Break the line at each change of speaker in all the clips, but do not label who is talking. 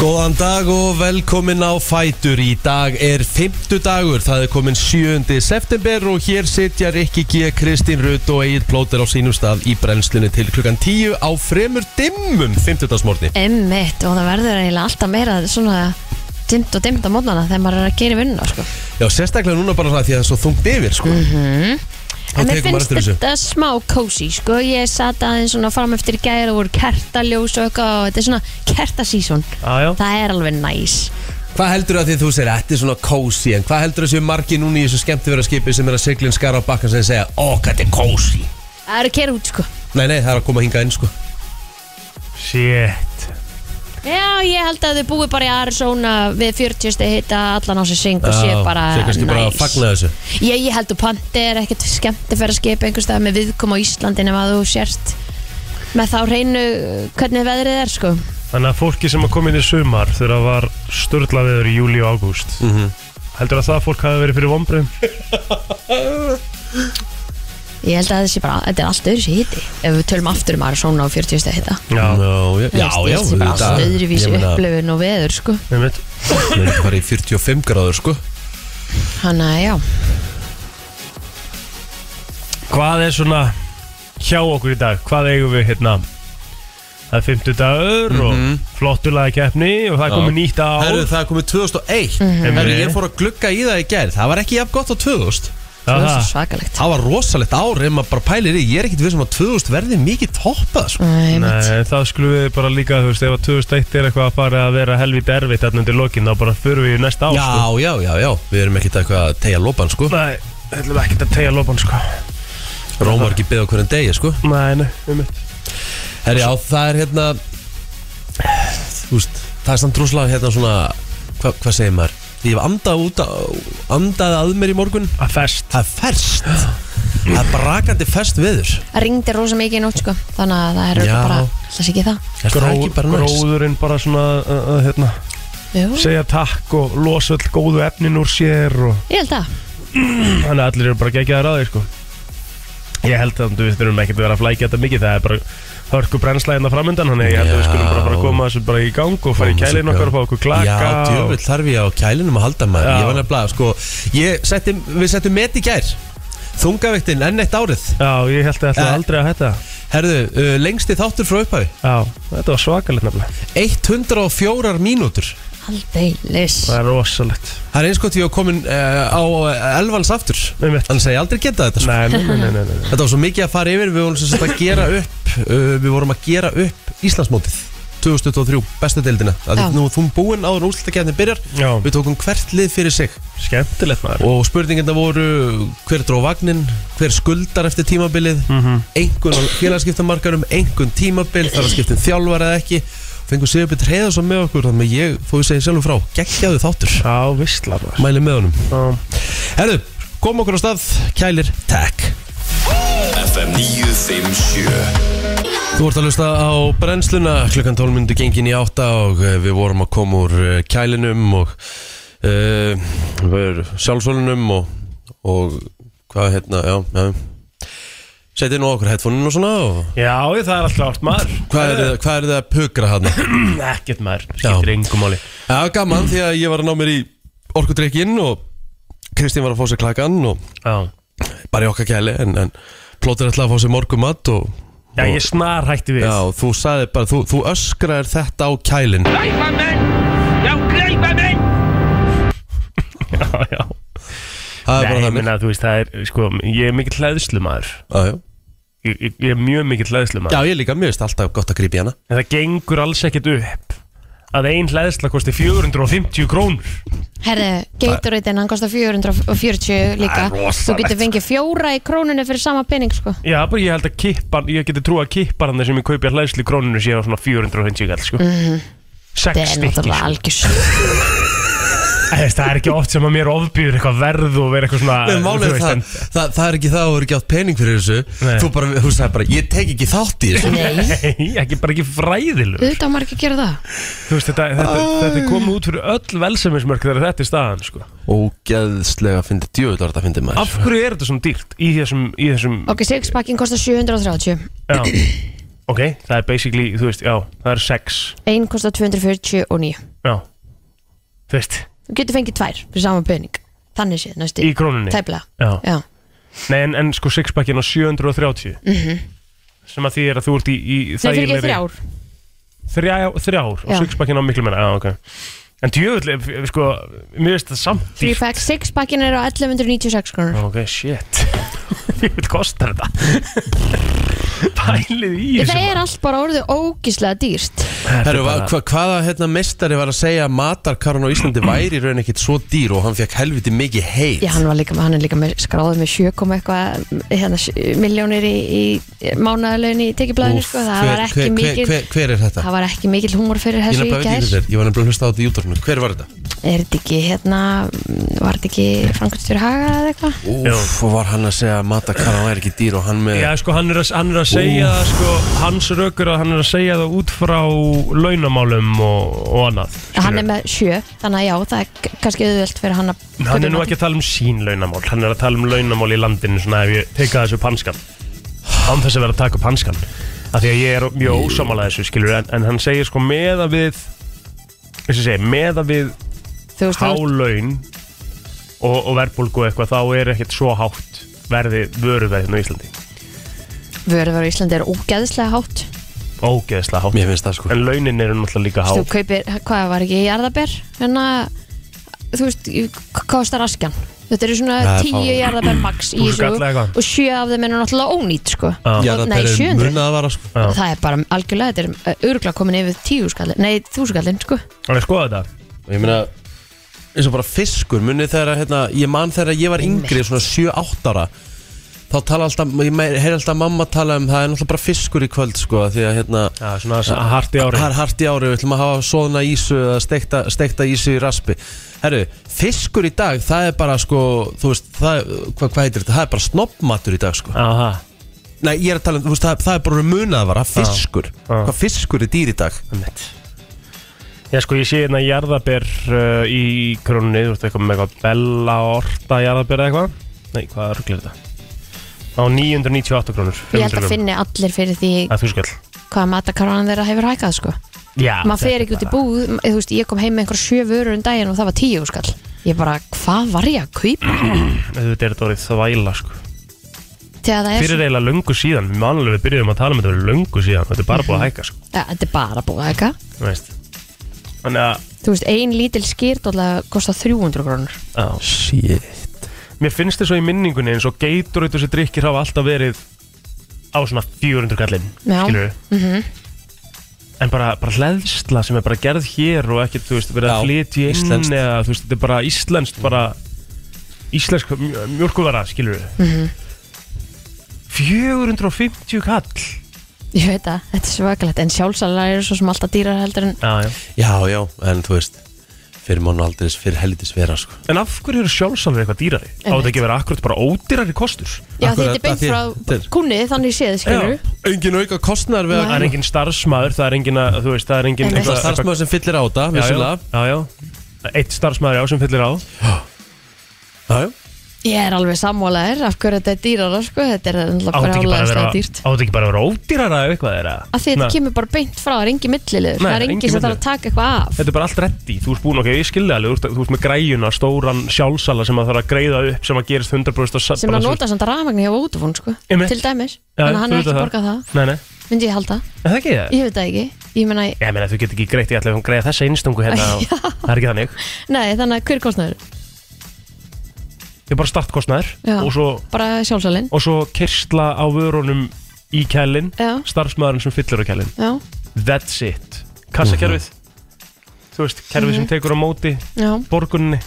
Góðan dag og velkomin á Fætur. Í dag er fimmtudagur, það er komin 7. september og hér sitja Rikki G, Kristín Rutt og Egil Plóter á sínum stað í brennslunni til klukkan 10 á fremur dimmum fimmtudagsmorni.
Emmitt og það verður eiginlega alltaf meira svona dimt og dimt á mótnana þegar maður er að gera vinnuna sko.
Já, sérstaklega núna bara það því að það er svo þungt yfir, sko. Mm -hmm.
Mhm. En mér finnst þetta smá kósi sko. Ég satt aðeins svona fram eftir í gæri og voru kertaljós og eitthvað og þetta er svona kertasísón.
Jájá
Það er alveg næs.
Hvað heldur að því þú segir, þetta er svona kósi, en hvað heldur að séu margi núna í þessu skemmtifæraskipi sem er að siglinn skara á bakkan sem segja, ó, hvað þetta er kósi?
Það er að kera út sko.
Nei, nei, það er að koma hinga inn, sko.
Shit
Já, ég held að þau búi bara í Arizona við 40 stið hitta allan á sig syng og sé
Já,
bara
sé kannski bara að
næs.
fagna þessu.
Ég, ég held að pandi er ekkert skemmt að fara að skipa einhvers stað með viðkom á Íslandi nema að þú sért með þá reynu hvernig veðrið er sko.
Þannig að fólki sem að kom inn í sumar þegar það var störla veður í júli og ágúst
Mhm.
Heldur að það fólk hafi verið fyrir vombriðum?
Ég held að þessi bara, þetta er allt öðru sér hitti Ef við tölum aftur um Arizona á 40 stið hitta
Já,
já, já, já,
Þetta er bara allt
auðvitað.
öðruvísi
Ég meina-
upplöfun og veður sko
með mitt
Við erum ekki að fara í 45 gráður sko
Þannig að já
Hvað er svona hjá okkur í dag? Hvað eigum við hérna? Það er 50 dagur og flottulega keppni og það
Mhm.
er
Já.
komið nýtt ár
Herru, það er komið 2001
Mhm.
Herru, ég fór að glugga í það í gær Það var ekki jafn gott á 2000
Það
Aha.
er svakalegt
Það var rosalegt ár ef maður bara pælir í Ég er ekkit við sem að 2000 verði mikið toppað sko.
Æ, mitt.
Nei, en það skulum við bara líka, þú veist, ef að 2001 er eitthvað að fara að vera helvítið erfitt þarna undir lokin, þá bara förum við í næsta ár,
Já,
sko.
já, já, já Við erum ekkit eitthvað að tegja lopan sko
Nei, ætlum ekki að tegja lopan, sko.
Róm var ekki beða hverjum degi sko
Nei, nei, um mitt.
Herru, já, það er hérna Þú veist, það er samt droslega hérna svona hva, Hvað segir maður? Ég hef andað út að Andað að mér í morgun
Að fest.
Það er ferst Það er brakandi ferst viður
Það ringdi rosa mikið í nótt sko Þannig að það er
Já.
örugglega bara Það sé ekki það
Er það ekki bara næst?
gróðurinn bara svona, uh, uh, hérna,
Jú,
segja takk og losa öll góðu efnin úr sér og
ég held að
þannig að allir eru bara geggjaðar að þér, sko. Ég held að þú veist, við erum ekkert að vera að flækja þetta mikið, það er bara hörku brennsla hérna framöndan, þannig að ég held að við skulum bara, bara koma þessu bara í gang og fara í kælin okkar og fá okkur klaka.
Já, djöfull þarf ég á kælinum að halda maður
Já.
Ég var nefnilega, sko ég setti, Við settum met í gær Þungaviktin enn eitt árið
og, já, ég held að
Eh.
ætla aldrei að hætta.
Herðu, uh, lengsti þáttur frá upphæði
Já, þetta var svakalegt nefnilega
104 mínútur
Aldeilis
Það er rosalegt
Það er eins gott ég var komin uh, á elvans aftur
Einmitt.
Hann segi aldrei geta þetta sko.
Um Nei, nei, nei, nei, nei, nei.
Þetta var svo mikið að fara yfir Við vorum sem sagt að gera upp uh, Við vorum að gera upp Íslandsmótið 2023, bestu deildina Það
Já.
er nú þú búin áður úrslutakeppnin byrjar
Já,
Við tókum hvert lið fyrir sig
skemmtilegt maður
Og spurningarna voru hver dró vagnin, hver skuldar eftir tímabilið, mm -hmm. einhvern á félagskiptamarkarum, einhvern tímabil, þar að skipta um þjálfar eða ekki. Fengur Sigurbjörn Heiðarsson með okkur, þannig að ég, þó ég segi sjálfur frá, geggjaðu þáttur.
Já, vissla maður
Mæli með honum.
Já.
Herðu, kom okkur á stað, kælir, takk.
FM 957
Þú ert að hlusta á brennsluna klukkan 12 myndu gengin í átta og eh, við vorum að koma úr eh, kælinum og uh, við erum sjálfsvölunum og, og hvað hérna, já, já setið nú okkur headphone-in og svona og
Já, ég, það er alltaf átt maður
hvað er, hvað er það að pukra hérna?
Ekkert maður, skiptir engum máli
Já, gaman því að ég var að ná mér í orkudrykkin og Kristín var að fá sér klakan og
Já,
bara í okkar kæli en, en plótur ætla að fá sér morgumat og
já ég snar hætti við
Já, þú sagði bara, þú, þú öskraðir þetta á kælin
Gleipa menn! Já, gleipa menn!
já, já.
Það er
Nei,
bara
ég
það mér
minna, þú veist, það er, sko, ég er mikill hlæðslu maður
Já, já
Ég, ég, ég er mjög mikill hlæðslu maður
Já, ég líka, mér finnst alltaf gott að grípa í hana
En það gengur alls ekkert upp Að ein hlæðsla kosti 450 krónur
Herðu, geiturreitin, hann kostar 440 líka
Það er rosalegt.
Þú getur fengið fjóra í krónunni fyrir sama pening sko
Já, bara ég held að kippa, ég geti trú að kippa hann sem ég kaupi að hlæðslu í krónunum séu á svona 450 kall, sko mm
Þetta Mhm. er
sko.
náttúrulega algjör
Æ, þú veist, Það er ekki oft sem að mér ofbýður eitthvað verð og vera eitthvað svona
Nei, málið
þú
er
veist,
það, það, það er ekki það að þú er ekki átt pening fyrir þessu
Nei.
Þú bara, þú sagði bara, ég tek ekki þátt í þessu
Nei,
Nei, ekki bara ekki fræðilegur
auðvitað á margir að gera það
Þú veist, þetta, þetta, þetta er komið út fyrir öll velsefnismörk þegar þetta er staðan sko.
Ógeðslega fyndi, djöðlar þetta fyndi maður
Af hverju er þetta svona dýrt í þessum, í þessum
Ok, sixpackin kostar 730
já, ok, það er basically, þú veist, já, það eru sex
Einn kostar 249
Já, þú veist,
Þú getur fengið tvær fyrir saman pening Þannig séð næstu
í krónunni
Tæplega
Já,
Já,
nei en, en sko sixpackin á 730 Sem að því er að þú ert í, í
það Mhm. fyrir ekki
þægilegri-
þrjár
þrjá, þrjár og
Já.
sixpackin á miklu meira já, okay. en djöfull, sko mér veist það samt
Three pack, six packin er á 1196
Já,
krónur
ok, shit djöfull kostar þetta pælið í þessu
Það er allt bara orðið ógíslega dýrt
Herru, hva, hva, hvaða hérna, mestari var að segja að matarkarun á Íslandi væri í raun ekkit svo dýr og hann fekk helviti mikið heit
Já, hann, var líka, hann er líka með, skráður með 7, koma eitthvað hérna, sjö- miljónir í, í mánaðalögin í tekiblaðinu sko. það, var ekki
hver, hver,
mikil,
hver, hver er þetta?
það var ekki mikil húmor fyrir
Ég
þessu í
nefnilega veit ekki
gær
hver þetta er, ég var nefnilega að hlusta á þetta í útvarpinu Hver var þetta?
Er þetta ekki hérna var þetta ekki Frankustjóri Haga eða eitthvað?
Úf, og var hann að segja að matarkarun væri ekki dýr og hann með
Já, sko, hann er, að, hann er að segja, sko, hans rökur að hann er að segja það út frá launamálum og, og annað. skilur.
Hann er með sjö, þannig að já, það er k- kannski auðvöld fyrir hann að
hann er nú ekki að tala um sín launamál, hann er að tala um launamál í landinu, svona ef ég teka þessu panskan. Án þess að vera að taka upp hanskan. Af því að ég er mjög ósamála þessu, skilur, en, en hann segir, sko, meða við, þess að segja, meða við
Þú veist,
há
þú-
laun og, og verðbólgu og eitthvað, þá er ekkert svo hátt verði vöruverðin á Íslandi.
vöruverð á Íslandi er ógeðslega hátt
Ógeðslega hátt.
Mér finnst það sko
En launin eru náttúrulega líka
Þú
há.
veist, þú kaupir, hvað var ekki, jarðaber hérna, þú veist, í- k- kostar askjan Þetta eru svona
Það er
tíu
fáum.
jarðaber max í
Þú
þessu
skallaði eitthvað.
og sjö af þeim er náttúrulega ónýtt sko.
Já.
Já,
Nei,
það er
700
munað að vara sko
Já.
Það er bara algjörlega, þetta er örgulega komin yfir tíu skallin, nei, þúsugallin sko.
Þannig skoða þetta.
Og Ég meina, eins og bara fiskur Munið þegar, að, hérna, ég man þegar að ég var yngri Svona 7-8 ára Þá tala alltaf, ég meir- heyri alltaf mamma tala um Það er náttúrulega bara fiskur í kvöld sko Því að hérna,
Já, svona s- hart í ári
það er hart í ári Við ætlum að hafa soðna ísu Eða steikta, steikta ísu í raspi Herru, fiskur í dag, það er bara sko Þú veist, það, hvað, hvað heitir þetta? Það er bara snobbmatur í dag sko
Aha,
Nei, ég er að tala um, þú veist, það, það er bara munaðvara, fiskur
Já.
Hvað fiskur er dýr í dag?
einmitt Já, sko, ég sé hérna jarðaber uh, í krónunni, þú veist, eitthvað með eitthvað bella orta jarðaber eða eitthvað. Nei, hvað rugglir þetta? Á 998 krónur.
Ég held að finni allir fyrir því
Að þú skall.
hvað matakarvanan þeirra hefur hækkað sko.
Já.
maður fer ekki út í búð m- þú veist, ég kom heim með einhver sjö vörur um daginn og það var tíu skall ég bara, hvað var ég að kaupa
Þetta er þetta orðið þvæla, sko.
þegar það er,
Fyrir
svona-
eiginlega löngu síðan, við mannlega við byrjuðum að tala um þetta fyrir löngu síðan, þetta er bara búið að hækka, sko.
ja, þetta er bara búið hækka
Þú veist. Þannig að,
þú veist, ein lítil skýrdóla kostar 300 krónur
já,
Shit
Mér finnst þess að í minningunni eins og geitur og þessi drikkir hafa alltaf verið á svona 400 kallinn,
Já. Mhm.
skilur við En bara, bara hleðsla sem er bara gerð hér og ekkert, þú veist, verið
Já,
að flytja inn
íslenskt.
eða, þú veist, þetta er bara íslenskt, bara íslensk mj- mjólkuvara, skilur við
Mhm.
450 kall
ég veit að þetta er svakalegt en sjálfsalar eru svo sem alltaf dýrar heldur en
Já, já
Já, já, en þú veist fyrir mánu aldrei, fyrir helvitis vera sko.
En af hverju eru sjálfsálfur eitthvað dýrari? Á
Einmitt.
þetta ekki að vera akkurat bara ódýrari kostur?
já,
Akkurat,
þetta er beint
að því-
frá
þetta er-
kunni þannig séð skilur
Engin auka kostnar við
Það er engin starfsmaður, það er engin að, þú veist, það er engin
Einmitt.
Það er starfsmaður sem fyllir á þetta,
Já, já,
vissulega
já, já. Eitt starfsmæður á sem fyllir á
Já, já
ég er alveg sammálaðir af hverju þetta er dýrar sko. þetta er náttúrulega
Átti ekki bara að vera
brjálæðislega dýrt
Átti ekki bara að vera ódýrara ef eitthvað er að
að því þetta kemur bara beint frá, það er engin milliliður
Nei,
það er
engin
engin sem þarf að taka eitthvað af
Þetta er bara allt reddi, þú ert búin, ok, ég skilði alveg, þú ert, þú ert með græjuna, stóran sjálfsala sem að þarf að greiða upp, sem að gerist 100% sa-
sem
bara
að
svo-
nota samt rafmagni hjá Vodafone sko,
Einmitt.
til dæmis
Já,
þannig að hann er
þú veit
ekki
það.
borgað það,
Nei, nei,
myndi ég halda
en það ekki það
ég veit það ekki, ég meina
Ég meina, þú getur ekki greitt, ég ætla að greiða þessa einstungu hérna og það er ekki þannig
nei, þannig að hver kostnaður,
Ég er bara startkostnaður
Já.
og svo,
bara sjálfsalinn
og svo kyrsla á vörunum í kælin,
Já.
starfsmaðurinn sem fyllir á kælin
já,
That's it Kassakerfið,
Mhm.
þú veist, kerfið sem tekur á móti
já
borgunni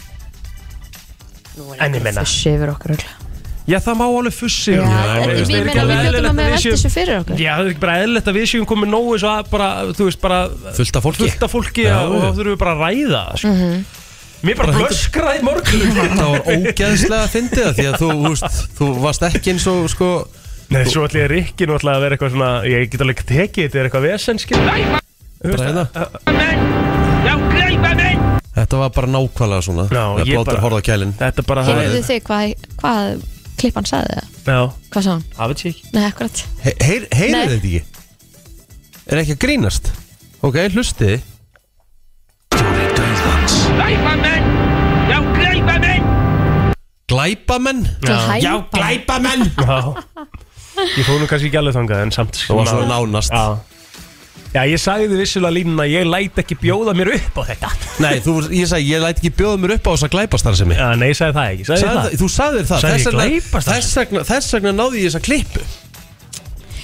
En ég meina-
þessi yfir okkur öll já,
Já, það má alveg fussi
ég
já, ég
veist,
ég
er
meina við hljóttum að með velta
séum
þessu fyrir okkur
Já, það er ekki bara eðlilegt að við séum komið nógu svo að bara, þú veist, bara
Fullt af fólki
fullt af fólki
Já, já.
og þá þurfum við bara að ræða það, sko. Mér bara
Bara
blöskraði í morgun
Það var ógeðslega að fyndi það því að þú, þú veist, þú varst ekki eins og sko
Nei, svo ætla ég Rikki nú ætla að vera eitthvað svona Ég get alveg tekið þetta er eitthvað vesenski
bara hérna.
Não creiba bem!
Þetta var bara nákvæmlega svona
Já,
Það
ég
blóttur
bara-
horða kælin
Þetta bara
heyrðu þig hvað, hvað klippan sagði það
Já,
hvað sá hann,
hafið sér ekki
nei, akkurat
He- heyr- Heyrið
Nei.
þetta ekki? Er ekki að grínast Ok, hlustiði
Dóri Dauðans
Glæpamenn! Já, glæpamenn!
Glæpamenn Já, glæpamenn
Já Ég fóð nú kannski ekki alveg þangað en samt sko,
Það var svona nánast
Já Já, ég sagði þið vissulega línuna Ég læt ekki bjóða mér upp á þetta
Nei, þú, ég sagði, ég læt ekki bjóða mér upp á þessa glæpastar sem ég
Já, Ah, nei, ég sagði það ekki Sagði,
Sagði,
það?
þú sagðir það
Sagði ég
þess, vegna,
glæpastarfsemi?
þess, vegna, þess vegna náði ég þessa klippu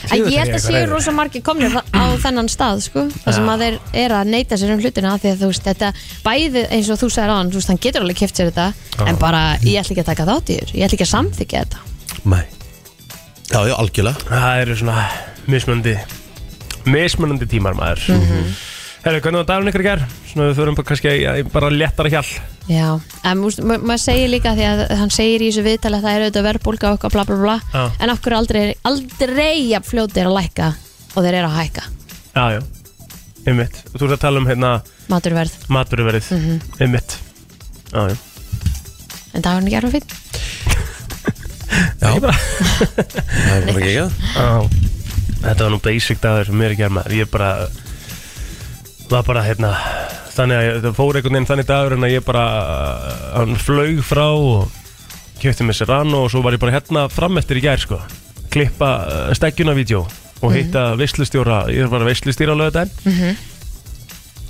Að ég held
Sigurður,
að séu
hvað er
rosa margir komnir þa- á þennan stað sko, þar sem að þeir eru að neyta sér um hlutina af því að þú veist, þetta bæði eins og þú sagðir á hann, þú veist, hann getur alveg keft sér þetta en bara, ég ætla ekki að taka þátt í þér ég ætla ekki að samþykja þetta
Nei Já, já, algjörlega
Það eru svona mismunandi Mismunandi tímar maður mm Herru, hvernig var dagun ykkur í gerð? Svona við förum bara kannski í- í bara léttara hjall
Já, en þú veist, ma- maður segir líka því að hann segir í þessu viðtali að það er auðvitað verðbólga og eitthvað bla bla bla,
Já.
en okkur aldrei aldrei að fljóti er að lækka og þeir eru að hækka,
Já, já Einmitt Þú ert að tala um hérna
maturverð
maturverið Einmitt Já, já
en það var hann ekki erfið fín
Já,
Ekki bara
það er bara ekki ekki
Já, þetta var nú basic dagur sem mér er gerð maður Ég bara var bara hérna þannig að það fór einhvern veginn þannig dagur en að ég bara uh, hann flög frá og kjöpti með sér rann og svo var ég bara hérna fram eftir í gær sko klippa uh, steggjuna vídeo og hitta veislustjóra, ég var að veislustýra á lögudaginn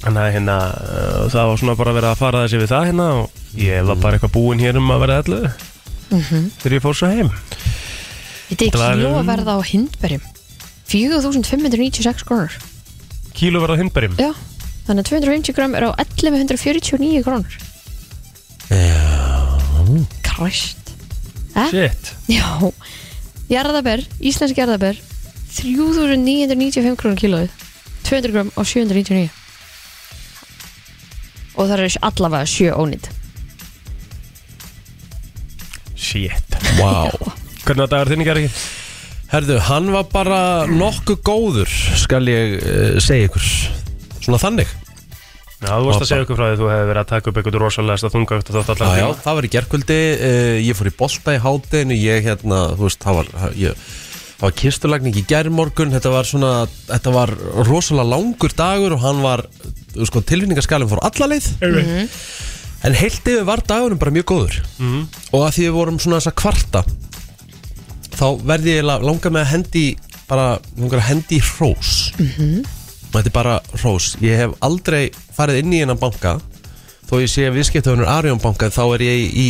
Þannig að hérna, uh, það var svona bara að vera að fara þessi við það hérna og ég var bara eitthvað búinn hér um að vera allu þegar ég fór svo heim
Þetta er
Þetta var-
kílóverð á hindberjum 4596 krónur
Kílu verða hindberjum
Já, þannig að 250 gram er á 1149 krónur Já Kræst
Shit
Já, jarðabær, íslensk jarðabær 3995 krónur kílóið 200 gram á 799 og það eru allavega sjö ónýtt
Shit
Wow
Hvernig var dagur þinn í gerði?
Herðu, hann var bara nokkuð góður skal ég uh, segja ykkur Svona þannig
Já, þú varst að segja okkur frá því að þú hefði verið að taka upp einhvern rosalegasta þungaugt og þátt allan
Já, já,
tímann.
það var í gerkvöldi, uh, ég fór í bolta í hátinu, ég hérna, þú veist, það var, það- ég, það var kistulagning í gerðmorgun, þetta var svona, þetta var rosalega langur dagur og hann var, þú veist, sko, tilfinningaskalinn fór alla leið, Mhm. en heilt yfir var dagurinn bara mjög góður og að því við vorum svona þessa kvarta, þá verði ég la- langar með að hendi, bara, langar að hendi í hrós. Og Þetta er bara hrós, ég hef aldrei farið inn í hennan banka, þó ég sé viðskiptöfunur Arjón banka þá er ég í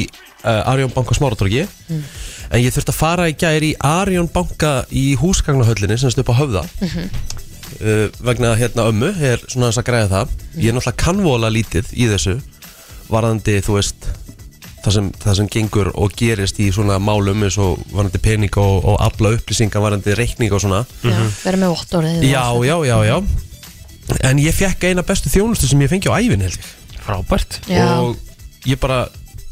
uh, Arjón banka smáratorgi en ég þurfti að fara í gær í Arjón banka í húsgagnahöllinni sem stu upp á höfða uh, vegna hérna ömmu er svona þess að græða það ég er náttúrulega kannvola lítið í þessu varðandi þú veist það sem, það sem gengur og gerist í svona málum eins og varðandi pening og, og afla upplýsinga varðandi reikning og svona
Já, vera með vottorðið og
já,
allt
já, já, já en ég fekk eina bestu þjónustu sem ég fengi á ævin held ég
Frábært
þetta. Já.
og ég bara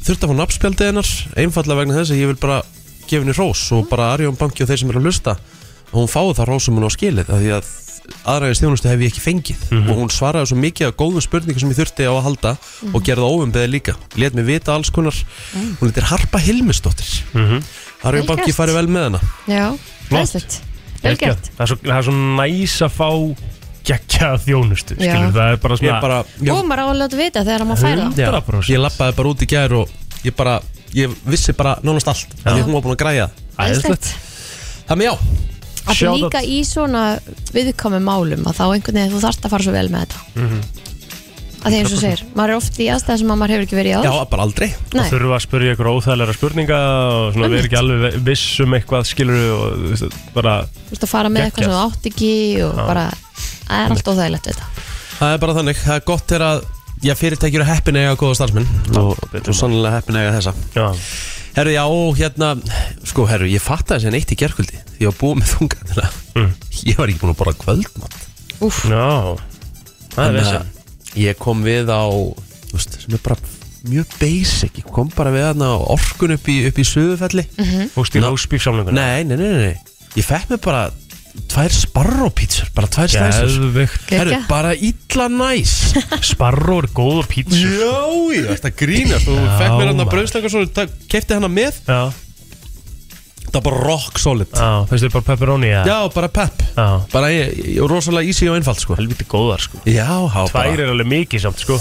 þurfti að fá nafnspjaldið hennar einfallega vegna þess að ég vil bara gefa henni rós og bara Arjón Banki og þeir sem eru að hlusta að hún fái það rósum hún á skilið af því að aðræðis þjónustu hef ég ekki fengið og hún svaraði svo mikið að góðum spurningum sem ég þurfti á að halda
Mhm.
og gerði óumbeðið líka let mig vita alls konar hún heitir Harpa Hilmisdóttir Arjón
Mm. Vel
Banki
gert.
farið vel með hana
Já,
Flott.
glæslegt Vel gert
Það er svo, það er svo næs að fá geggja þjónustu
Já.
skilur, Það er bara
ég
svona
bara, ég,
Og maður á að láta vita þegar maður færa
Hund- 100%.
ég lappaði bara út í gær og ég bara, ég vissi bara nánast allt, af því
Já.
hún var búin að græja það.
Æðislegt
þannig já,
að því
Shout
líka
out.
í svona viðkomi málum að þá einhvern veginn þú þarft að fara svo vel með þetta að því eins og þú segir, maður er oft í aðstæða sem að maður hefur ekki verið í áður
já, bara aldrei
Það
Nei,
þurfa að spyrja ykkur óþægilega spurninga og svona við erum ekki alveg viss um eitthvað skilur og þú veist, bara
þú veist að fara með eitthvað sem þú átt ekki og bara, það er allt óþægilegt við þetta
Það er bara þannig, það er gott þegar að Já, fyrirtækjur er heppin að eiga góða starfsmenn og, og sannlega heppin að eiga þessa
já,
Herru, já, og hérna Sko, herru, ég fatt að þessi neitt í gerkvöldi Því ég var búið með þungatina Ég var ekki búin að borða kvöldmatt
Úf,
já Það er
Þannig
vissi
að Ég kom við á, þú veist, sem er bara mjög basic Ég kom bara við þarna á orkun upp í, upp í söðufelli
Fókst í rósbíf samlingun
nei, nei, nei, nei, nei Ég fekk mér bara tvær sparrópítsur Bara tvær stæðsur
Geðvikt
Herru,
Geggjað.
bara illa næs
Sparró er góð og pítsu
Já, ég veist að grínast og
Já,
fekk mér hann að
maður.
brauðslega svo kefti hann með
Já
Það er bara rock solid
Já, finnst þér bara pepperoni eða?
Já, bara pepp
Já,
Bara ég, ég, rosalega easy og einfalt sko
helviti góðar sko
Já, há bara
Tvær er alveg mikið samt sko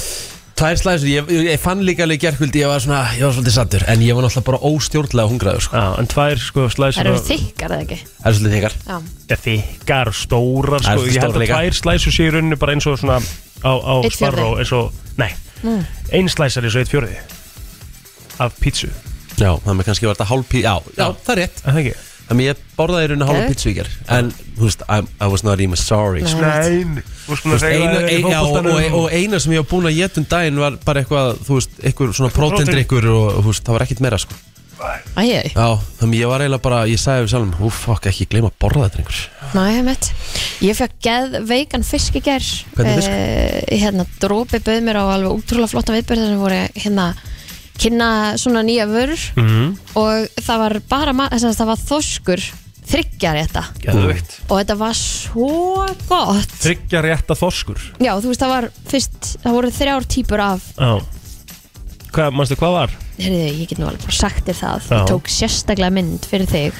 Tvær slæðisur, ég, ég, ég fann líka alveg gerkvöldi Ég var svona, ég var svolítið sattur En ég var náttúrulega bara óstjórnlega hungraður sko
Já, en tvær sko
Það
slæsur
eru þykkar eða ekki
Það er svolítið þykar
Já.
ja, Þykkar og stórar
Það er svolítið
sko Ég held
stórar
að
líka.
tvær slæsur sé í rauninni bara eins og svona á, á
Einn fjórði.
sparró eins og, nei, mm. ein slæsar eins og eitt fjörði af pítsu,
Já, þannig að kannski var þetta hálf pí Já, já, það er rétt
er það ekki?
Þannig ég borðaði í rauninu hálf
Geðveikt.
pítsu í ger En, þú veist, I'm- I was not even sorry sko.
Nein, þú sko
Þú veist, eina, ein, já, og, og, og eina sem ég var búin að geta um daginn var bara eitthvað, þú veist, eitthvað svona prótendrykkur og þú veist, það var ekkert meira sko
Æjæj,
Já, þannig ég var eiginlega bara, ég sagði við sjálfum Ú, fokk, ekki gleyma að borða þetta einhver
næja mitt Ég fekk geð veikan fisk í ger
Hvernig fisk?
Eh, hérna, Drópi bauð mér á alveg útrúlega flotta viðbyrðar sem voru hérna kynna svona nýja vörur og það var bara ma- þess að það var þoskur þryggjar þetta
Geðveikt
og þetta var svo gott
Tryggja rétta þorskur
Já, þú veist, það var fyrst, það voru þrjár típur af
Já Hvað, manstu hvað var?
Heyrðu, ég get nú alveg bara sagt þér það
Já.
Ég tók sérstaklega mynd fyrir þig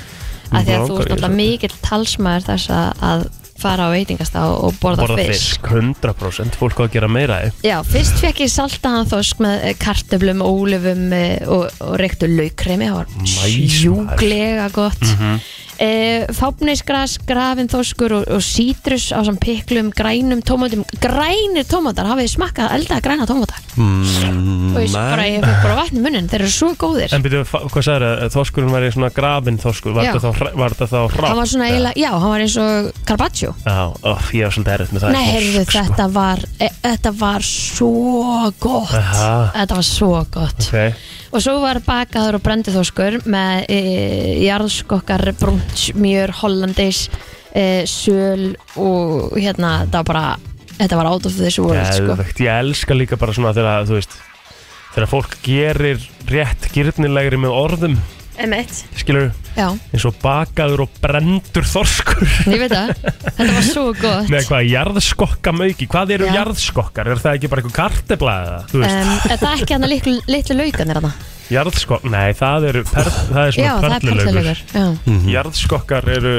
að því að þú
Nú langar
ert
ég
alltaf
svo.
mikill talsmaður þess að, að fara á veitingasta og borða,
Borða
fisk.
fisk 100% fólk á að gera meira eh. í
Já, fyrst fekk ég saltaðan þosk með eh, kartöflum, ólöfum og, og reyktu laukremi, það var
maður. Mhm.
sjúglega gott mm -hmm. Fápnisgras, grafin þoskur og, og sítrus á samt piklum, grænum tómatum Grænir tómatar, hafið þið smakkað elda græna tómatar mm, Og ég bara, ég fekk bara vatn í munnin, þeir eru svo góðir
En byrju, fa- hvað sagður það? Þorskurinn var í svona grafin þorskur Var
Já.
þetta þá, hr- var þetta þá hrátt?
Hann var svona eiginlega, já, hann var eins og Carpaccio
Já, óf, ég var svolítið erfitt með það sko.
Nei, heyrðu, þetta var e, þetta var svo gott
Aha.
Þetta var svo gott
okay.
Og svo var bakaður og brendið þoskur með e, jarðskokkar, brúnt smjör, hollandis, e, söl og hérna, þetta var bara, þetta var out of this world, sko.
Geðvegt, ég elska líka bara svona þegar að, þú veist Þegar fólk gerir rétt gyrnilegri með orðum
Emmett.
Skilur,
sko. Já,
eins og bakaður og brendur þorskur
ég veit það. þetta var svo gott.
Nei, hvað, jarðskokkamauki, hvað eru
Já.
jarðskokkar? Er það ekki bara eitthvað kartebla eða? Þú veist,
Um, er það ekki hann að litlu, litlu laukanir hann?
jarðskokk, nei, það eru, per, það
Já,
er
það
svona
er perlilaukur.
perlilögur.
Já,
Jarðskokkar eru,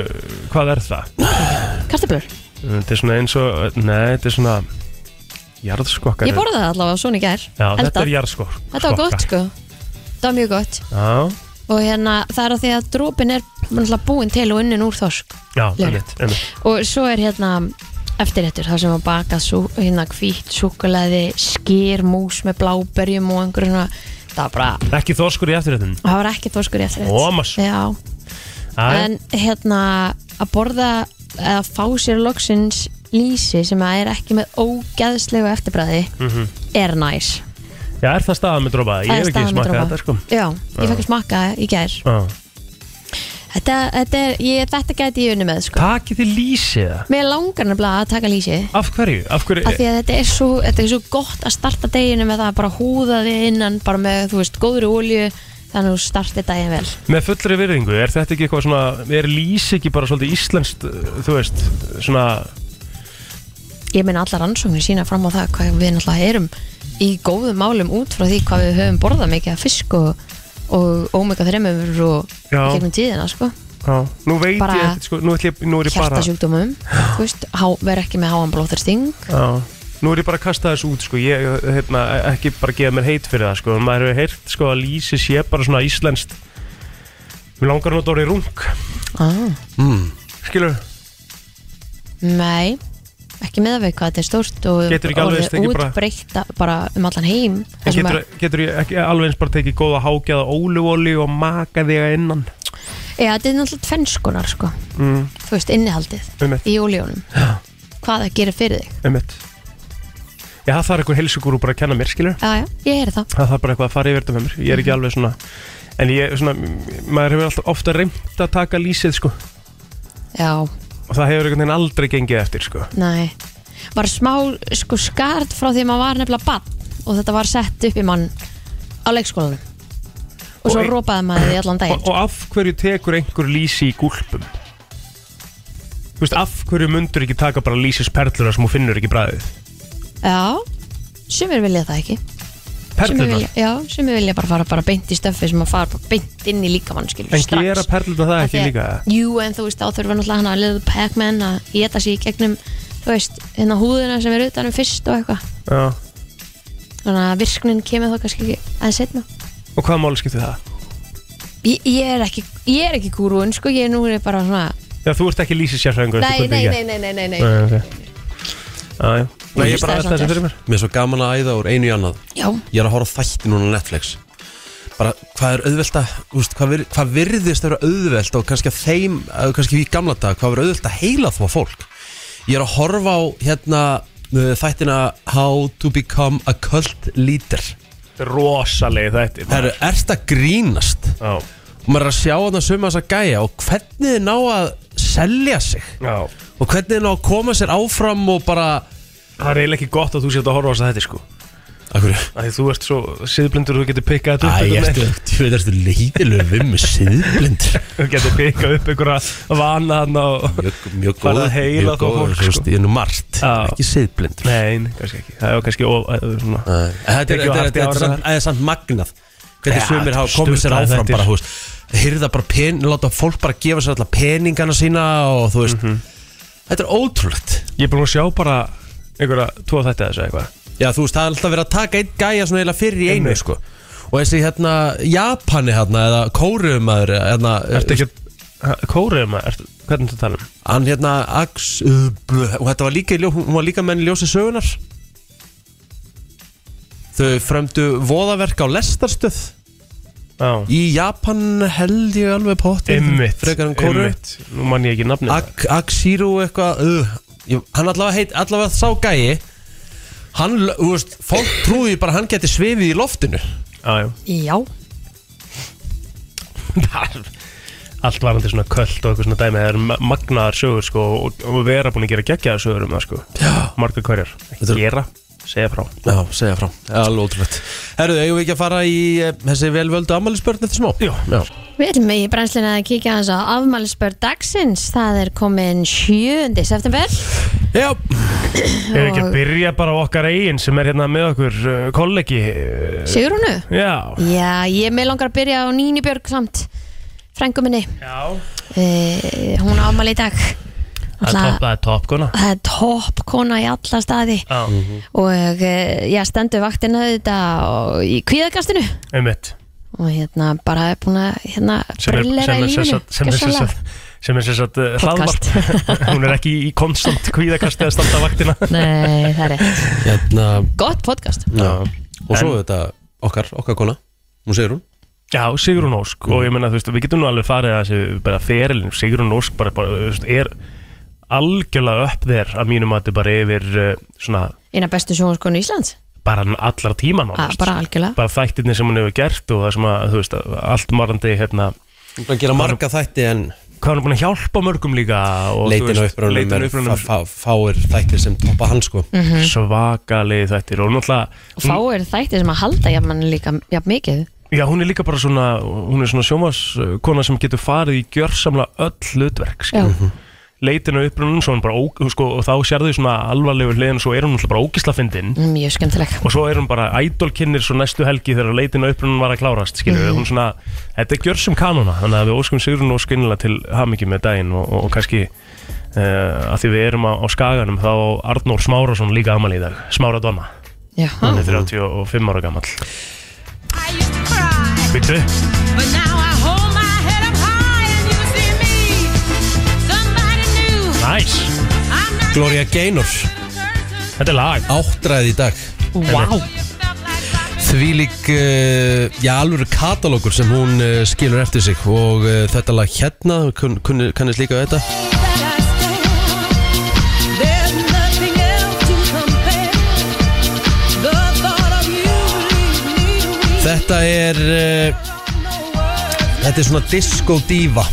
hvað er það? Mm.
kartöflur.
Þetta er svona eins og, nei, þetta er svona, jarðskokkar.
Ég
eru-
borðaði það allavega svona í gær.
Já, þetta
eldað.
er jarðskokk.
Þetta var gott, sko. Þetta var mjög gott.
Já,
Og hérna, það er á því að drópin er náttúrulega búin til og unnin úr þorsk.
já,
Legur.
einmitt, einmitt.
og svo er hérna eftirréttur, það sem var bakað sú, hérna hvítt, súkulaði, skýr mús með bláberjum og einhverjum svona, það var bara,
Ekki þorskur í eftirréttum.
það var ekki þorskur í eftirrétt
Ómas.
Já,
En,
en hérna að borða eða fá sér loksins lýsi sem að er ekki með ógeðslegu eftirbræði er næs
já, er það staðan með drópa? Mhm. Ég
Það er
hef ekki
staðan með
smakað
drópa.
þetta, sko.
Já, ég fekk að smakka í gær
Já.
Þetta, þetta, er, ég, þetta gæti ég unni með sko.
Takið þið lýsið það?
Mér langar nefnilega að taka lýsi
Af hverju? Af hverju?
af því að þetta er, svo, þetta er svo gott að starta deginu með það að bara húða þig innan bara með, þú veist, góðri ólju þannig að þú starti daginn vel
Með fullri virðingu, er þetta ekki eitthvað svona, er lýsi ekki bara svolítið íslenskt, uh, þú veist, svona,
ég meina allar rannsóknir sína fram á það hvað við náttúrulega erum í góðum málum út frá því hvað við höfum borðað mikið af fisk og, og omega 3 og
Já.
í gegnum tíðina sko,
já, nú veit
Bara-
ég ekkert, sko, nú, ætl ég, nú er ég bara,
hjartasjúkdómum þú veist, há, vera ekki með háan blóðursting
já, nú er ég bara að kasta þessu út, sko, ég, hérna, ekki bara gefa mér heit fyrir það, sko, maður hefur heyrt, sko, að lýsi sé bara svona íslenskt, mér langar nú að dóra í rung,
ah.
skilur,
nei, ekki með að við hvað þetta er stórt og
Getur ekki alveg
orðið
tekið bara-
útbreytt bara um allan heim
en
Það sem
getur,
að-
getur ég ekki alveg eins bara tekið góða hágjaða óluvoli og maka þig að innan,
Já, þetta er náttúrulega tvennskonar sko
mm,
þú veist, innihaldið
einmitt,
í ólíunum hvað það gerir fyrir þig
einmitt, já, það er eitthvað heilsugúru bara að kenna mér, skilur,
já, já, ég heyri það
það þarf bara eitthvað að fara yfir þetta með mér ég er
Mhm.
ekki alveg svona en ég, svona, maður hefur alltaf ofta reynd að taka lýsið sko og
já,
það hefur einhvern veginn aldrei gengið eftir sko
næ var smá sko skart frá því að maður var nefnilega bann og þetta var sett upp í mann á leikskólanum og svo
Og ein-
rópaði maður því allan
og,
daginn
og af hverju tekur einhver lýsi í gúlpum þú veist, af hverju mundur ekki taka bara lýsisperluna sem hún finnur ekki bræðið
já, sumir vilja það ekki sem
Perlurnar?
ég vilja, já, sem ég vilja bara fara bara beint í stöffi sem að fara bara beint inn í líkamann skilur
En
strax.
gera perlurnar
Af
það ekki
því að-
líka?
Jú, en þú veist, þá þurfa náttúrulega hann að liða Pac-Man að geta sig í gegnum þú veist, hérna húðina sem er utanum fyrst og eitthvað
Já
þannig að virknin kemur þá kannski ekki að setna
Og hvaða máli skiptir það?
ég, ég er ekki, ég er ekki gúrun sko, ég er nú er bara svona
Já, þú ert ekki lýsið sérfræðingur
nei, nei, nei, nei, nei, nei, nei.
Nei, ok Já, já Nei, ég
veist
bara
það
að það
samt
sem fyrir mér
Mér er svo gaman að æða úr einu í annað
já,
Ég er að horfa á þætti núna á Netflix Bara hvað er auðvelt að úst, hvað, vir, hvað virðist að vera auðvelt og kannski að þeim, að kannski í gamla dag hvað vera auðvelt að heila þvá fólk Ég er að horfa á hérna uh, þættina How to become a cult leader
Rosalegi þetta
Það eru ert að grínast
Já,
og maður er að sjá hann að suma þess að gæja og hvernig þið ná að selja sig
já
og hvernig þið ná að koma sér áfram og bara
Það er eiginlega ekki gott að þú sétt að horfa á þess að þetta sko
Akkur,
Af Því þú ert svo siðblindur og þú getur pikkað þetta upp
Æ,
einhvern
ertu,
veginn.
ég veit, ertu leiðilegu við með siðblindur
Þú getur pikkað upp einhverja vana hann og
Mjög, mjög góð,
Farið að heila
mjög
þá
góð,
fólk,
þú
sko.
veist, ég er nú margt,
Já.
ekki siðblindur
Nei, nei, kannski ekki Það er kannski of, eh, svona
Æ, Þetta er- þetta
Tekið og
er-
haft í
þetta er
ára.
samt- það er samt magnað hvernig
Ja,
sumir hafa komið sér
sturlað
áfram
þetta er.
bara, þú veist, hyrða bara pen, láta fólk bara gefa sér alla peningana sína og þú veist,
Mhm.
þetta er ótrúlegt
Ég er búin að sjá bara einhverja tvo þætti að þessu eitthvað
Já, þú veist, það er alltaf verið að taka einn gæja svona eiginlega fyrir í einu,
Einmitt.
sko Og þessi hérna, Japani hérna, eða Kórumaður, hérna
Ertu ekki að Kóriðum að, ertu- hvernig þú tala um?
Hann hérna, Ax, uh, bluh, og þetta var líka, í ljó- hún var líka menn í ljósi sögunar Þau fremdu voðaverk á lestarstöð
Já
Í Japan held ég alveg pottið
Einmitt
Frekar en Kóru
einmitt. Nú man ég ekki nafnið
Ak, Axiru eitthvað uh, ég, Hann allavega heit, allavega sá gæi Hann, l- þú veist, fólk trúði bara að hann geti svifið í loftinu
Já, já
já,
allt varandi svona kvöld og eitthvað svona dæmi það eru ma- magnaðar sögur sko og, og við erum búin að gera geggjaðar sögur um það sko
Já.
margar hverjar,
Þetta er-
gera, segja frá
Já, segja frá, alveg ótrúlegt Herruðu, eigum við ekki að fara í eh, þessi velvöldu ammælisbörn eftir smá?
Jú.
Já.
Við erum í brennslinu að kíkja aðeins á afmælisbörn dagsins. Það er komin 7. september.
Já,
Ef við ekki að byrja bara á okkar eigin sem er hérna með okkur uh, kollegi uh,
Sigrúnu?
Já
Já, ég er með langar að byrja á Níni Björg samt. Frængu minni.
Já
Uh, hún á afmæli í dag.
Það er topp- það er topp kona
Það er topp kona í alla staði.
Já,
Og uh, ég stendur vaktina þetta í kvíðagastinu.
einmitt
Og hérna bara er búin að hérna,
sem er
brillera í lífinu.
sem er sem
gjörsamlega.
sagt sem er sem sagt uh,
Podcast.
hlaðvarp hún er ekki í konstant kvíðakasti að standa vaktina
Nei, það er rétt.
hérna
Gott podcast.
já. Og svo
En-
þetta okkar, okkar kona Nú segir hún
Já, Sigrun Ósk og ég meina þú veist við getum nú alveg farið að þessi bara ferilin Sigrun Ósk bara, bara þú veist, er algjörlega upp þér að mínum að þetta bara yfir uh, svona
Eina bestu sjónskonu Íslands.
bara allar tíma
Ah,
nánast
bara algjörlega.
bara þættirni sem hún hefur gert og það sem að þú veist að allt marandi hérna
Hún er búin að gera marga þætti en
hvað hún er búin að hjálpa mörgum líka og þú
leitin á
veist,
uppröðunum
leitin
er
á upprunanum
fá, fáir þættir sem toppa hann sko
Mm. svakalegi þættir og náttúrulega
Mhm. og fáir þættir sem að halda jafn, líka, jafn mikið
Já, hún er líka bara svona, hún er svona sjómaskona sem getur farið í gjörsamla öll hlutverk,
Já.
skilur. Leitin á upprunum, svo hún bara, ó, sko, og þá sérðu því svona alvarlegu hliðin, svo er hún alltaf bara ógislafindin
mjög skemmtileg
og svo er hún bara ædolkinnir svo næstu helgi þegar leitin á upprunum var að klárast, skilur. Hún svona, þetta er gjörsum kanona, þannig að við óskum Sigrun og skynnilega til hamingju með daginn og, og, og kannski uh, að því við erum á, á skaganum þá á Arnór Smárasson líka amal í dag, Smára Donna,
já,
hann er 35 ára gamall.
I used to cry,
Vittu?
but now I hold my head up high and you see me. Somebody new.
Nice.
I'm not
Gloria Gaynor,
Þetta er lag.
áttræði í dag
Wow.
Þvílík, uh, já alvöru katalógur sem hún uh, skilur eftir sig og uh, þetta lag hérna, kun, kun, kannist líka við þetta Þetta er, uh, þetta er svona disco diva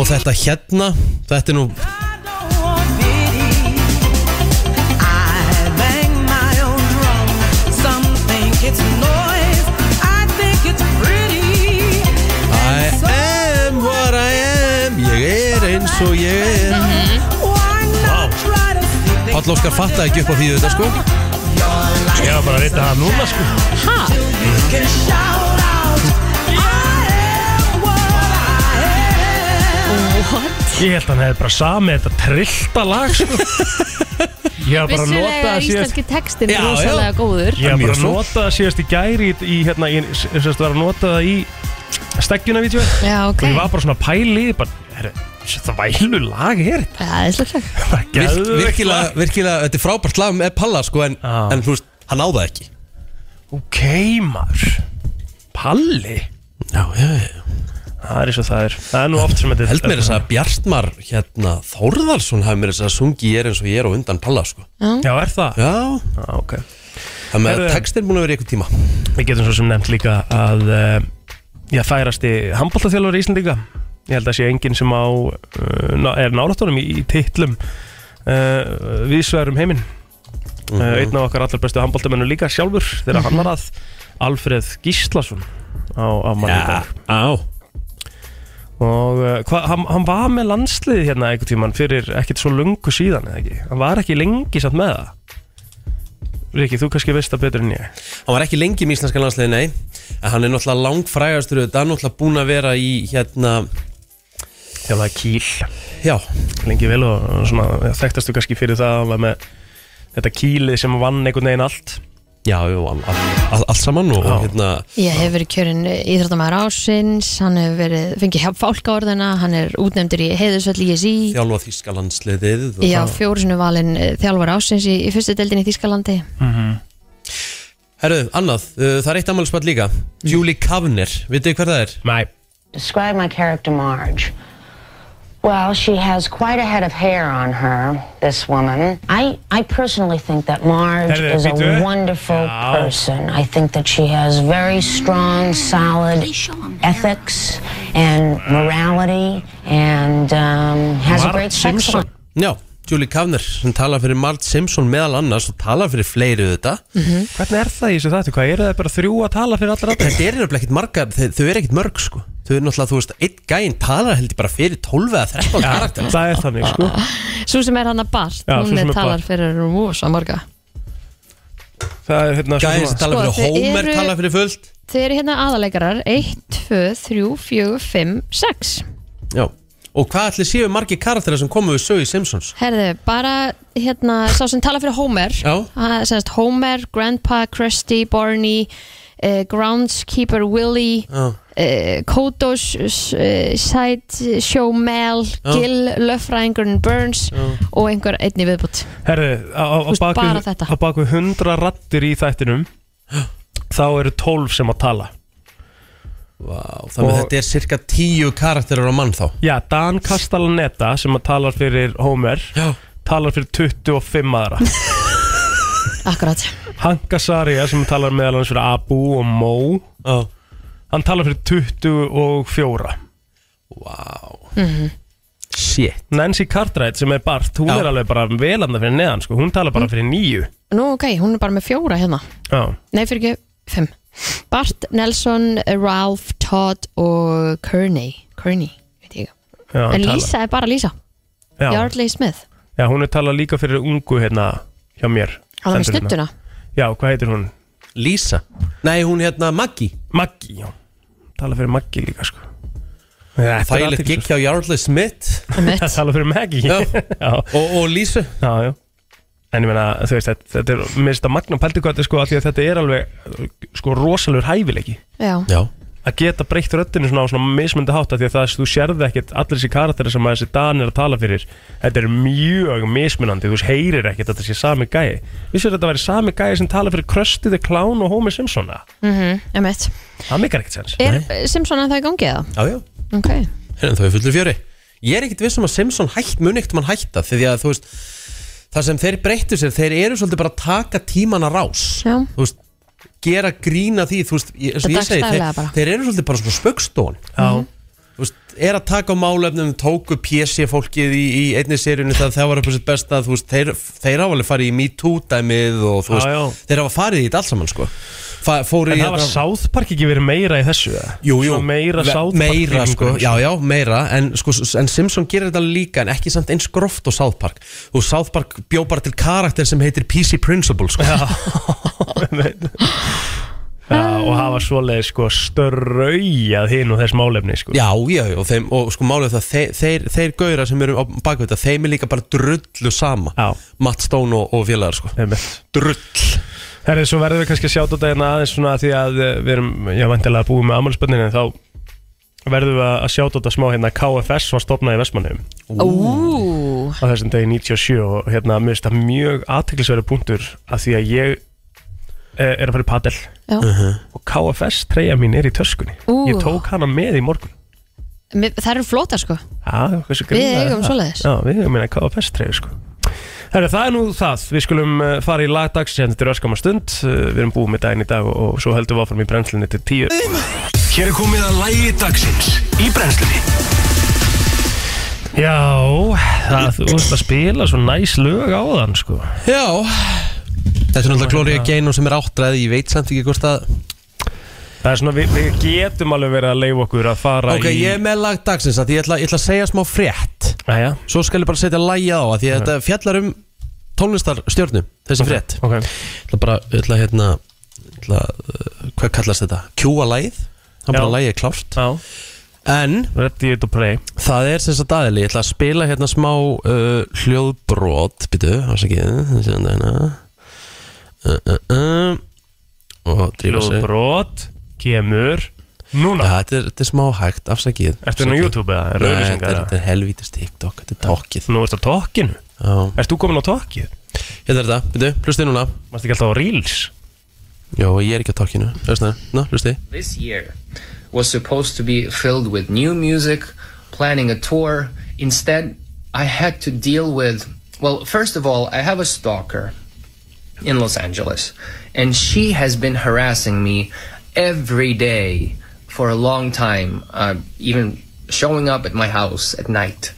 og þetta hérna, þetta er nú,
It's noise, I think it's pretty.
I am what I am, ég er eins og ég er
Why not try to see things
Páll Óskar fattaði ekki upp á því þetta sko
Your
Ég var bara að reyta það núna sko
Ha?
Can shout out, I am what I am.
What?
Ég held að hann hefði bara samið þetta trillta lag sko Ég var bara að nota
Vissulega
það
er
síðast
íslenski textin
Já, já.
rosalega góður
Ég var bara
Mjög
að
svo.
nota það síðast í gæri í, í hérna, ég sem sagt var að nota það í steggjuna vítjói
Já, ok
og ég var bara svona að pæli bara, herru, það vælu lag er þetta
Já, Það er slökk
Það er
Virk,
geðveikt
virkilega,
lag.
virkilega, þetta er frábært lag með Palla sko en,
Já.
en þú veist, hann áða ekki
Ok, maður Palli
Já, já, já
Það er eins og það er Það er nú oft sem þetta
Held mér þess að Bjartmar hérna Þórðarsson hafi mér þess að sungi ég er eins og ég er á undan Palla sko
Já, er það?
Já,
Já, ok
það með
Herðu.
textin búin að vera í eitthvað tíma
Við getum svo sem nefnt líka að uh, ég færast í handbóltaþjálfur í Íslandinga ég held að sé enginn sem á uh, ná- er nálattunum í, í titlum uh, viðsvegar um heiminn uh, einn af okkar allar bestu handbóltamennu líka sjálfur þegar hann var að Alfred Gíslason á, á manni í dag
á
og uh, hva, hann, hann var með landsliði hérna einhvern tíman fyrir ekkert svo lungu síðan eða ekki, hann var ekki lengi satt með það Riki, þú kannski veist það betur en ég
Hann var ekki lengi í íslenska landsliði, nei En hann er náttúrulega langfrægastur Þetta er náttúrulega búin að vera í hérna
þjálfaði kýl
Já,
lengi vel og svona ja, þekktastu kannski fyrir það að hann var með þetta kýlið sem vann einhvern veginn allt
já, jú, all, all, all, allt saman og, og
Já.
hérna
Ég hef verið kjörinn íþróttamæður ásins Hann hefur verið, fengið hjá fálkaorðina Hann er útnefndur í heiðusvöll í SÍ
Þjálfa þíska landsliðið og
Já,
það.
fjórusinu valinn eh, þjálfar ásins í, í fyrstu deildin í Þískalandi
Mm.
Herru, annað, uh, það er eitt ammálspall líka Julie Kavner, vitið þið hver það er?
Nei
Describe my character, Marge. Well, she has quite a head of hair on her, this woman. I, I personally think that Marge
Head of-
is
Peter?
a wonderful
No.
person. I think that she has very strong, solid ethics and morality and um, has a
Marge
great sex
Simpson.
life.
Já, Julie Kavner, sem talar fyrir Mart Simpson meðal annars og talar fyrir fleiri þetta
Mhm.
Hvernig er það í þessu þáttu? Hvað eru það bara þrjú að tala fyrir allra allir?
Þetta er nefnilega ekkit margar, þau, þau eru ekkit mörg sko Þau eru náttúrulega, þú veist, einn gæinn talar held ég bara fyrir 12 eða 13 karakter
það er þannig sko
Sú sem er hann að Bart,
Já, sú
hún
sem er
talar
Bart.
fyrir rosa marga
Það er hérna
Gæinn sem talar
Sko,
fyrir
þau
Homer,
eru-
talar fyrir fullt
Þau eru hérna aðalegarar 1, 2, 3, 4, 5, 6
Já Og hvað ætli séu margir karakterar sem komu við sögu í Simpsons?
Herðu, bara hérna sá sem talar fyrir Homer
Já.
Hann- sem sagt, Homer, Grandpa, Krusty, Barney uh, Groundskeeper Willy
Já.
uh, Kodos uh, Side Show Mel
Já.
Gill, löffræðingurinn Burns og einhver einni viðbútt
Herri, á, á, á
Þú veist, bara
bakvið
þetta.
á baku hundra rattir í þættinum þá eru tólf sem að tala
Vá, þannig að
Og-
þetta er cirka 10 karakterar á mann þá
Já, Dan Castellaneta sem að talar fyrir Homer
Já
talar fyrir 25 aðra
Akkurat
Hanka Saria sem talar meðal hans fyrir Abu og Mo
Já.
hann talar fyrir 24
Vá Shit
Nancy Cartwright sem er Bart, hún
Já. Mm.
er alveg bara velanda fyrir neðan sko, hún talar bara fyrir nýju
Nú ok, hún er bara með fjóra hérna
Já,
Nei, fyrir ekki, fimm Bart, Nelson, Ralph, Todd og Kearney Kearney, veit ég ekki
já,
En
talar-
Lisa er bara Lisa
já,
Yardley Smith
já, hún er talað líka fyrir ungu hérna hjá mér
Hann er með
Stendur hérna.
snuttuna
Já, hvað heitir hún?
Lisa Nei, hún hérna Maggie
Maggi, já, talar fyrir Maggi líka sko Já, þetta er
Þægilegt
athyglisvert.
gig hjá Jarley Smith
Einmitt.
Það talar fyrir Maggi
Já.
já,
og, og Lisa
já, já En ég meina, þú veist, þetta, þetta er minnst að magna pældugötu sko, af því að þetta er alveg sko rosalur hæfileiki
Já,
Já
að geta breytt röddinu svona á svona mismundi hátt af því að það þú sérði ekkert allir þessi karakterir sem að þessi Dan er að tala fyrir þetta er mjög mismunandi, þú veist, heyrir ekkert að þetta sé sami gæi vissu að þetta væri sami gæi sem tala fyrir Krusty the Clown og Homer Simpson eða?
emitt
það mikar ekkert
Eh,
sens
Er Simpson að það í gangi eða?
Já, já
Ok
En það er fullur fjöri Ég er ekkit viss um að Simpson hætt mun ekkert mann hætta Því að þú veist Það sem þeir breyttu sér Þeir eru svolítið bara að taka tíman að rás
Já.
Þú veist Gera grína því Þú veist ég, eins og
Þetta
ég segi,
dagsdaglega
þeir,
bara. Mhm.
þeir eru svolítið bara svona spöggstón
Já,
Þú veist, er að taka á málefnum tóku PC fólkið í, í einni seríunni það það var upp á sitt besta þú veist, þeir, þeir hafa alveg farið í MeToo dæmið og þú
Já,
veist,
já.
þeir hafa farið í þetta allt saman sko fa- fór í
En það var South Park ekki verið meira í þessu eða?
Jú, jú,
Svona meira
Ve-
South Park
meira,
feelingur
sko,
þessu.
já, já, meira en, sko, s- en Simpson gerir þetta líka en ekki samt eins groft og South Park og South Park bjó bara til karakter sem heitir PC Principle sko.
já, Og hafa svoleið sko störraujað hinn og þess málefni sko
Já, já, já, og, þeim, og sko málið er það þeir, þeir, þeir gauðra sem eru á bakvið þetta þeim er líka bara drullu sama
Já.
Matt Stone og, og félagar sko
Einmitt.
Drull
Herrið, svo verðum við kannski að sjáta þetta hérna aðeins svona því að eh, við erum, já, vantilega búið með amalspönninu en þá verðum við að sjáta þetta smá hérna KFS var stopnað í Vestmannum
Ú,
á þessum degi 97 og hérna, mér finnst það mjög aðteklisverið punktur að því að ég eh, er að fara í padel
já.
og KFS treyja mín er í töskunni
Ú.
ég tók hana með í morgun
Mér- Það eru flóta sko
Já, hversu
Við
grínað er
eigum
það?
svoleiðis.
Já, við eigum minna KFS treyju sko Herra, það er nú það, við skulum eh, fara í lagdags hérna til öskama stund, Eh, við erum búið með daginn í dag og, og svo höldum við áfram í brennslinni til tíu
Hér er komið að lægi dagsins í brennslunni
Já, það, þú veist að spila svo næs lög á þann sko
Já Þetta er náttúrulega
hérna-
Gloria Gaynor sem er áttræði ég veit samt ekki hvort að
Það er svona, við, við getum alveg verið að leifa okkur að fara
Ok,
í
ég er með lag dagsins að ég ætla, ég ætla að segja smá frétt
Æja,
Svo skal ég bara setja lagið á að því að þetta fjallar um tónlistarstjörnum, þessi frétt
Mhm. ok
Ég ætla bara, ég ætla hérna ég ætla, uh, hvað kallast þetta? Kjúa lagið, það er
Já.
bara lagið er klárt
Já,
En
ready to play
það er sem sagt aðili, ég ætla að spila hérna smá uh, hljóðbrot Býtu, ásakið, það sé hann hérna uh, uh, uh, Og drífa sig ja,
Ljóðbrot, kemur Núna,
þetta, er, þetta er smá hægt, afsakið
ertu nú á
Afsakið.
YouTube eða?
Nei, þetta
Rauðlýsingar
er,
eða?
þetta er helvítist TikTok, þetta er tókið
Nú ertu á tokkinu
Já.
Erst þú komin á tokkið?
Hérna er þetta, býtu, hlustið núna
Varst ekki alltaf á Reels?
Jó, ég er ekki á tókinu, hlustið, ná, hlustið
This year was supposed to be filled with new music, planning a tour. Instead, I had to deal with, well, first of all, I have a stalker in Los Angeles, and she has been harassing me every day for a long time, uh, even showing up at my house at night.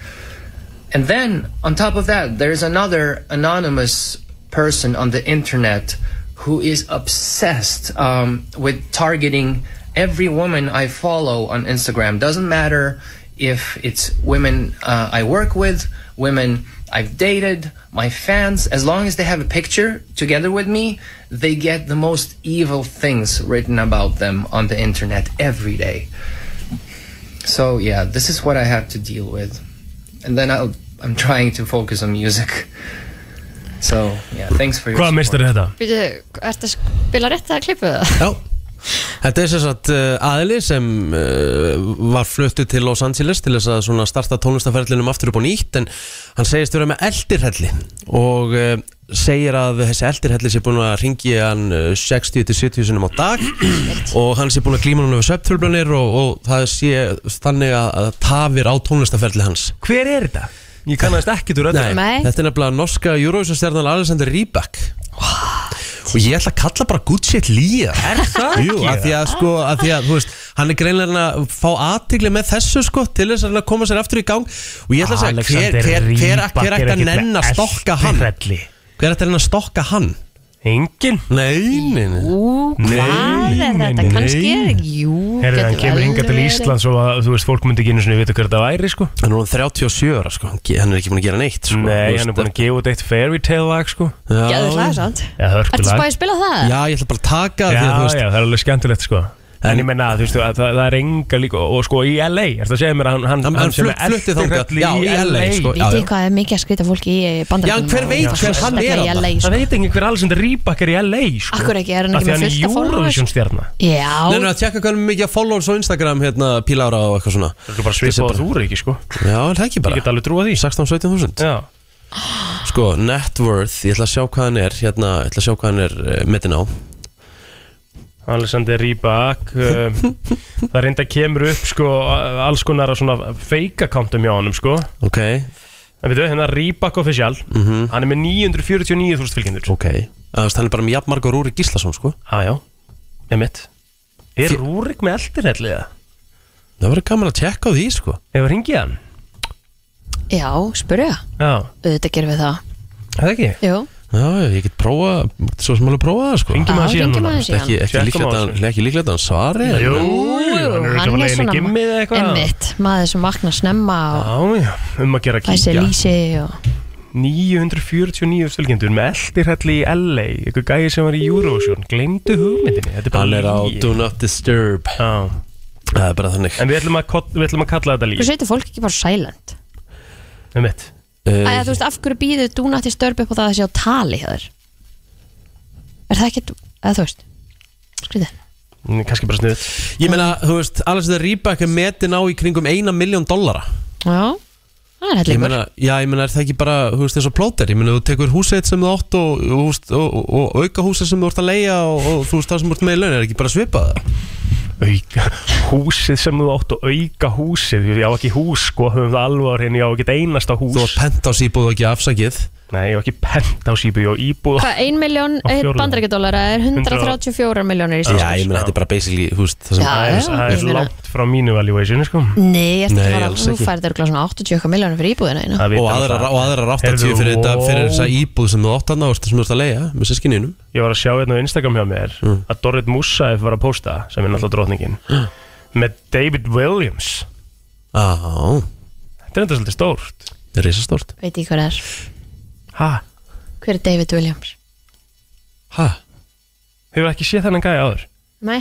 And then on top of that, there's another anonymous person on the internet who is obsessed um, with targeting every woman I follow on Instagram. Doesn't matter if it's women uh, I work with, women I've dated, my fans, as long as they have a picture together with me, they get the most evil things written about them on the internet every day. So yeah, this is what I have to deal with, and then I'll, I'm trying to focus on music. So yeah, thanks for your.
Hvað
support.
mistur þetta?
Býtu, ertu að spila rétt eða klippu það?
Já Þetta er sem sagt uh, aðili sem uh, var fluttu til Los Angeles til þess að svona starta tónlistaferðlinum aftur upp á nýtt en hann segist vera með eldirhelli og uh, segir að þessi eldirhelli sé búin að ringi hann uh, 60-70 sinum á dag og hann sé búin að glíma hann við söptröflanir og, og það sé þannig að, að tafir á tónlistaferðli hans
Hver er þetta? Ég kannast ekkert úr öllu
Nei.
Þetta er nefnilega norska Eurovision-stjarnan Alexander Rybak og ég ætla að kalla bara good shit lýja Er það Jú,
ekki?
að því að sko, að því að, þú veist hann er greinlega að fá aðtigli með þessu sko, til þess að koma sér aftur í gang og ég ætla að segja, hver,
Alexander
hver, hver,
Rybak
hver
er
ætti að
ekkert með
nenn að stokka hann
eldihrelli.
Hver ætti að nenn að stokka hann
Engin
Nei, nei, nei
Ú, hvað
Nei,
er
nei,
þetta?
nei.
Kannski er Jú,
Herðu, hann kemur hingað til Ísland svo að þú veist, fólk myndi ekki einu sinni vita hver þetta væri, sko
Hann er orðinn 37 ára sko, hann ge- hann er ekki búin að gera neitt sko.
Nei, hann er búin að gefa út eitt fairy tale lag, sko
Já,
Já, það er sant
Já,
Ertu
hörkulag
spáðið að spila það?
Já, ég ætla bara að taka
Já,
því að þú veist
já, það er alveg skemmtilegt, sko En ég menna, þú veist, að það, það er enga líka og, og sko í LA, ertu að segja mér að hann
Hann- hann
sem er
flutt- flutti þangað.
eldihrelli
Já, í LA, sko. Já,
Vitið
já.
þið hvað er mikið að skvita fólki í
Já,
bandarækjum?
en hver veit hver hann er
í
þarna?
LA,
Það
sko.
veit enginn hver Alexander Rybak er í LA, sko
Akkur ekki, er hann
Af
ekki með
því hann er
fullt af followers?
Eurovision stjarna
Nei, nei,
Já,
að tjekka hvernig mikið followers á Instagram hérna pílára og eitthvað svona
Það er bara svipað að þú eru ekki, sko Ég
Já, er það ekki bara
get alveg trúa því
16-17.000
Já,
Sko, net worth, ég ætla að sjá hvað hann er hérna, ég ætla að sjá hvað hann er uh, metin á
Alexander Rybak um, það reynda kemur upp sko alls konar af svona fake accountum hjá honum sko
Ok,
en veitu, hérna Rybak official hann er með 949.000 fylgjendur
ok Þannig hann er bara með jafnmargur Rúri Gíslason, sko
aðjá, ég mitt er
Þi-
Rúrik með eldir hellið það?
Það verður gaman að tjekka á því, sko
Hefur hringið hann?
já, spurðu það
Já,
Auðvitað gerum við það
er það ekki?
Jú,
Já, ég get prófa svo sem alveg prófa það sko
Hringjum
Já,
að síðan
hringjum
núna.
aðeins í hann.
Ekki, ekki líklegt
Checkum á
að
þessu.
hann- ekki líklegt að hann svari
Jú, hann er ekki að
hann er
leiðin í
svona
gimmið eða eitthvað
Einmitt, maður sem vaknar snemma og
Já, já, um að gera
fæ sér
kíkja
lýsi og
949 stölkendur með eldirhelli í LA Ykkur gæði sem var í Eurovision Gleimdu hugmyndinni, þetta er bara
Hann er á
lygi.
Do Not Disturb
Já,
Það er bara þannig
En við ætlum að, kod- við ætlum að kalla þetta
Hvernig
líf
sveitir fólk ekki bara silent?
Um mitt
Æja, þú veist, af hverju býður dúnatti störp upp á það að sé á tali hjá þér? Er það ekki, eða þú veist Skriðið
Kanski Mm, bara sniðut
Eh, Ég meina, þú veist, alveg sem það Rýbak er metin á í kringum eina miljón dollara
Já, það er
Ég
hellingur
meina, já, ég meina, er það ekki bara, þú veist, eins og plóter Ég meina, þú tekur húsið sem þú átt og, og, og, og, og auka húsið sem þú ert að leia og, og þú veist, það sem þú ert með í laun er ekki bara svipað
auka húsið sem þú átt og auka húsið, ég á ekki hús sko, höfum það alvar hérna, ég á ekki einasta hús
Þú var pent á síbúð og ekki afsakið
nei, ég á ekki pent á sípu, ég á íbúð
Hvað, 1 miljón
Á fjórðung.
bandarækjadólara er 134 miljónir í
Já,
síðan
ég meina, þetta er bara basically, þú veist, það sem
Já,
það er, það
ég
er
meina-
langt frá mínu valuation sko.
Nei, ertu
Nei,
ekki bara,
alls
þú
ekki.
færði örgulega svona 80 eitthvað miljónir fyrir íbúðina einu
Það
Og
vita
aðrar
það.
og aðrar 80
Heyrðu,
fyrir þetta, fyrir
wow.
þessa íbúð sem þú átt að nást sem þú ert að leia með sískinninum
ég var að sjá hérna á Instagram hjá mér
Mm.
að Dorrit Musaev var að posta sem er náttúrulega drotningin með David Williams
Á,
þetta er enda svolítið stórt
það er risastórt
Veit ég hver er,
ha,
hver er David Williams?
Hæ?
hefur ekki séð þennan gæja áður
Nei,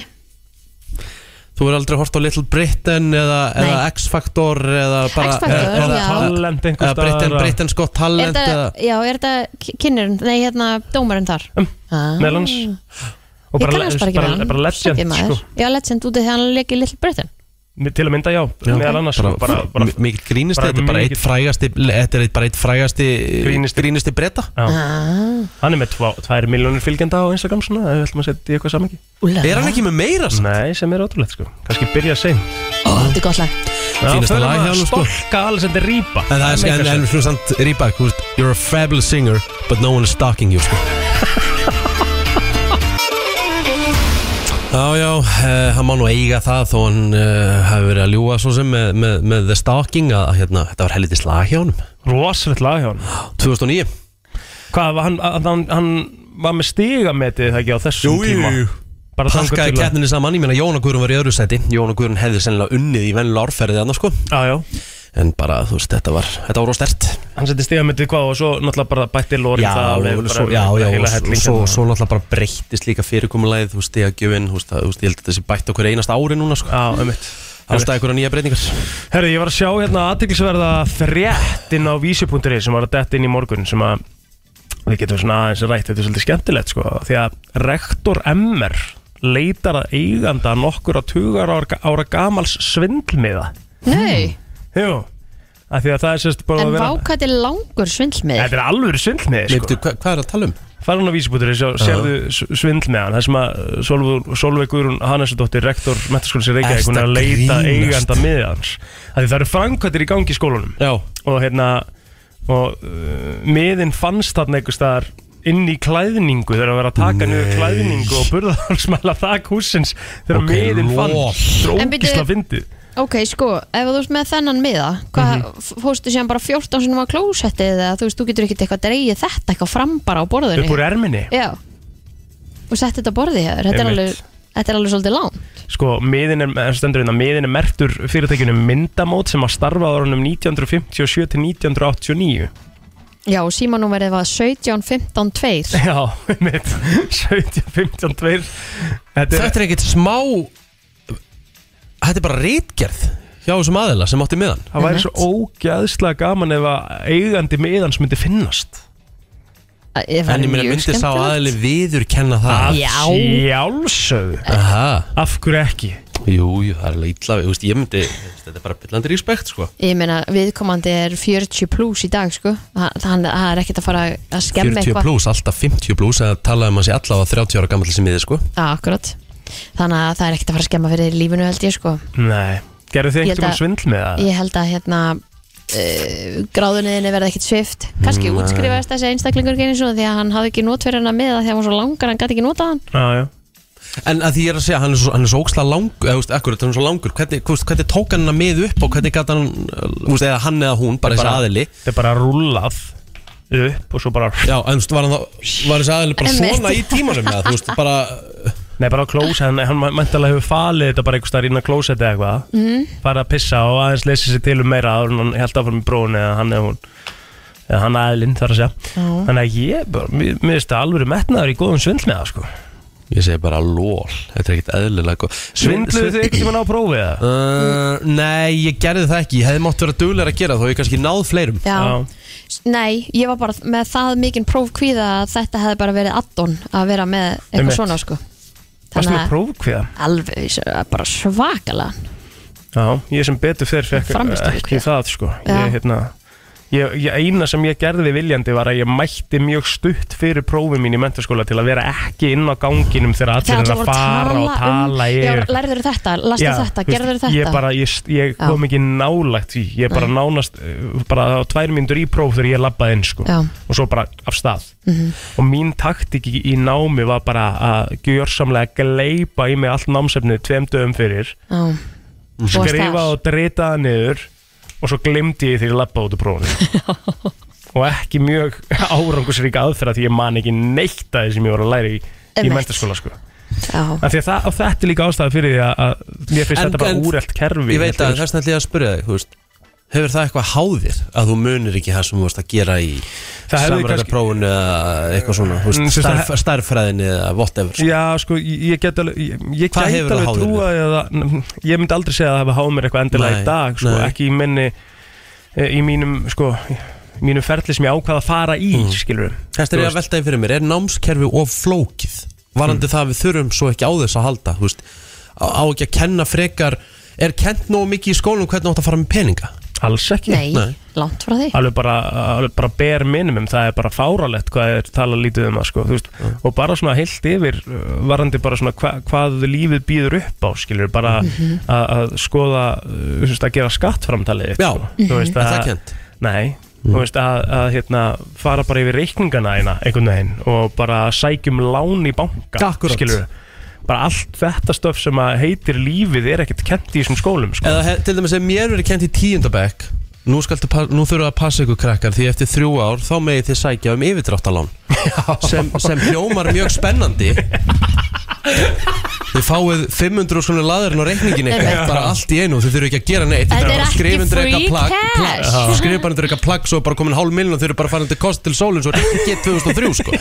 Þú er aldrei hort á Little Britain eða,
Nei.
eða X-Factor eða bara
X Factor,
eða- eða-
já.
Talent einhvers
eða Britain,
staðar.
Britain Scott
er
Talent eða,
þetta, já, er þetta kynnirinn, nei, hérna, dómarinn þar
Um,
Ah.
meðal hans og
Ég kannast bara ekki við
bara,
hann
bara
Sækir
legend
maður.
sko.
Já, legend út af því að hann leik í Little Britain
Mi- til að mynda já, meðal annars sko, bara, bara,
m- mikill grínist
bara
þetta er bara eitt
mikill-
frægasti þetta er eitt- bara eitt frægasti
Grínisti.
grínisti, grínisti breyta
Ah.
Hann er með 2 miljónir fylgjenda á Instagram svona, ef við ætlum að setja í eitthvað samangi
Úlala,
er hann ekki með meira sann?
Nei, sem er ótrúlegt sko, kannski byrja seint
Ó, þetta er gott lag
Fínasta lag hjá honum, sko.
Stolka alls þetta rýpa
en það er en- en við slúum samt Rýbak þú veist, you're a fabulous singer but no one is stalking you sko. Já, já, uh, hann má nú eiga það þó hann uh, hafi verið að ljúa svo sem með, með, með The Stalking að hérna, þetta var helviti slag hjá honum
Rosalegt lag hjá hann
2009
Hvað, var hann, að- hann, hann var með stigametið það ekki á þessum tíma Bara þangað
Pakkaði
til að-
kettninni saman, ég meina Jóna Guðrun var í öðru sæti Jóna Guðrun hefði sennilega unnið í vennilega árferðið annars sko
Já, já,
En bara, þú veist, þetta var, þetta var óstert
hann setti stigametið hvað og svo náttúrulega bara bætti lórin
Já,
það
og svo, já, já, og svo, svo, svo náttúrulega bara breyttist líka fyrirkomulegið Þú veist, ég að gjöfin, þú veist, það- þú veist, ég held að þetta sé bætt okkur einasta ári núna sko
Já, einmitt Sko-
Alltaf einhverja nýja breytingar
Herri, ég var að sjá hérna aðtiklisverða frétt inn á vísi.ri sem var að detta inn í morgun sem að við getum svona aðeins rætt, þetta er svolítið skemmtilegt sko, því að rektor MR leitar að eiganda nokkur á tugar ára, ára gamals svindlmiða
Nei,
Jú, af því að það er sérst bara
en
að Mm. vera
vákvæði langur svindlmiði
Þetta er alveg svindlmiði sko
Leiftu, hva, hvað er að tala um?
Fara hún á vísi.ri, sjá, sérðu s- svindlmiðan það sem að Solveig- Solveig Guðrún Hannesdóttir, rektor metaskólins í Reykjavík
Ertu
hún er að
að
leita
grínast?
eiganda miðans Af því það eru framkvæmtir í gangi í skólanum
Já,
og hérna og uh, miðin fannst þarna einhvers staðar inn í klæðningu þegar að vera að taka niður klæðningu og burðarsmæla þak húsins þegar
Ok,
miðin
lol.
fannst
En byrju-
drókisla fyndið
Ok, sko, ef þú ert með þennan miða hvað, mm
Mhm.
fóstu séðan bara 14 sinum á klósettið eða þú veist, þú getur ekkert eitthvað dreigið þetta eitthvað fram bara á borðinu
upp úr erminni
Já, og sett þetta á borðið hér þetta er,
Einmitt.
alveg, þetta er alveg svolítið lán
sko, miðin er, eða stendur hérna, miðin er mertur fyrirtækjunum myndamót sem að starfa á árunum 1957 til 1989
Já, og símanúmerið var 17 15 2
já, mitt 17, 15, 2 þetta er
þetta er ekkert smá Þetta er bara rítgerð hjá þessum aðila sem átti miðan
Það væri svo ógæðslega gaman ef að eigandi miðans myndi finnast
En ég meina, myndi sá aðili viður kenna það
Já.
Sjálfsögðu
Aha.
Af hverju ekki?
Jú, jú, það er alveg illa við, þú veist, ég myndi, þú veist, þetta er bara byllandi respekt, sko
Ég meina, viðkomandi er 40 pluss í dag, sko Hann, hann, hann er ekkert að fara að
40
skemma eitthvað
pluss, alltaf 50 pluss, eða talaði maður sér allavega 30 ára gammal sem miði, sko
Já, akkurat Þannig að það er ekkert að fara að skemma fyrir lífinu, held ég, sko
Nei Gerðu þið
Ég held
einhvern
að-
svindl með það?
Ég held að, hérna uh, gráðunniðinni verði ekkert svift kannski útskrifaðist þessi einstaklingur genið svona því að hann hafði ekki nót fyrir hann að miða því að hann var svo langar hann gæti ekki notað hann
Já, já
En að því ég er að segja, hann er svo, hann er svo óksla langur, eða, þú veist, akkurat, hann er svo langur Hvernig, þú veist, hvernig tók hann að mið upp og hvernig gæti hann, eh, þú veist, eða hann eða hún, bara þessi aðili
Þetta er bara rúlað upp og svo bara
Já, en þú veist, var, hann þá- var þessi aðeins bara
Einmitt.
svona í tímanum eða, Þú veist, bara
Nei, bara á klósa, hann, hann mæntalega hefur falið þetta bara einhvers staðar inn á klósetti eða eitthvað
Mhm.
mm. Farið að pissa og aðeins lesi sér til um meira áður en hann held áfram í bróun eða hann eða hún eða hann aðlinn þar að segja Þannig að ég, bara, mér mér finnst það alveg metnaður í góðum svindl með það sko
Ég segi bara lól, þetta er ekkit eðlilega góð.
Svindluðu þið ekkert sem hann á prófið það?
Uh, nei, ég gerði það ekki Ég hefði mátt vera duglegur að gera það, þó ég kannski náð fleirum
Já.
Já.
Nei, ég var bara með það mikinn prófkvíða að þetta hefði bara verið addon að vera með eitthvað
Einmitt.
svona sko
Varst
Þannig
með
að
prófkviða?
alveg s- bara svakalega
Já, ég sem betur fyrr fekk
Frammistöðu
ekki
kvíða.
það sko
Já.
Ég, hérna Ég, ég, eina sem ég gerði viljandi var að ég mætti mjög stutt fyrir prófið mín í mentaskóla til að vera ekki inn á ganginum þegar allir
Þegar
er að fara og tala
um, já,
yfir
lærður þetta, lastu
Já,
þetta,
þú veist,
gerður þetta
Ég, bara, ég, ég
Já.
kom ekki nálægt því Ég bara nánast uh, bara á tvær mínútur í próf þegar ég labbaði inn sko.
Já. Mhm.
og svo bara af stað og mín taktik í í námi var bara að gjörsamlega gleipa í mig allt námsefnið tveim dögum fyrir
Já, Þú varst
skrifa
þar.
og drita það niður og svo glemdi ég því að labba út úr prófið og ekki mjög árangursrík aðferða því ég man ekki neitt að því sem ég var að læra í, í
Einmitt.
mentaskóla sko.
já,
Af því að það, og þetta er líka ástæða fyrir því að, að mér finnst
En-
þetta bara
en-
úrelt kerfi
Ég veit
Þetta
að
er-
þess vegna ætla ég að spyrja þig, þú veist Hefur það eitthvað háðir að þú munir ekki það sem þú varst að gera í
Það hefði
samræða
kannski-
prófunu eða eitthvað svona, þú
Mm,
veist,
sem sagt,
starf, starffræðinni eða whatever sko.
Já, sko, ég ég get alveg Ég, ég
Hvað
gæti
hefur það
alveg
háð þér
trúa að, Ég myndi aldrei segja að það hefði háð mér eitthvað endilega
Nei,
í dag sko,
nei.
Ekki í minni e, Í mínum, sko í mínum ferli sem ég ákvað að fara í mm. skilur
Þetta er ég að velta í fyrir mér, er námskerfi of flókið varandi
Mm.
það að við þurfum svo ekki á þess að halda þú veist, á, á ekki að kenna frekar er kent nógu mikið í skólum hvernig átt að fara með peninga
Alls ekki
nei,
Nei.
langt frá því
Alveg bara, alveg bara ber minimum Það er bara fáralegt hvað er tala lítið um það sko, þú veist, Og bara svona heilt yfir uh, Varandi bara svona hva, hvað lífið býður upp á Skilur bara
Mhm.
að- að skoða uh, þú veist, Að gera skattframtalið þitt,
Já. Mhm.
sko. Þú veist,
Er það
að-
kennt? Mhm.
Nei, þú veist að, að hérna, fara bara yfir reikningana eina einhvern veginn og bara sækjum lán í banka
Akkurat.
skilurðu. bara allt þetta stöf sem að heitir lífið er ekkert kent í þessum skólum sko.
Eða he- til dæmis ef mér verið kent í tíundabæk Nú, skaltu pa- nú þurfa að passa ykkur krakkar Því eftir þrjú ár þá megið þið sækja um yfirdráttalán sem, sem hljómar mjög spennandi Þið fáið 500 svona laðurinn á reikningin eitthvað bara allt í einu, þið þurfa ekki að gera neitt
Þetta er ekki
undir
free
eitthvað plagg,
cash.
plagg, já. skrifa bara undir eitthvað plagg svo er bara komin hálf miljon og þið eru bara farin til kost til sólinn svo ekki 2003 sko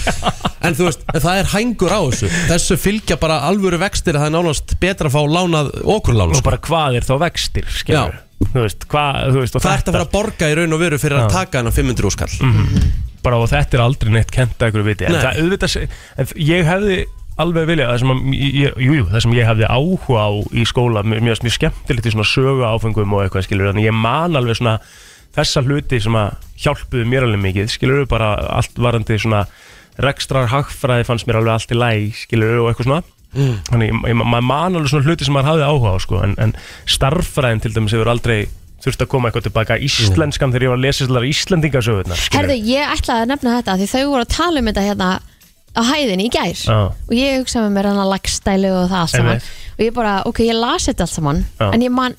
en þú veist, en það er hængur á þessu þessu fylgja bara alvöru vextir að það er nánast betra að fá lánað okurlán
og
sko.
bara hvað er þá vextir skilurðu. þú veist, hvað, þú veist og
Það ert að fara að borga í raun og veru fyrir að taka hennar 500 úrskall
Mhm. bara, og þetta er aldrei neitt kent að ykkur viti en
Nei.
það, auðvitað, se- en ég hefði alveg viljað, það sem, að, ég, jú, jú, það sem ég hefði áhuga á í skóla mér mér finnst mjög skemmtilegt í svona sögu áfengum og eitthvað skilur, þannig ég man alveg svona þessa hluti sem að hjálpuðu mér alveg mikið, skilur, bara allt varandi svona rekstrar hagfræði fannst mér alveg allt í læg, skilur, og eitthvað svona þannig, ég- ég- maður man alveg svona hluti sem maður hafði áhuga á, sko, en, en starffræðin til dæmis hefur aldrei þurft að koma eitthvað tilbaka íslenskan þegar ég var að lesa þessar íslendingasöfunar
Herðu, ég ætlaði að nefna þetta því þau voru að tala um þetta hérna á hæðinni í gær
Já.
og ég hugsaði með mér hann að lagstælu og það allt saman
Einmitt.
og ég bara, ok, ég las þetta allt saman
Já.
en ég man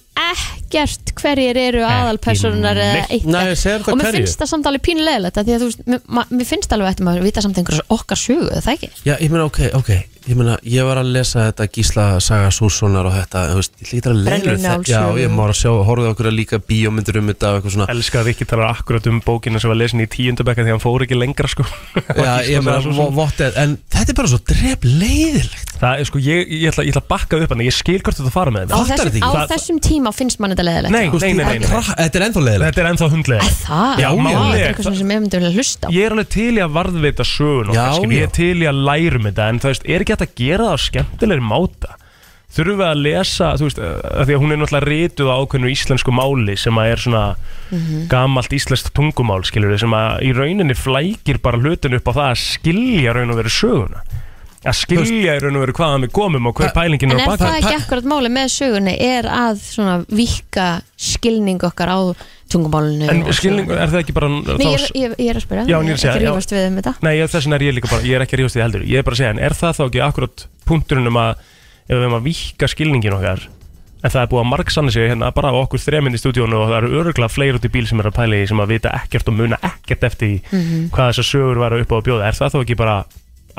ekkert hverjir eru aðalpersonar eða
neitt.
eitt
Nei, segðu þetta
og mér
hverju.
finnst það samt alveg pínulegilegt af því að þú veist, mér, ma- mér finnst alveg eftir maður vita samt einhverjum okkar sögu, er það ekki?
Já, ég meina, ok, ok Ég meina, ég var að lesa þetta Gísla Saga Sússonar og þetta Þú veist, ég lítur að leiða
Brennur
þetta Já,
Njáls sögu.
ég má að sjá, horfðu okkur að líka bíómyndir um þetta og eitthvað svona
Elskar að Rikki talar akkurat um bókina sem var lesin í tíundabekka því hann fór ekki lengra sko
Já, ég meina, vo- vott eð En þetta er bara svo dref leiðilegt
Það er sko, ég, ég, ætla, ég ætla að bakka upp hann, ég skil hvort þetta fara með
Á,
Fattar
þetta
þessum,
þetta
á
ekki?
Það-
þessum tíma finnst mann þetta leiðilegt
Nei, nei, nei, nei, nei.
Krak- Þetta er ennþá leiðilegt
Þetta er ennþá hundlega
Það,
Já,
Vá, þetta
málið
er
er-
eitthvað svona sem ég myndi vilja hlusta á
Ég er alveg til í að varðvita sögun og
Já,
kannski, ég
já.
er til í að læra um þetta en þú veist, er ekki hægt að gera það á skemmtilegri máta Þurfum við að lesa, þú veist, að því að hún er náttúrulega rituð á ákveðnu íslensku máli sem að er svona
Mhm.
gamalt íslenskt tungumál, skilur við, sem að í rauninni flækir bara hlutin upp á það að skilja raun og veru söguna að skilja í raun og veru hvaðan við komum og hver pælingin
En
er á
er
baka
það ekki akkurat máli með sögunni er að svona vika skilning okkar á tungumálinu
En
og
skilning,
sögunni?
er það ekki bara
Nei,
þá-
ég, er- ég, ég er að spyrja,
Já, en ég er að segja,
ekki
já.
rífast við um þetta
Nei, ég- þess vegna er ég líka bara, ég er ekki að rífast í því heldur Ég er bara að segja, en er það þá ekki akkurat punkturinn um að ef við erum að vika skilningin okkar En það er búið að margsanna sig hérna bara á okkur þreminn í stúdíónu og það eru öruglega fleiri út í bíl sem eru að pæla í því sem að vita ekkert og muna ekkert eftir því
Mhm.
hvað þessar sögur væru upp á að bjóða. Er það þá ekki bara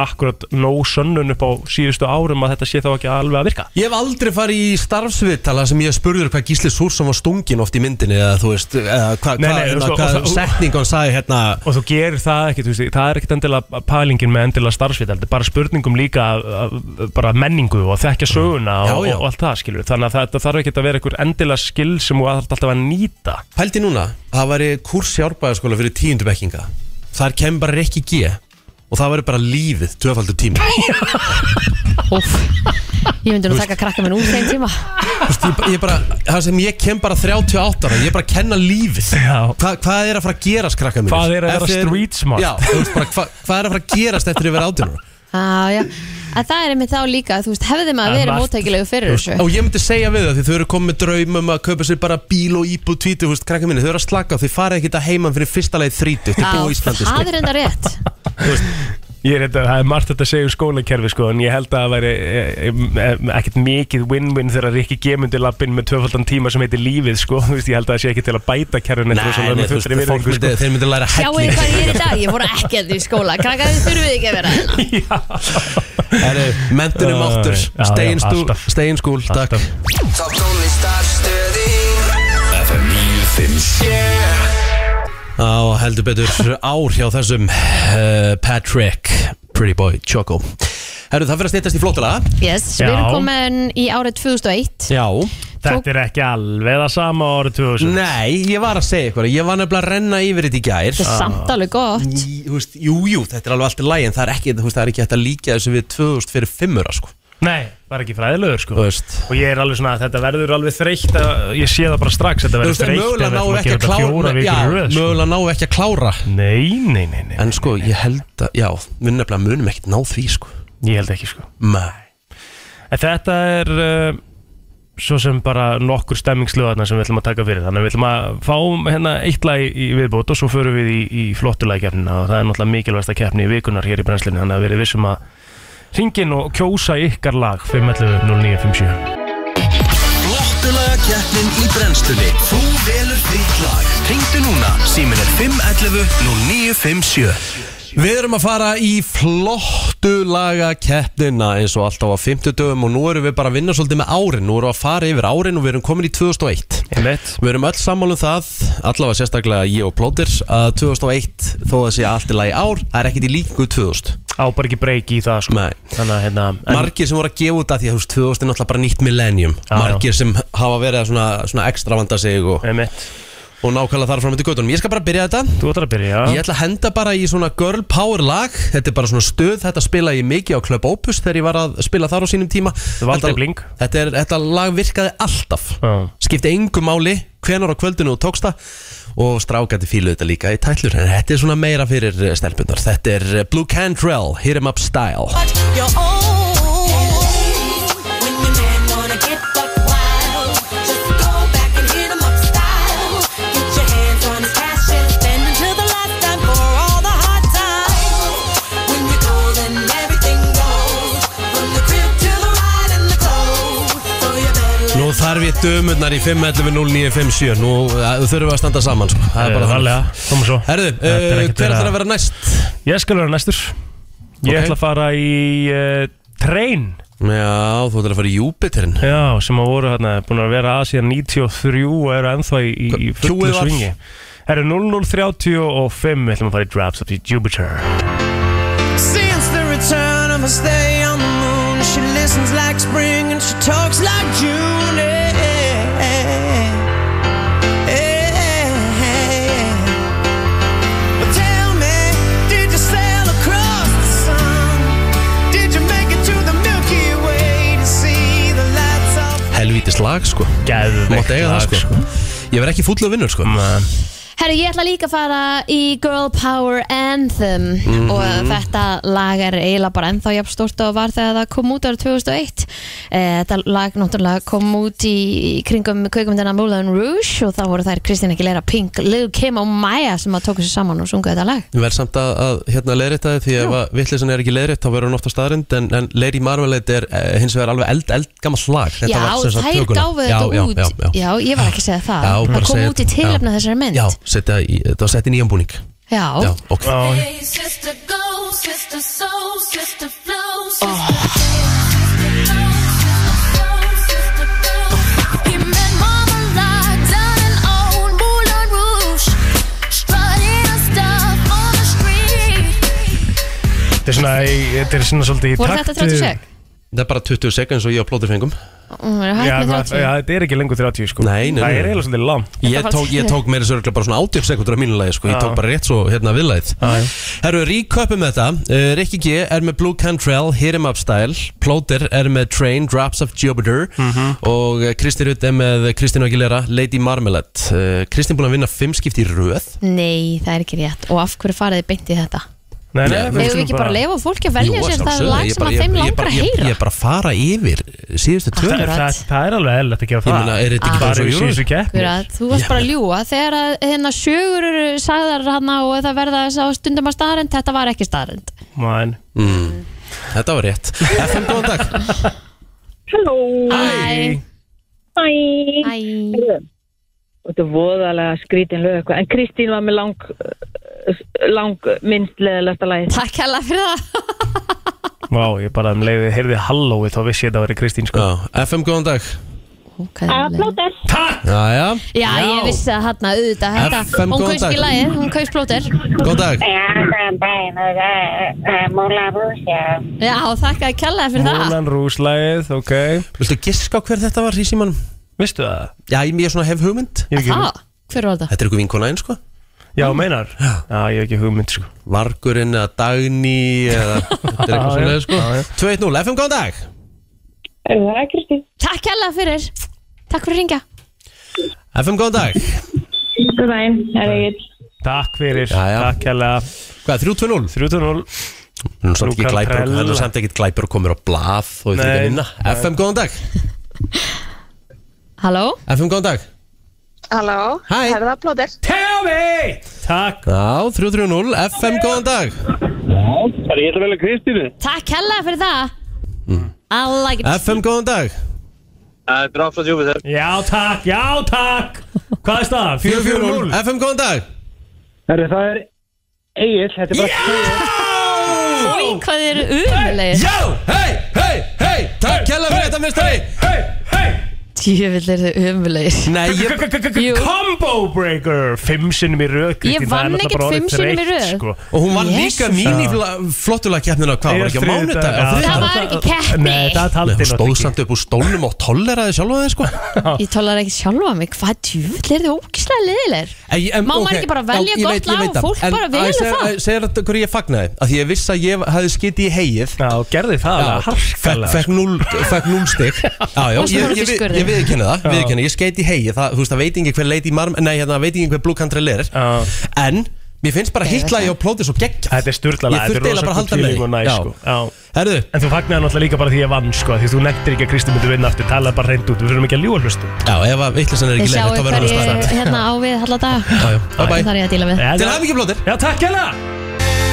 akkurat nóg sönnun upp á síðustu árum að þetta sé þá ekki alveg að virka?
Ég hef aldrei farið í starfsviðtala sem ég spurður hvað Gísli Súrsson var stungin oft í myndinni eða þú veist, eða hva,
Nei,
hva,
nei,
hérna,
sko,
hvað
og það-
setning hann sagði hérna
Og þú gerir það ekkert, þú veist, það er ekkert endilega pælingin með endilega starfsvital, þetta er bara spurningum líka að- að- bara menningu og þekka söguna
Já,
og,
já.
og allt það skilur. Þannig að þetta þarf ekkert að vera einhver endilega skil sem þú þarf alltaf að nýta.
Pældi núna, það væri kurs í árbæðaskóla fyrir tíundubekkinga Þar kemur bara Rikki G og það væri bara lífið, tvöfaldur tími Þú
Úff. Ég myndi nú taka krakka minn úr þeim tíma
veist, ég, ba- ég bara, það sem ég kem bara 38 ára, ég er bara að kenna lífið
Já.
Hva, hvað er að fara að gerast, krakka mér?
Hvað er að vera street smart?
Já, þú veist bara, hva, hvað er að fara að gerast eftir yfir átjónur?
ah, já. En það er einmitt þá líka þú veist, hefði maður
Það er
verið
margt.
móttækilegu fyrir þessu
Og ég myndi segja við það, því þau eru komið með draum um að kaupa sér bara bíl og íbúð tvítu, þú veist, krakka minni, þau eru að slaka á, þau farið ekki þetta heiman fyrir fyrsta leið þrítu, þau
Já,
búið í Íslandi,
Það
sko.
er enda rétt
Ég er þetta, það er margt þetta að segja um skólakerfi sko en ég held að það væri e, e, ekkert mikið win-win þegar Rikki gemundi lappin með tvöfaldan tíma sem heitir lífið sko þú veist, ég held að það sé ekki til að bæta kerfin
Nei, nei, þú veist, fólk myndi, þeir myndi læra
Sjáu þið hvað ég er í
helling.
dag, ég fór ekki að því í skóla Krakka þið þurfið ekki að vera hérna.
sko.
Herru, mentunum
Já,
áttur,
já, já,
Steinstúl,
alltaf.
Steinskúl, takk.
Alltaf.
Top tónlistarstöðin FM 957
Á, heldur betur ár hjá þessum uh, Patrick, Pretty Boy, Choco. Herru, það fyrir að stýttast í flótala.
Yes, við
Já.
erum komin í árið 2001
Já.
Tók-
Þetta er ekki alveg það sama árið 2000
Nei, ég var að segja eitthvað, ég var nefnilega að renna yfir þetta í gær.
Þetta er samt alveg gott
Í, þú veist, jú, jú, þetta er alveg allt í lagi en það er ekki, þú veist, það er ekki hægt að líka þessu við 2000 fyrir fimmura, sko
Nei, var ekki fræðilegur sko
Þú veist,
og ég er alveg svona að þetta verður alveg þreytt að ég sé það bara strax, þetta
þú
verður
veist
þreytt
mögulega
ef við
náu
ætlum
ekki að
gera þetta fjóra
klára
vikur
já,
í röð, sko.
mögulega náu ekki að klára
Nei, nei, nei, nei,
en sko, ég held að, já, við nefnilega munum ekkert ná því, sko
ég held ekki sko
Nei,
En þetta er uh, svo sem bara nokkur stemmingslöðarna sem við ætlum að taka fyrir þannig að við ætlum að fáum hérna eitt lag í viðbót og svo förum við í, í flottulagkeppnina og það er náttúrulega mikilvægsta keppni í vikunar hér í brennslinu þannig að við erum vissum að ringin og kjósa ykkar lag 511 0957
Flottulaga keppnin í brennstunni Þú velur þitt lag Ringdu núna, símin er 511 0957
Við erum að fara í flottu laga keppnina eins og alltaf á 50 dögum og nú erum við bara að vinna svolítið með árin nú erum við að fara yfir árin og við erum komin í 2001
Einmitt.
Við erum öll sammálum það, allavega sérstaklega ég og Plóter, að 2001 þó að sé allt í lagi ár, það er ekkert í líkingu við 2000
Á bara ekki breyki í það sko
Nei.
Þannig að hérna en,
margir sem voru að gefa út að því að þú veist 2000 er náttúrulega bara nýtt millennium
Já, já.
margir sem hafa verið að svona, svona ekstra vanda sig og,
einmitt.
og nákvæmlega þar fram eftir göttunum ég skal bara byrja þetta
Þú ætlar að byrja
ég ætla að henda bara í svona girl power lag þetta er bara svona stöð, þetta spila ég mikið á Club Opus þegar ég var að spila þar á sínum tíma
var aldrei
þetta,
bling.
þetta, er, þetta lag virkaði alltaf
Já.
skipti engu máli, hvenar á kvöldinu og tóksta og strákandi fíluðu þetta líka í tætlur en þetta er svona meira fyrir eh, stelpunar þetta er eh, Blue Cantrell, Hit 'em Up Style
Your own. When your man wanna get buck wild, just go back and hit 'em up style. Get your hands on his cash and spend until the last dime for all the hard times. When you're cold and everything goes, from the crib to the ride and the clothes. So you better let
Nú þarf ég dömurnar í 5.11.09.57 Nú uh, þurfum við að standa saman sko. Það er bara
Þannig
þannig
að Koma svo
Herðu, uh,
Eh, Þetta er
hver
ekkert
ætlar að vera næst?
Ég skal vera næstur Ég
Ok.
ætla að fara í uh, Train
Já, þú ætlar að fara í Júpiterin
Já, sem að voru hérna, búin að vera að síðan 93 og eru ennþá í, í- í
Hva-
fullu
Q-ið var?
svingi Það eru 0035, við ætlum að fara í Drafts of the Jupiter
Since the return of her stay on the moon, she listens like spring and she talks like June. Eh, eh, eh. Well, tell me, did you sail across the sun? Did you make it to the Milky Way to see the lights of
Helvítis lag sko
Gæðvegt
Mátt eiga það sko Ég verð ekki fúll af vinnur sko
Man,
Herru, ég ætla líka að fara í Girl Power Anthem
Mhm.
og þetta lag er eiginlega bara ennþá jafn stórt og var þegar það kom út ára 2001 eh, Þetta lag náttúrulega kom út í, í kringum kveikmyndina Moulin Rouge og þá voru þær Kristina Aguilera, Pink, Lil Kim og Maya sem að tóku sér saman og sungu þetta lag
Verð samt að, að hérna leiðrétta þið því ef að vittlisan er ekki leiðrétt þá verður hún ofta staðrind en, en Lady Marmalade er eh, hins vegar alveg eld, eld gammal lag Þetta
Já,
var sem sagt
þær
tökuna.
gáfu
Já,
þetta
já,
út
já, já.
ég var ekki að segja það
Já, bara
Það kom
segja-
út í tilefna
já.
þessari mynd
Já, setja í, þetta var sett í nýjan búning
Já.
Já, ok
Hey, sister, go, sister, soul, sister, flow, sister.
Þetta er svona, í- þetta er svona svolítið í
Voru
takt
þetta 30
við-
sek?
Það er bara 20 sekunds og ég á plótið fengum
Hún er hægt
Já,
með
það-
30
já, þetta er ekki lengur 30 sko
Nei, nei,
Það
nei.
er eiginlega svolítið langt
Ég
var
tók, ég
allt-
tók meira sörgla bara svona 80 sekundur af mínu lagi sko. Ég
Já.
tók bara rétt svo hérna viðlæð Herru, ríköpum þetta uh, Rikki G er með Blue Cantrell, Hit 'em Up Style Plóter er með Train, Drops of Jupiter Og eh, Kristi Rutt er með Kristina Aguilera, Lady Marmalade uh, Kristin búin að vinna 5 skipti í röð
Nei, það er ekki rétt Og af hverju farið þið beint í þetta?
Nei,
Nei,
nei, við
Hefur við
skulum
ekki bara að leifa fólki að velja
Jú,
sér það
sjálfsögðu,
lag
ég
sem
bara-
að
ég-
þeim
ég
langar
bara-
að
ég- Ég
heyra? Ah.
er bara að fara yfir síðustu
Það,
tölur
Akkurat.
það, það er alveg eðlilegt að gera það
Ég meina, er þetta ekki bara
Bara
svo
í síðustu
júru?
keppni
Akkurat, þú varst bara að ljúa þegar að hérna sögur eru sagðar hana og það verða þess að stundum að staðarend þetta var ekki staðarend
Man,
Mm. Þetta var rétt FM, góðan dag
Halló,
Æ,
hæ
æ,
Þetta er voðalega skrítin lög eitthvað En Kristín var með lang lang minnstleðilegasta lagið
takk hella fyrir það
vá, ég bara um leiði, heyrði hallói þá vissi ég þetta að vera Kristín sko
Já, FM, góðan dag
Ok, alveg.
Jæja,
Já, ég vissi að hann auðvitað þetta,
FM,
hún
góðan
kaust
dag.
ekki lagið, hún kaust plóter
góðan dag
Já, þakka að kella fyrir það
Múlan Rúslæðið, ok
Viltu giska á hver þetta var í símanum?
Vistu það?
Já, ég, ég svona hef hugmynd
Ég hef ekki
Það, hver var það?
Þetta er ykkur vinkona einn sko
Já, meinar? Já, ég hef ekki hugmynd sko
Vargurinn eða Dagný eða Þetta er eitthvað
Já,
svona
já,
sko
já, já.
2-1-0, FM góðan dag
Það er Kristín
Takk hella fyrir, takk fyrir að ringja
FM góðan dag
Góðæn, það er Egil
Takk fyrir,
Já, já.
takk hella
Hvað, 3-2-0?
3-0
Nú er samt ekki
Nú kann
glæpur
trella.
Hann er samt ekkit glæpur og komur á blað og þetta
Nei.
er vinna FM góðan dag
Halló,
FM góðan dag
Halló,
Hæ.
er það plóter?
Tell me! Takk
Já, 3-3-0, FM góðan dag
Það er ég ætla vel að Kristínu.
takk hella fyrir það
Mm.
I like it
FM góðan dag
Það er dráfs á Júpiter.
Já, takk, já, takk Hvað er staðan? 4-4-0
FM góðan dag
Herru, það er Egil, þetta er bara...
Í hvað þið eru umulegir
Já, hei, hei, hei Takk hella fyrir þetta mistari
Hey, hey
Djövill eru þið umulegir
Nei, ég
Jú.
Combo breaker Fimm sinnum í röð Kristín,
Ég
það
vann
er náttúrulega
ekkert
bara orðið
fimm sinnum í
þreytt,
röð.
sko.
Og hún vann
Jesus.
líka mín í flottulega keppnina Hvað, var ekki á
Þriðjudag,
mánudag?
já.
Það var ekki keppni.
Nei, það
Nei,
taldi
hún stóð
náttúrulega
samt upp úr stólnum og tolleraði sjálfa þeir sko
Ég tólar ekki sjálfa mig, hvað djúvill er þið ógislega liðilegir Má maður ekki bara velja gott lag og fólk bara velur það?
Segir þetta hverju ég fagnaði Að því ég vissi að ég hafði skitið í heið
Já, gerði það alveg
fekk,
harkalega sko.
fekk, núl, fekk núl stygg Já, já,
Varstu
ég,
bara
ég, ég,
fiskur þig?
ég viðkenni það, viðkenni, ég skeiti í heið það, Þú veist, það veit ekki hver Lady Marm Nei, hérna, veit ekki hver Blue Country er
Já.
En, mér finnst bara
Ég veit
hittla ég á plótið svo geggjað
Þetta er styrla
Ég þurfti eiginlega bara að halda með
og næ,
því. Já.
sko. Já.
Herðu,
En þú fagnar náttúrulega líka bara því ég vann sko Því þú nefndir ekki að Kristi myndi vinna aftur Talaði bara reynd út, við þurfum ekki að ljúa hlustu
já, ef að vittlisann er
Þið
ekki leið
sjáu
Þá verður
hverju
það staðrænt
hérna á við alla dag
Já, já, bye
Það
bye
þarf ég að díla við
Til hafmyggjum plótir
Já, takk hérna. hella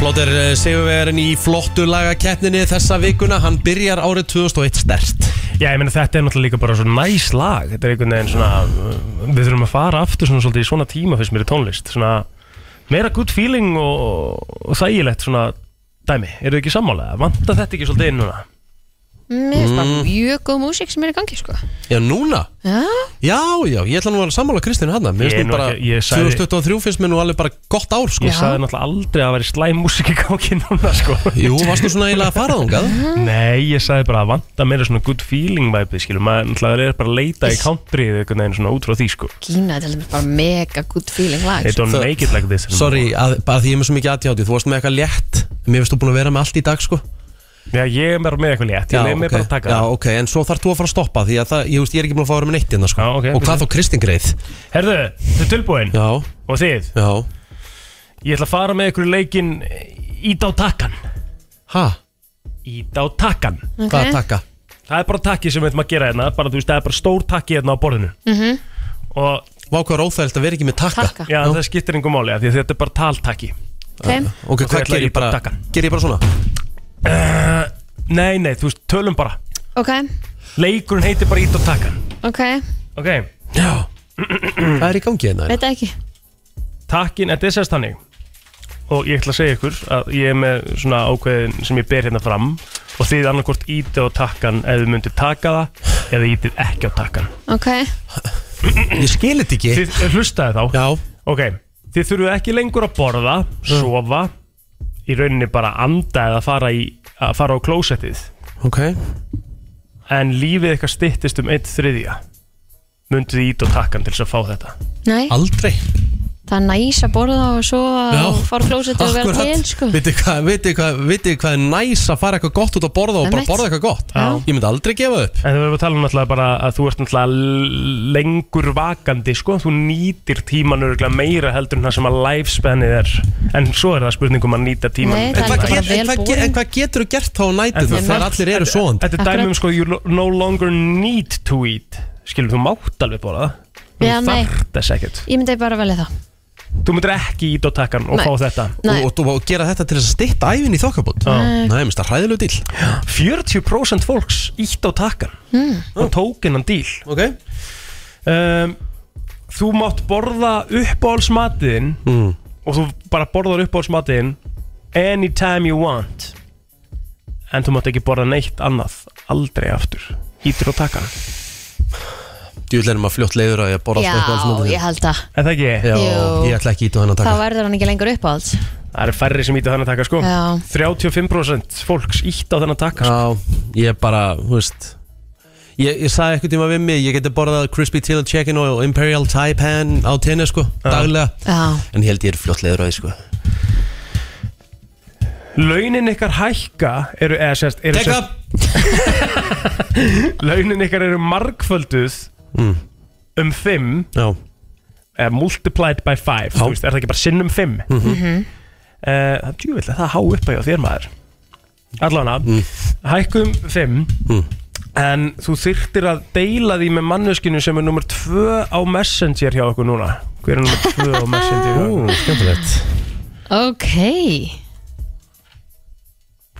Plóter eh, Sigurvegarinn í flottu lagakeppninni þessa vikuna, hann byrjar árið 2001 stert.
Já, ég meina þetta er náttúrulega líka bara svona næs lag Þetta er einhvern veginn svona uh, Við þurfum að fara aftur svona svolítið í svona tíma fyrst mér í tónlist Svona meira good feeling og, og þægilegt svona dæmi Eru þið ekki sammálega? Vanda þetta ekki svolítið inn núna?
Mm.
Mér finnst bara mjög góð músík sem er í gangi sko
Já, núna?
Já,
Já, já, ég ætla nú að sammála Kristínu hann Mér finnst
Ég er nú
nú bara,
ekki- ég sagði-
2023 finnst mér nú alveg bara gott ár, sko
Ég sagði náttúrulega aldrei að væri slæm músík í gangi núna sko
Jú, varstu svona eiginlega að fara þangað?
Nei, ég sagði bara að vanda meira svona good feeling væpið skilur Maður náttúrulega er bara að leita í countryið einhvern veginn svona út frá því sko
Gína er til dæmis bara mega good feeling lag
They
sko.
don't
Það-
make it like this
Sorry, að, bara því ég er með svo mikið aðtjáti Þú varst með eitthvað létt Mér finnst þú búin að vera með allt í dag, sko
Já, ég er bara með eitthvað létt, ég
Já,
leið mig
ok.
bara að taka
Já,
það
ok, en svo þarf þú að fara að stoppa Því að það, ég, veist, ég er ekki búin að fá að vera með neitt hérna sko.
ok,
Og hvað þá Kristinn greið
Herðu, þau tilbúin
Já.
Og þið
Já.
Ég ætla að fara með ykkur í leikinn eh, Ít á takkan
Ha?
Ít á takkan
Ok. Hvað takka?
Það er bara takki sem við ætlum að gera hérna bara, þú veist, Það er bara stór takki hérna á borðinu
Mhm.
Og
Vá hvað er óþægilegt að vera ekki með takka,
takka.
Já, það skiptir engum máli af Því að þetta er bara taltakki
Ok.
Ok,
Og þau
hvað
ætla
ger ég
í bara
bara,
takkan.
ger ég bara svona?
uh, Nei, nei, þú veist, tölum bara
Ok,
Leikurinn heitir bara ít á takkan
ok,
Ok Já
Hvað er í gangi hérna?
veit það ekki
Takkin, þetta er sérst þannig Og ég ætla að segja ykkur að ég er með svona ákveðin sem ég ber hérna fram Og þið annarkvort íti á takkan ef þið myndir taka það Eða ítið ekki á takkan
Ok,
Ég skil þetta ekki
Þið hlustaði þá
Já Mm.
Ok, þið þurfuð ekki lengur að borða, sofa Í rauninni bara anda eða fara, í, að fara á klósettið
Ok
En lífið eitthvað styttist um eitt þriðja Mundið ít og takkan til þess að fá þetta
nei
Aldrei
Það er næs að borða og sofa og fara klósett og vera til sko
Vitið hvað, vitið hvað, vitið hvað er næs að fara eitthvað gott út að borða og bara
Einmitt.
borða eitthvað gott
Já.
Ég myndi aldrei gefa upp
En það verður að tala um náttúrulega bara að þú ert náttúrulega lengur vakandi, sko, þú nýtir tíman örgulega meira heldur en það sem að lifespanið er, en svo er það spurningum að nýta tíman.
En hvað get- en hvað get- en hvað getur þú gert þá á nætið þegar allir eru svoandi?
Þetta er dæmi um sko, you lo- no longer need to eat, skilur, þú mátt alveg bara það, þú
Já, nei.
þarft þess ekkert.
Ég myndi bara velja það
Þú myndir ekki ít á takkan og
Nei.
fá þetta.
Nei.
og, og, og gera þetta til þess að stytta æfin í þokkabót
Nei.
Nei, minnst það hræðilegu dill
40% fólks ít á takkan
mm.
og tók innan díl.
Ok
um, Þú mátt borða uppáhaldsmatiðin
mm.
og þú bara borðar uppáhaldsmatiðin anytime you want en þú mátt ekki borða neitt annað aldrei aftur Ítur og taka
Djúlega er maður fljótt leiður að ég borða
Já, ég held það
Er það ekki?
Já,
Jú.
ég ætla ekki ít á þennan
Þá
taka
verður hann ekki lengur uppáhalds
Það eru færri sem íta þennan taka sko
Já.
35% fólks ítt á þennan taka sko.
Já, ég bara, þú veist Ég, ég sagði eitthvað tíma við mig, ég geti borðað crispy teal chicken og imperial taipan á tenni sko, daglega
Já.
En ég held ég er fljótt leiður að því sko
Launin ykkar hækka eru, eða sérst eru
Take
sérst, Launin ykkar eru margfölduð
Mm.
um 5
Já
eða Eh, multiplied by 5 þú veist, er það ekki bara sinnum 5
Mhm.
Eh, Það er djúvill að það há upp að hjá þér maður Allána
Mm.
Hækkum 5 En þú þyrtir að deila því með manneskinu sem er nummer 2 á Messenger hjá okkur núna Hver er nummer 2 á Messenger hjá okkur?
Skemmtilegt
Ok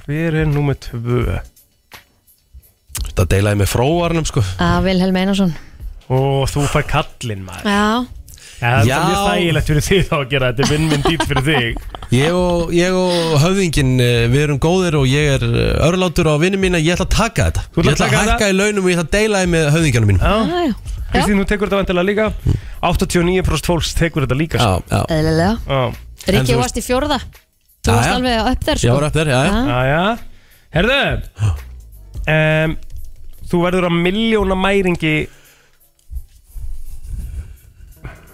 Hver er nummer 2?
Þetta deilaði með fróarnum sko
Að Vilhelm Einarsson
Og þú fær kallinn maður
Já,
Það
Já.
er mjög þægilegt fyrir þig þá að gera þetta Vinn minn dýtt fyrir þig
Ég og, ég og höfðingin, eh, við erum góðir og ég er eh, örlátur á vinnu mína Ég ætla að taka þetta
Þú
Ég
ætla að
ætla að
taka
hækka í launum og ég ætla að deila því með höfðingjana mín
Já. Kristín, þú tekur þetta vantilega líka 89% fólks tekur þetta líka
Mm.
sko.
Já, já
eðlilega
Já. En
Rikki
þú
varst í fjórða
Já,
Þú varst
já.
alveg upp þér sko
Ég var upp þér, já, já.
Já.
Jæja, herðu um, Þú verður að miljóna mæringi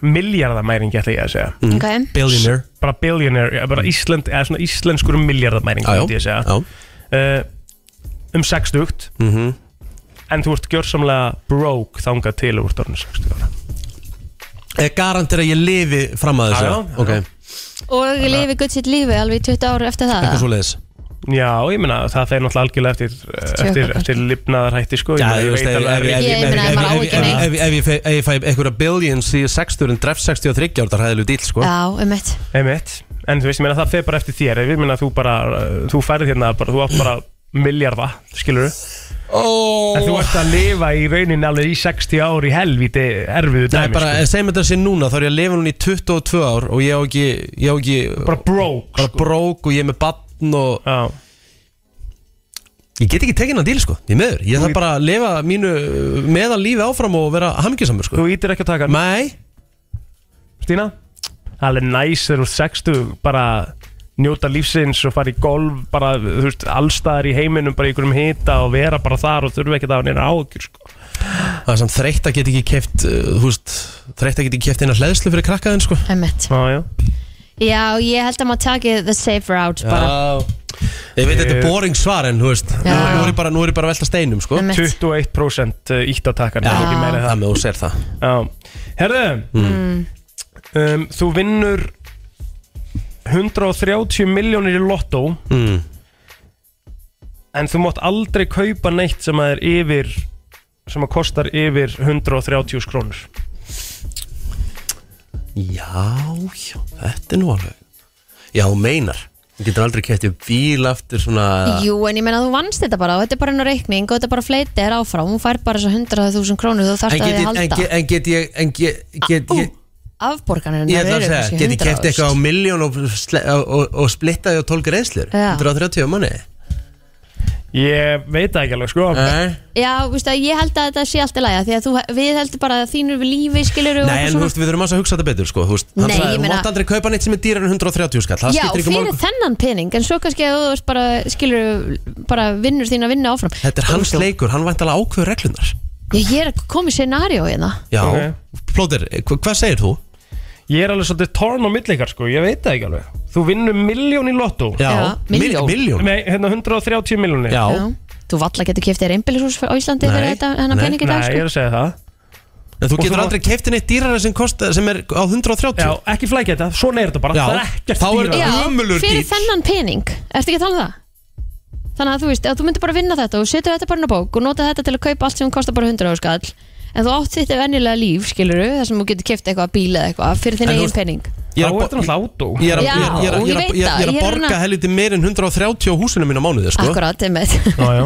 Miljardamæringi ætla ég að segja
Mm. Ok.
Billionaire.
Bara billionaire, já, bara Ísland, eða svona íslenskur miljardamæringi
Já, já,
myndi ég að segja uh, Um 60
Mhm.
En þú ert gjörsamlega broke þangað til úr dórnum 60 ára
Ég garantir að ég lifi fram að þessu
Já, já,
Ok,
Og lifi gutt sitt lífi alveg í 20 ári eftir það
eitthvað svo leiðis
Já, ég meina það fer náttúrulega algjörlega eftir, eh, eftir, eftir lifnaðarhætti sko
Já,
meina,
ég veist, ef-
alveg-
ef- ef- ef- ef- ef- ef- ef- ef- ef- ef- ef- ég fæ einhverja billions í 60 en dref 63 ára, það er hæðilegu díl, sko
Já, um eitt
Einmitt. En þú veist, ég meina, það fer bara eftir þér Ég meina, þú bara, uh, þú færið hérna bara, Þú átt bara miljarda, skilur
oh.
En þú ert að lifa í rauninni alveg í 60 ár í helvíti Erfiðu
Nei,
dæmi
bara,
sko.
en segjum þetta sé núna, þá er ég að lifa núna í 22 ár og ég á ekki, ég á ekki
Bara brók,
Bara brók og ég er með bann og
Já
Ég get ekki tekinn að díl, sko, ég meður Ég þarf bara að lifa mínu meðan lífi áfram og vera hamgjusamur, sko
Þú ítir ekki að taka
Nei
Stína, það er alveg næs þegar þú ert 60 Bara njóta lífsins og fara í golf Bara, þú veist, allstaðar í heiminum Bara í einhverjum hita og vera bara þar Og þurfa ekki að hafa neina ágjur, sko
Það er samt þreytt að eh, get ekki keft, þú veist Þreytt að get ekki keft eina hleðslu fyrir krakkaðin, sko
Um eitt
Já, já
Já, ég held að maður taki the safe route bara
Já Ég veit þetta er boring svar en þú veist nú, nú er ég bara, nú er ég bara að velta steinum sko
Einmitt.
21% ítt eh, á takkan
Já,
það er ekki meira en
það með þú sér það
Já. Herðu um, Þú vinnur 130 miljónir í lottó
mm.
En þú mátt aldrei kaupa neitt sem að er yfir sem að kostar yfir 130 krónur
Já, já, þetta er nú alveg Já, þú meinar Þú getur aldrei kætt í bíl aftur svona
Jú, en ég meina þú vannst þetta bara og þetta er bara hennar reikning og þetta er bara fleitið er áfram hún fær bara þessar 100.000 krónur þú
En
þarfst að
get, ég-
því
en,
halda
get, en get ég En get, get ég
afborganirinn
Ég ætla að segja, get ég kæft eitthvað á miljón og, sle- og, og, og splittaði á 12 reynslur
Já.
130 manni
Ég veit það ekki alveg sko
Nei
Já, vístu, að ég held að þetta sé allt í lagi af því að þú, við heldur bara að þínur við lífi skilur
Nei, en þú veist, við þurfum aðeins að hugsa þetta betur, sko Þú veist, hann
Nei,
sagði,
ég
þú
meina-
mátt aldrei kaupa neitt sem er dýrar en 130 skall Það
Já,
skiptir ekki
fyrir
mál
þennan pening en svo kannski að þú veist bara skilur bara vinnur þín að vinna áfram
Þetta er hans leikur, hann vænt alveg ákveður reglunar
Ég, ég er að koma í scenario hérna
Já, okay. Plóter, hva, hvað segir þú?
Ég er alveg svolítið torn á millikar sko, ég veit það ekki alveg Þú vinnur miljón í lottó
Já, Já, milljón. mil- milljón.
Nei, hérna 130 miljónir
Þú valla getur kæft þér einbillishús á Íslandi fyrir þetta hennan pening í dag
Nei, ég er
sko.
að segja það
En þú getur aldrei kefti neitt dýrara sem, kosta, sem er á 130
Já, ekki flækja þetta, svona er þetta bara
Já,
Það er ekkert
þá er-
dýrara
Já,
ömurlegur
fyrir
díll.
þennan pening Ertu ekki að tala um það? Þannig að þú veist, að þú myndir bara vinna þetta og setur þetta bara inn á bók og nota þetta til að kaupa allt sem kostar bara 100 áskall en þú átt þitt venjulega líf, skiluru þar sem þú getur kæft eitthvað bíl eða eitthvað fyrir þinn
En þú
eigin
veist- sko.
pening
Þá er þetta
náttúrulega átó
Ég er að-
Já,
ég er- ég er að- ég er að-
ég veit
ég er
það,
að
ég er
borga
hérna-
helviti meir en 130 á húsinu mín á mánuði, sko
Akkurát, einmitt
Já, já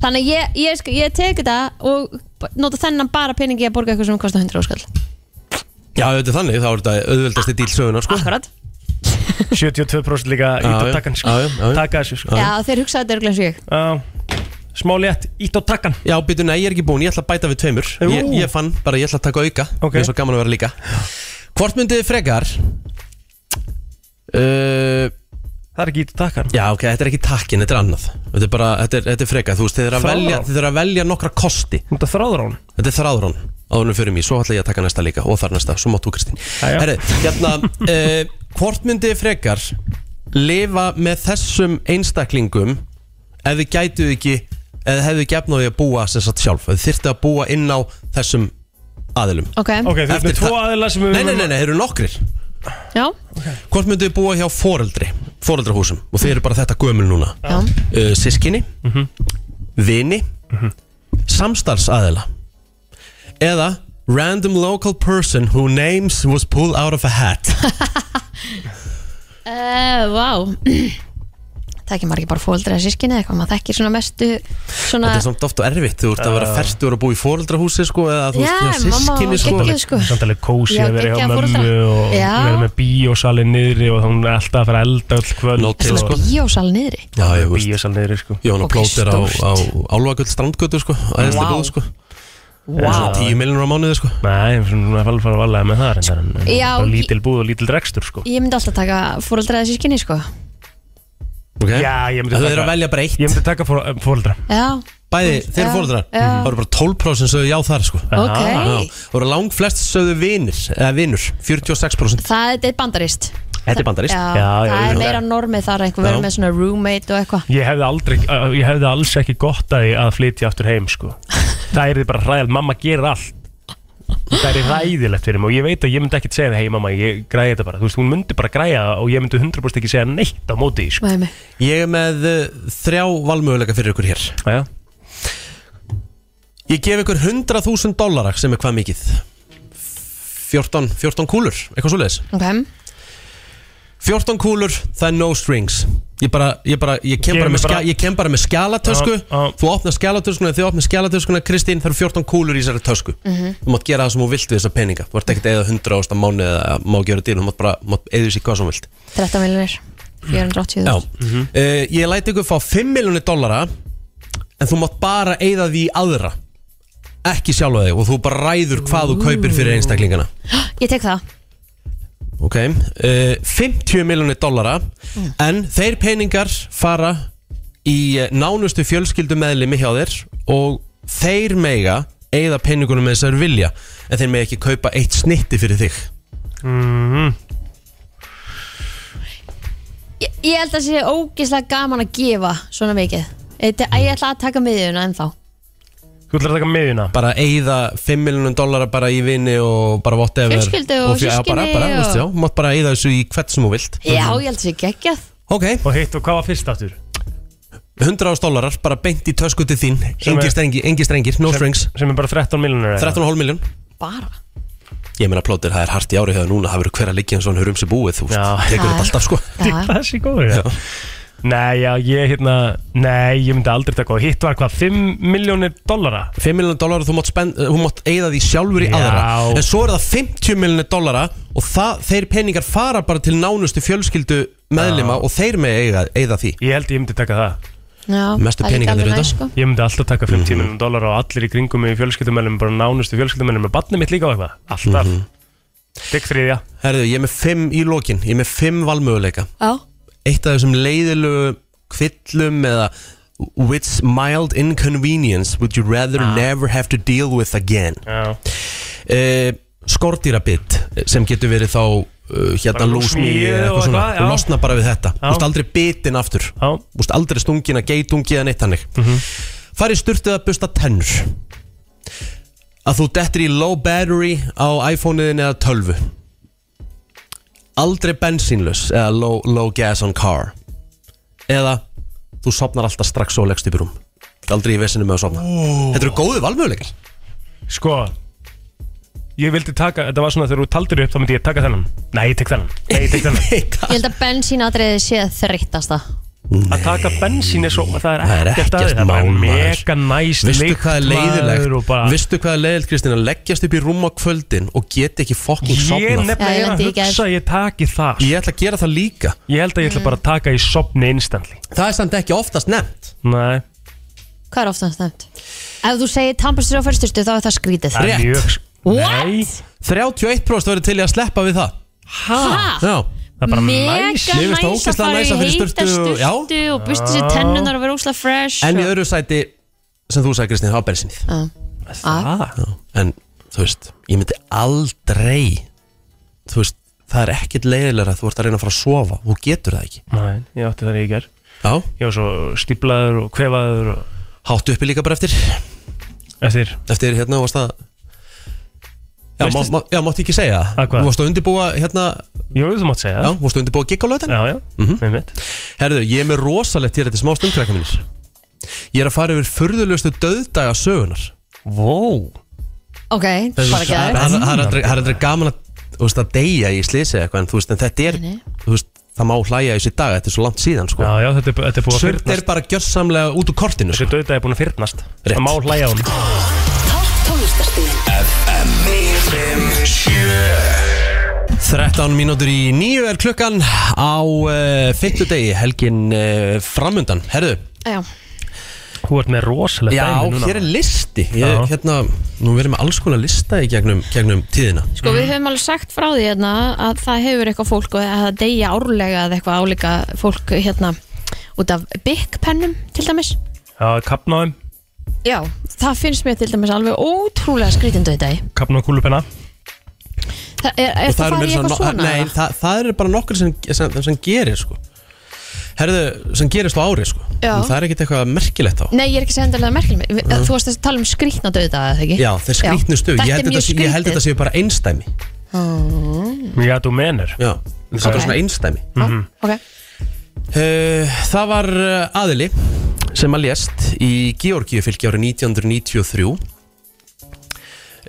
Þannig að ég, ég, sko, ég tek þetta og b- nota þennan bara peningi að borga eitthvað sem kostar 100 áskall
Já, þetta er þannig, þá er þetta auðveldasti dýl sögunar, sko
Akkurat
72% líka ít á
já,
takkan sko.
já, já, já.
Taka þessu sko
Já, þeir hugsaðu þetta örglega eins og ég
Já. Smá létt, ít á takkan
Já, býtu, nei, ég er ekki búinn, ég ætla að bæta við tveimur ég,
Jú.
ég fann bara, ég ætla að taka auka
Ok.
okay. eins og gaman að vera líka Hvort myndið þið frekar uh,
Það er ekki ít á takkan
Já, ok, þetta er ekki takkin, þetta er annað Þetta er bara, þetta er, þetta er frekar, þú veist, þið er að
Þráðrán.
velja þið er að velja nokkra kosti
Þetta er þráðrán
Þetta er þráðrán, áðunum fyrir mig, svo ætla ég að taka næsta líka og þar næsta, svo mátt þú Kristín
já.
Herri, hérna, uh, hvort myndið þið frekar lifa með þessum einstaklingum ef þið gætuð ekki eða hefðu ekki efni á því að búa sem sagt sjálf, þið þyrftu að búa inn á þessum aðilum
Ok,
Ok, þú
Eftir
ertu tvo
það-
aðila sem við
Nei, nei, nei, nei, þeir eru nokkrir
Já,
Hvort myndu þið búa hjá foreldri Foreldrahúsum Og þeir eru bara þetta gömul núna
já,
uh, Sískinni
Mhm.
Vini Samstarfsaðila Eða Random local person who names was pulled out of a hat
Uh, vá Þekkir maður ekki bara fóldri að sískinni eða eitthvað, maður þekkir svona mestu svona,
Þetta er samt ofta erfitt Þú ert að
Ah.
vera fertur og búa í foreldrahúsi sko, Eða þú
Já,
veist, hjá
mamma,
sískinni sko.
geggjuð, sko.
Samt alveg kósi
Já,
að vera hjá
geggjaða
mömmu
foreldra.
og
Já.
vera með bíósalin niðri og hún er alltaf að fara að elda öll kvöld
Nó til,
og-
sko.
bíósal niðri
Já, ég veist
Bíósal niðri sko
Jón og
Ok,
plóter á,
stórt.
á Álfagull strandgötu sko, Æðislega
Vá.
góð sko
Vá.
10 miljonur á mánuði sko
Nei, hún er alveg að fara að valega með það reyndar, en- en
Já,
bara
ég-
Lítil búð og lítil rekstur sko
Ég myndi alltaf taka fóldri að sískinni sko
okay.
Já, ég myndi
Þau eru
taka-
að velja bara eitt
Ég myndi taka fóreldra
Já,
Bæði, þeir eru
Já,
fóreldrar
já.
Það voru bara 12% sögðu já þar sko
ok
Já, Það voru lang flest sögðu vinir Eða vinur, 46%
Það er- þetta er bandarist
Þetta er bandarist
Já,
Já, já,
það
já.
er meira normið þar einhver verið
Já.
með svona roommate og eitthvað
Ég hefði, aldrei, uh, ég hefði alls ekki gott að, að flytja aftur heim sko. Það er því bara ræðilegt, mamma gerir allt Það er ræðilegt fyrir mig og ég veit að ég myndi ekkert segja það, hei mamma, ég græði þetta bara Þú veist, hún myndi bara græja það og ég myndi 100% ekki segja neitt á móti því, sko.
Með mig
Ég er með uh, þrjá valmöguleika fyrir ykkur hér
Já, já.
Ég gef ykkur 100.000 dólarar sem er hvað mikið 14, 14 kúlur, eitthvað svoleiðis
Ok,
14 kúlur, það er no strings Ég, bara, ég, bara, ég, kem,
Gefum
bara
mér
með skja,
bara-
ég kem bara með skjalatösku
Já, já.
Þú opnar skjalatöskuna, þið opnar skjalatöskuna Kristín, það eru 14 kúlur í þessari tösku Þú mátt gera það sem þú vilt við þessa peninga Þú ert ekkert eða 100 ást að mánu eða má gera dýr Þú mátt bara mátt eða sér hvað sem þú vilt
13 miljonir 480
Já,
þúsund.
uh, ég læti ykkur fá 5 miljónir dollara En þú mátt bara eða því í aðra Ekki sjálfa þig og þú bara ræður hvað þú kaupir fyrir einstaklingana
Ég tek það
Ok, uh, 50 miljónir dollara En þeir peningar fara í eh, nánustu fjölskyldu meðlimi hjá þér Og þeir mega eða peningunum með þessar vilja En þeir mega ekki kaupa eitt snitti fyrir þig
Ég held að sé ógeðslega gaman að gefa svona mikið Þetta, Ég ætla að taka miðjuna ennþá
Þú ætlar að taka miðjuna? Bara eigða 5 miljonum dollara bara í vini og bara whatever
Fjölskyldu og
fjö- já, bara,
systkini
bara,
og-
og... Veist, já, Mátt bara eigða þessu í hvert sem þú vilt
Já, ég held að sé geggjað
Ok Og hitt og hvað var fyrst aftur? 100 ást dollarar, bara beint í tösku til þín
Sem
Engi
er-
strengir, engi strengir, no
sem-
strings
sem er bara 13 miljonur
13,5 miljón
Bara
Ég meina plótir, það er hart í ári hefur núna Það verður hver að liggja eins og hann hör um sig búið Þú veist, tekur
Já.
þetta alltaf sko
Það er sér góður já. Nei, já, ég hérna Nei, ég myndi aldrei taka og hitt var hvað 5 miljónir dollara
5 miljonir dollara, þú mátt, spend, uh, þú mátt eigða því sjálfur í
Já.
aðra En svo er það 50 miljonir dollara Og það, þeir peningar fara bara til nánustu fjölskyldu meðlima Og þeir með eigða, eigða því
Ég held ég myndi taka það
Já,
Mestu
það er líka
peningarnir
alveg næs,
auðvitað.
sko.
Ég myndi alltaf taka
Mhm.
50 mm -hmm. miljonum dólar og allir í kringum mig í fjölskyldumælum, bara nánustu fjölskyldumælum og barnið mitt líka og eitthvað, alltaf
Mhm.
mm þriðja
Herðu, ég er með 5 í lokin Ég er með 5 valmöguleika
Já.
Eitt af þessum leiðilegu kvillum eða Which mild inconvenience would you rather never have to deal with again
ah.
uh, Skordýrabitt sem getur verið þá uh, hérna
Bara lúsmýi
lúsmýi eða
og
eitthvað svona
eitthvað, já.
og losna bara við þetta
Já.
Þú veist aldrei bitin aftur Þú veist aldrei stungin að geitungi eða neitt hannig mm
Mhm.
-hmm. Farið sturtið að busta tennur að þú dettir í low battery á iPhone-iðin eða 12 aldrei bensínlös eða low, low gas on car eða þú sopnar alltaf strax og leggst upp í rúm aldrei í vesinu með að sopna
Ó.
Þetta eru góðu valmöguleikar
Sko Ég vildi taka, þetta var svona þegar þú taldir upp þá myndi ég taka þennan Nei, ég tek þennan Nei, ég tek þennan
Ég held að bensínatriði sé þreyttasta
Að taka bensín er svo, það er
Það er
ekkert að
ekkert
því, Það er bara
mál maður.
mega næst
Vistu hvað er leiðilegt
bara,
Vistu hvað er leiðilegt Kristina Leggjast upp í rúm á kvöldin Og get ekki fokking
Ég
sopnað
nefnilega er að hugsa að ég taki það
Ég ætla að gera það líka
Ég held að ég ætla bara að taka í sopni instantly
Það er samt ekki oftast nefnt
Nei
Hvað er oftast nefnt? Ef þú segir tampastur á fyrstustu þá er það skrítið
Það er mjög
What?
31% verður til í að sleppa við það
Ha?
Já
Það
Mega næs að fara í heita sturtu og busta sér tennunar og vera ósla fresh
En í
og-
öðru sæti sem þú sagði Kristina, það var bensinnið
Já. Ah.
Já, En þú veist, ég myndi aldrei Þú veist, það er ekkert leiðilega að þú ert að reyna að fara að sofa Þú getur það ekki
Nei, ég átti það í ger
Já
Ég var svo stíplaður og kvefaður og...
Háttu uppi líka bara eftir
Eftir
Eftir hérna varst að Já, má,
Veistu-
má, já máttu ekki segja það Þú varst að undirbúa hérna
Jú, þú mátt segja
það Já, Mhm. þú varst að undirbúa gig á löðan
Já, já, mm -hmm.
Herðu, ég er með rosalegt hér Þetta smá stundkrakka mínir Ég er að fara yfir furðulegustu döðdaga sögunar
Vó
Ok, bara
Það er- það
geður
er- það er aldrei- það er aldrei gaman að Þú veist að deyja í slisi eitthvað En þú veist, en þetta er Þú veist, það má hlæja í sér dag Þetta er svo langt síðan, sko
Já, já, þetta er, þetta er búið að
Surd er bara gjörsamlega út úr kortinu sko.
Þessi döðdagi er búin að fyrnast Það má hlæja á hún
FM 957
13 mínútur í nýju er klukkan á uh, fimmtudegi, helgin uh, framundan. Herðu,
Já,
Þú ert með rosalega
já, hér er listi. Ég,
Já.
hérna, nú verðum við alls konar lista í gegnum, gegnum tíðina.
Sko við höfum alveg sagt frá því hérna að það hefur eitthvað fólk og að það deyja árlega eða eitthvað álíka fólk hérna út af byggpennum til dæmis.
Já, kapnaðum,
Já, það finnst mér til dæmis alveg ótrúlega skrítindu í dag.
kapnaðum kúlupenna
Það er, er
Og
það
eru
farið í
meira
eitthvað
svona-
svona?
Nei,
eða?
það, það eru bara nokkur sem, sem, sem gerir, sko. Herðu, sem gerist á ári, sko.
Já.
En Það er ekkit eitthvað merkilegt á.
Nei, ég er ekki að segja endalega merkileg.
Mm.
Þú varst að tala um skrítna döða, eða ekki?
Já, þeir skrýtnu
Já.
stu. Ég held, þetta, sé- ég held þetta séu bara einstæmi.
Mm.
Já, þú menur
Já, það er bara svona einstæmi.
Ok.
Eh, Það var eh, aðili sem að lést í Georgíu fylki árið 1993 uh,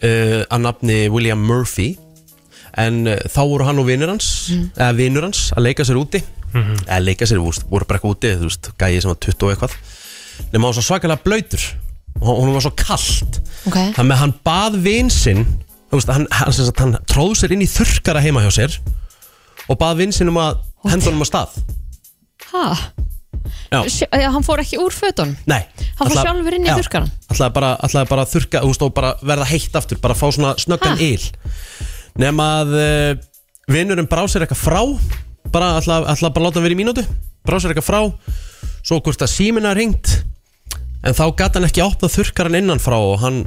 að nafni William Murphy en uh, þá voru hann og vinnur hans eða vinnur hans að leika sér úti
Mhm.
eða leika sér, þú veist, voru bara eitthvað úti þú veist, gæi sem var 20 og eitthvað nema hann var svo svakalega blöytur og hún var svo kallt
Ok.
þannig að hann bað vinn sinn þú veist, hann, hann, sem sagt, hann tróð sér inn í þurkara heima hjá sér og bað vinn sinn um að henda honum á stað
Ha?
Já.
Sjö- Já, hann fór ekki úr fötun.
Nei
Hann fór sjálfur inn í þurrkarann?
Ætlaði bara, ætlaði bara að þurrka Þú veist og bara verða heitt aftur Bara fá svona snöggan yl Nefn að uh, vinnurinn brá sér eitthvað frá Bara ætlaði, ætlaði bara að láta hann vera í mínútu Brá sér eitthvað frá Svo hvort að símina ringt En þá gat hann ekki opnað þurrkarann innan frá Og hann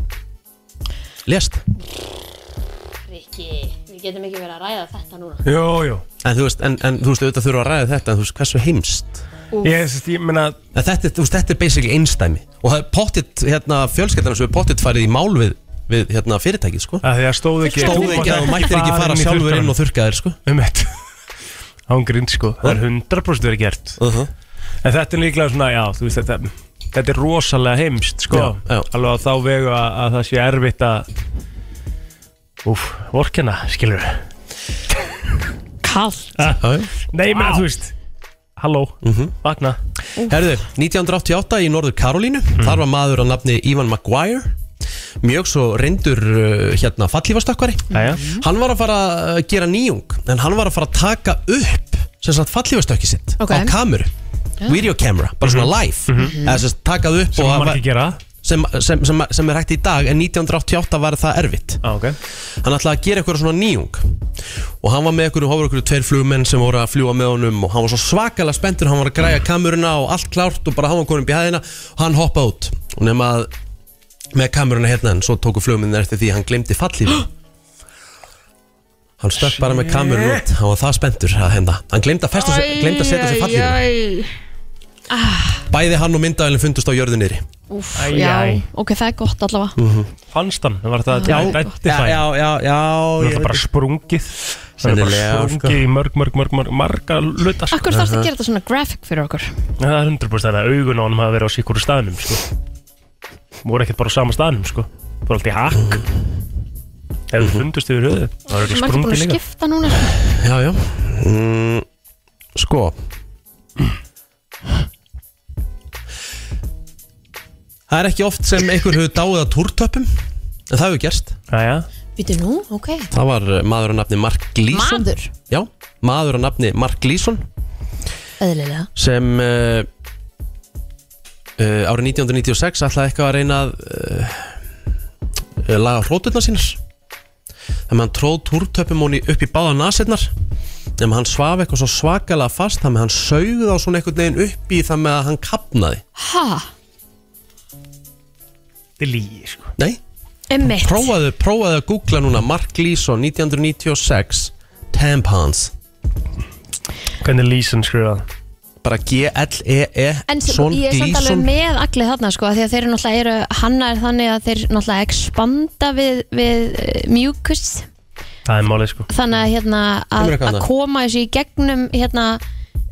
lést
Rikki, við getum ekki verið að ræða þetta núna
Jó, jó
En þú veist, en, en, þú veist auðvitað þurfa að ræða þetta En þú veist, hversu heimst
Úff.
Ég, þess, ég meina
en þetta, er- þú veist, þetta er basically einstæmi Og það er pottitt, hérna, fjölskeldarnar sem er pottitt farið í mál við, við hérna, fyrirtækið, sko
að því að stóð ekki
Stóð ekki að þú mættir ekki fara sjálfur inn og þurrka þér, sko
um þetta ángrind sko, það er 100% verið gert en þetta er líklega svona, já, þú veist þetta þetta er rosalega heimst sko
Já, já.
alveg á þá vegu að, að það sé erfitt að úf, vorkina, skilur
Kallt
Nei, menn, þú veist Halló,
Mhm.
vakna
Herðu, 1988 í Norður Karolínu Þar var maður að nafni Ivan Maguire Mjög svo reyndur uh, hérna fallífastökkvari
Jæja.
Hann var að fara að gera nýjung En hann var að fara að taka upp sem sagt fallífastökki sitt
Ok.
á kameru Video camera, bara svona live Eða sem sagt takað upp
Mhm. Sem
og
má
hafa-
ekki gera.
sem, sem, sem, sem er hægt í dag en 1988 var það erfitt
ah, okay.
hann ætlaði að gera eitthvað svona nýjung og hann var með eitthvað, hann var eitthvað tveir flugmenn sem voru að fljúa með honum og hann var svo svakalega spenntur hann var að græja kameruna og allt klárt og bara hann var komin upp í hæðina og hann hoppaði út og nema að með kameruna hérna en svo tóku flugmennir eftir því að hann glemdi fallífi hann stökk bara með kameruna út hann var það spenntur að hérna hann glemdi að, festa sig- gleymdi að setja sig fallífi bæði hann og myndavælinn fundust á jörðu niðri
Úf,
Æ,
já,
æ.
ok, það er gott allavega
Fannst hann, var það
Já.
identify
Já, já, já ég
Það er
veit
bara sprungið Það er
Sennilega, sko.
bara sprungið í mörg, mörg, mörg, mörg marga luta sko.
Akkur þarfst að gera þetta svona graphic fyrir okkur
Það er 100% að augun á hann hafa verið á sikkur staðnum sko. voru ekkert bara á sama staðnum sko. bara allt í hakk Ef þú fundust yfir höfuð Það er
Svo
ekki
margir búin
sprungið
að
líka
skipta núna sko.
Já, já mm, Sko Það er ekki oft sem einhver hefur dáið að túrtöpum En það hefur gerst
Jæja,
Býtu nú, ok
Það var uh, maður að nafni Mark Gleason
Maður,
Já, maður að nafni Mark Gleason
eðlilega
Sem uh, uh, árið 1996 ætlaði eitthvað að reyna að uh, uh, laga hróturnar sínar Þannig að hann tróð túrtöpum hún upp í báða nasirnar Nefnir hann svaf eitthvað svo svakalega fast Þannig að hann saugði á svona einhvern veginn upp í Það með að hann kapnaði
Ha,
þetta er lígi sko.
Nei,
emmitt
prófaðu, prófaðu að googla núna Mark Leeson 1996 Tampons
Hvernig Leeson skrifað
Bara G-L-E-E
En svo,
E. son
ég er samt alveg
Gleason.
með allir þarna sko, af því að þeir eru náttúrulega eru, hanna er þannig að þeir náttúrulega expanda við, við uh, mjúkus
Það er málið sko
þannig að hérna að,
Kemur eitthvað
að
annað?
koma þessu í gegnum hérna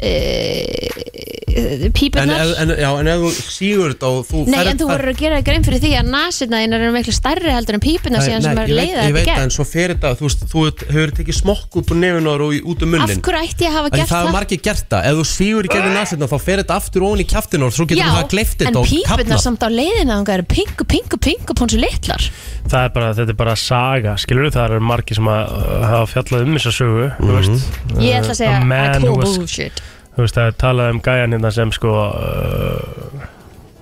eh, uh,
En,
pípunar
ef- en, já, en ef þú sígur þetta og þú
Nei,
ferð-
en þú verður að gera þér grein fyrir því að nasirnaðin eru miklu stærri heldur en pípunar
Nei,
síðan sem
nei,
er
ég veit-
leiða
Ég
þetta
veit það,
gegn
en svo fyrir þetta Þú veist, þú hefur tekið smokk upp úr nefinar og í- út um
Af
munnin
hverju ætti ég að hafa
Það,
gert
það er margir gert það, ef þú sígur í gerðin nasirna þá fer þetta aftur ofan í kjaftin og svo getur það gleift
en
þetta og
pípunar
kapnað
samt á leiðina þangar eru pingu, pingu, pingu pónsu litlar
Það er bara, þetta er bara saga, skilur þú, það eru margir sem að uh, hafa fjallað um þessa sögu, þú veist.
Ég ætla að segja,
a
I
man
call
who was-
bullshit
Þú veist, það er talað um gæjan hérna sem sko, uh,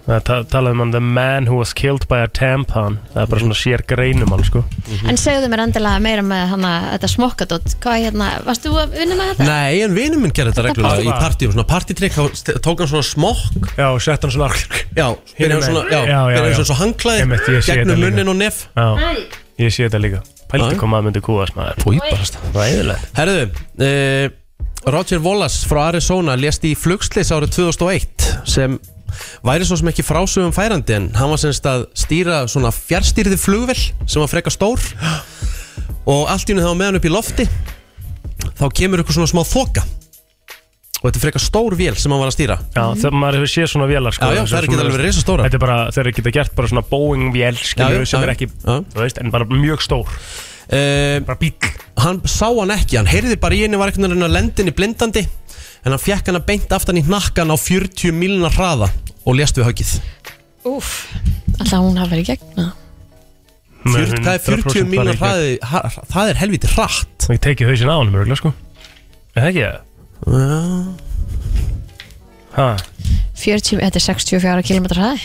það er ta- talað um hann, the man who was killed by a tampon, það er bara svona sér greinum hann, sko.
En segðu mér endilega meira með hana, þetta smokkadótt Hvað hérna, varst þú að vinna með þetta?
Nei, en vinur minn gerði þetta reglulega í
passa.
partíum, svona partítrykk þá st- tók hann svona smokk
Já, og sett hann svona,
Já, byrja hann
megin.
svona, já,
Já, já,
byrja hann
já.
svona svo hangklæði
Einmitt, ég sé þetta
gegnum
líka.
munnin og nef
já, ég sé þetta líka.
Já.
Pældi hvað maður myndi kúast maður.
Búibarast
Ræðilegt.
Herðu, uh, Roger Wallace frá Arizona lést í flugslis árið 2001 sem væri svo sem ekki frásögum færandi en hann var semst að stýra svona fjárstýrði flugvel sem var freka stór og allt í henni þá með hann upp í lofti þá kemur eitthvað svona smá þoka og þetta er freka stór vél sem hann var að stýra
Já, það maður hefur séð svona vélar,
Já,
sko.
já,
þessar
það er ekki
svona-
alveg reysa stóra
Þetta er bara, þeir eru geta gert bara svona Boeing-vél,
Já,
skilur
já,
við, sem
já,
er ekki,
já.
þú veist, en bara mjög stór,
uh,
bara bíl.
hann sá hann ekki, hann heyrði bara í henni var einhvern veginn að lendi henni blindandi en hann fekk hann að beint aftan í hnakkan á 40 milna hraða og lést við höggið
Úf, alltaf hún hafi verið gegna
Fjör, það er 40 milna
hraði
hraði ha, það er helviti hratt
Það er tekið hausin á hann mörgulega sko Er það ekki það? Ha.
40, þetta er 64 km hraði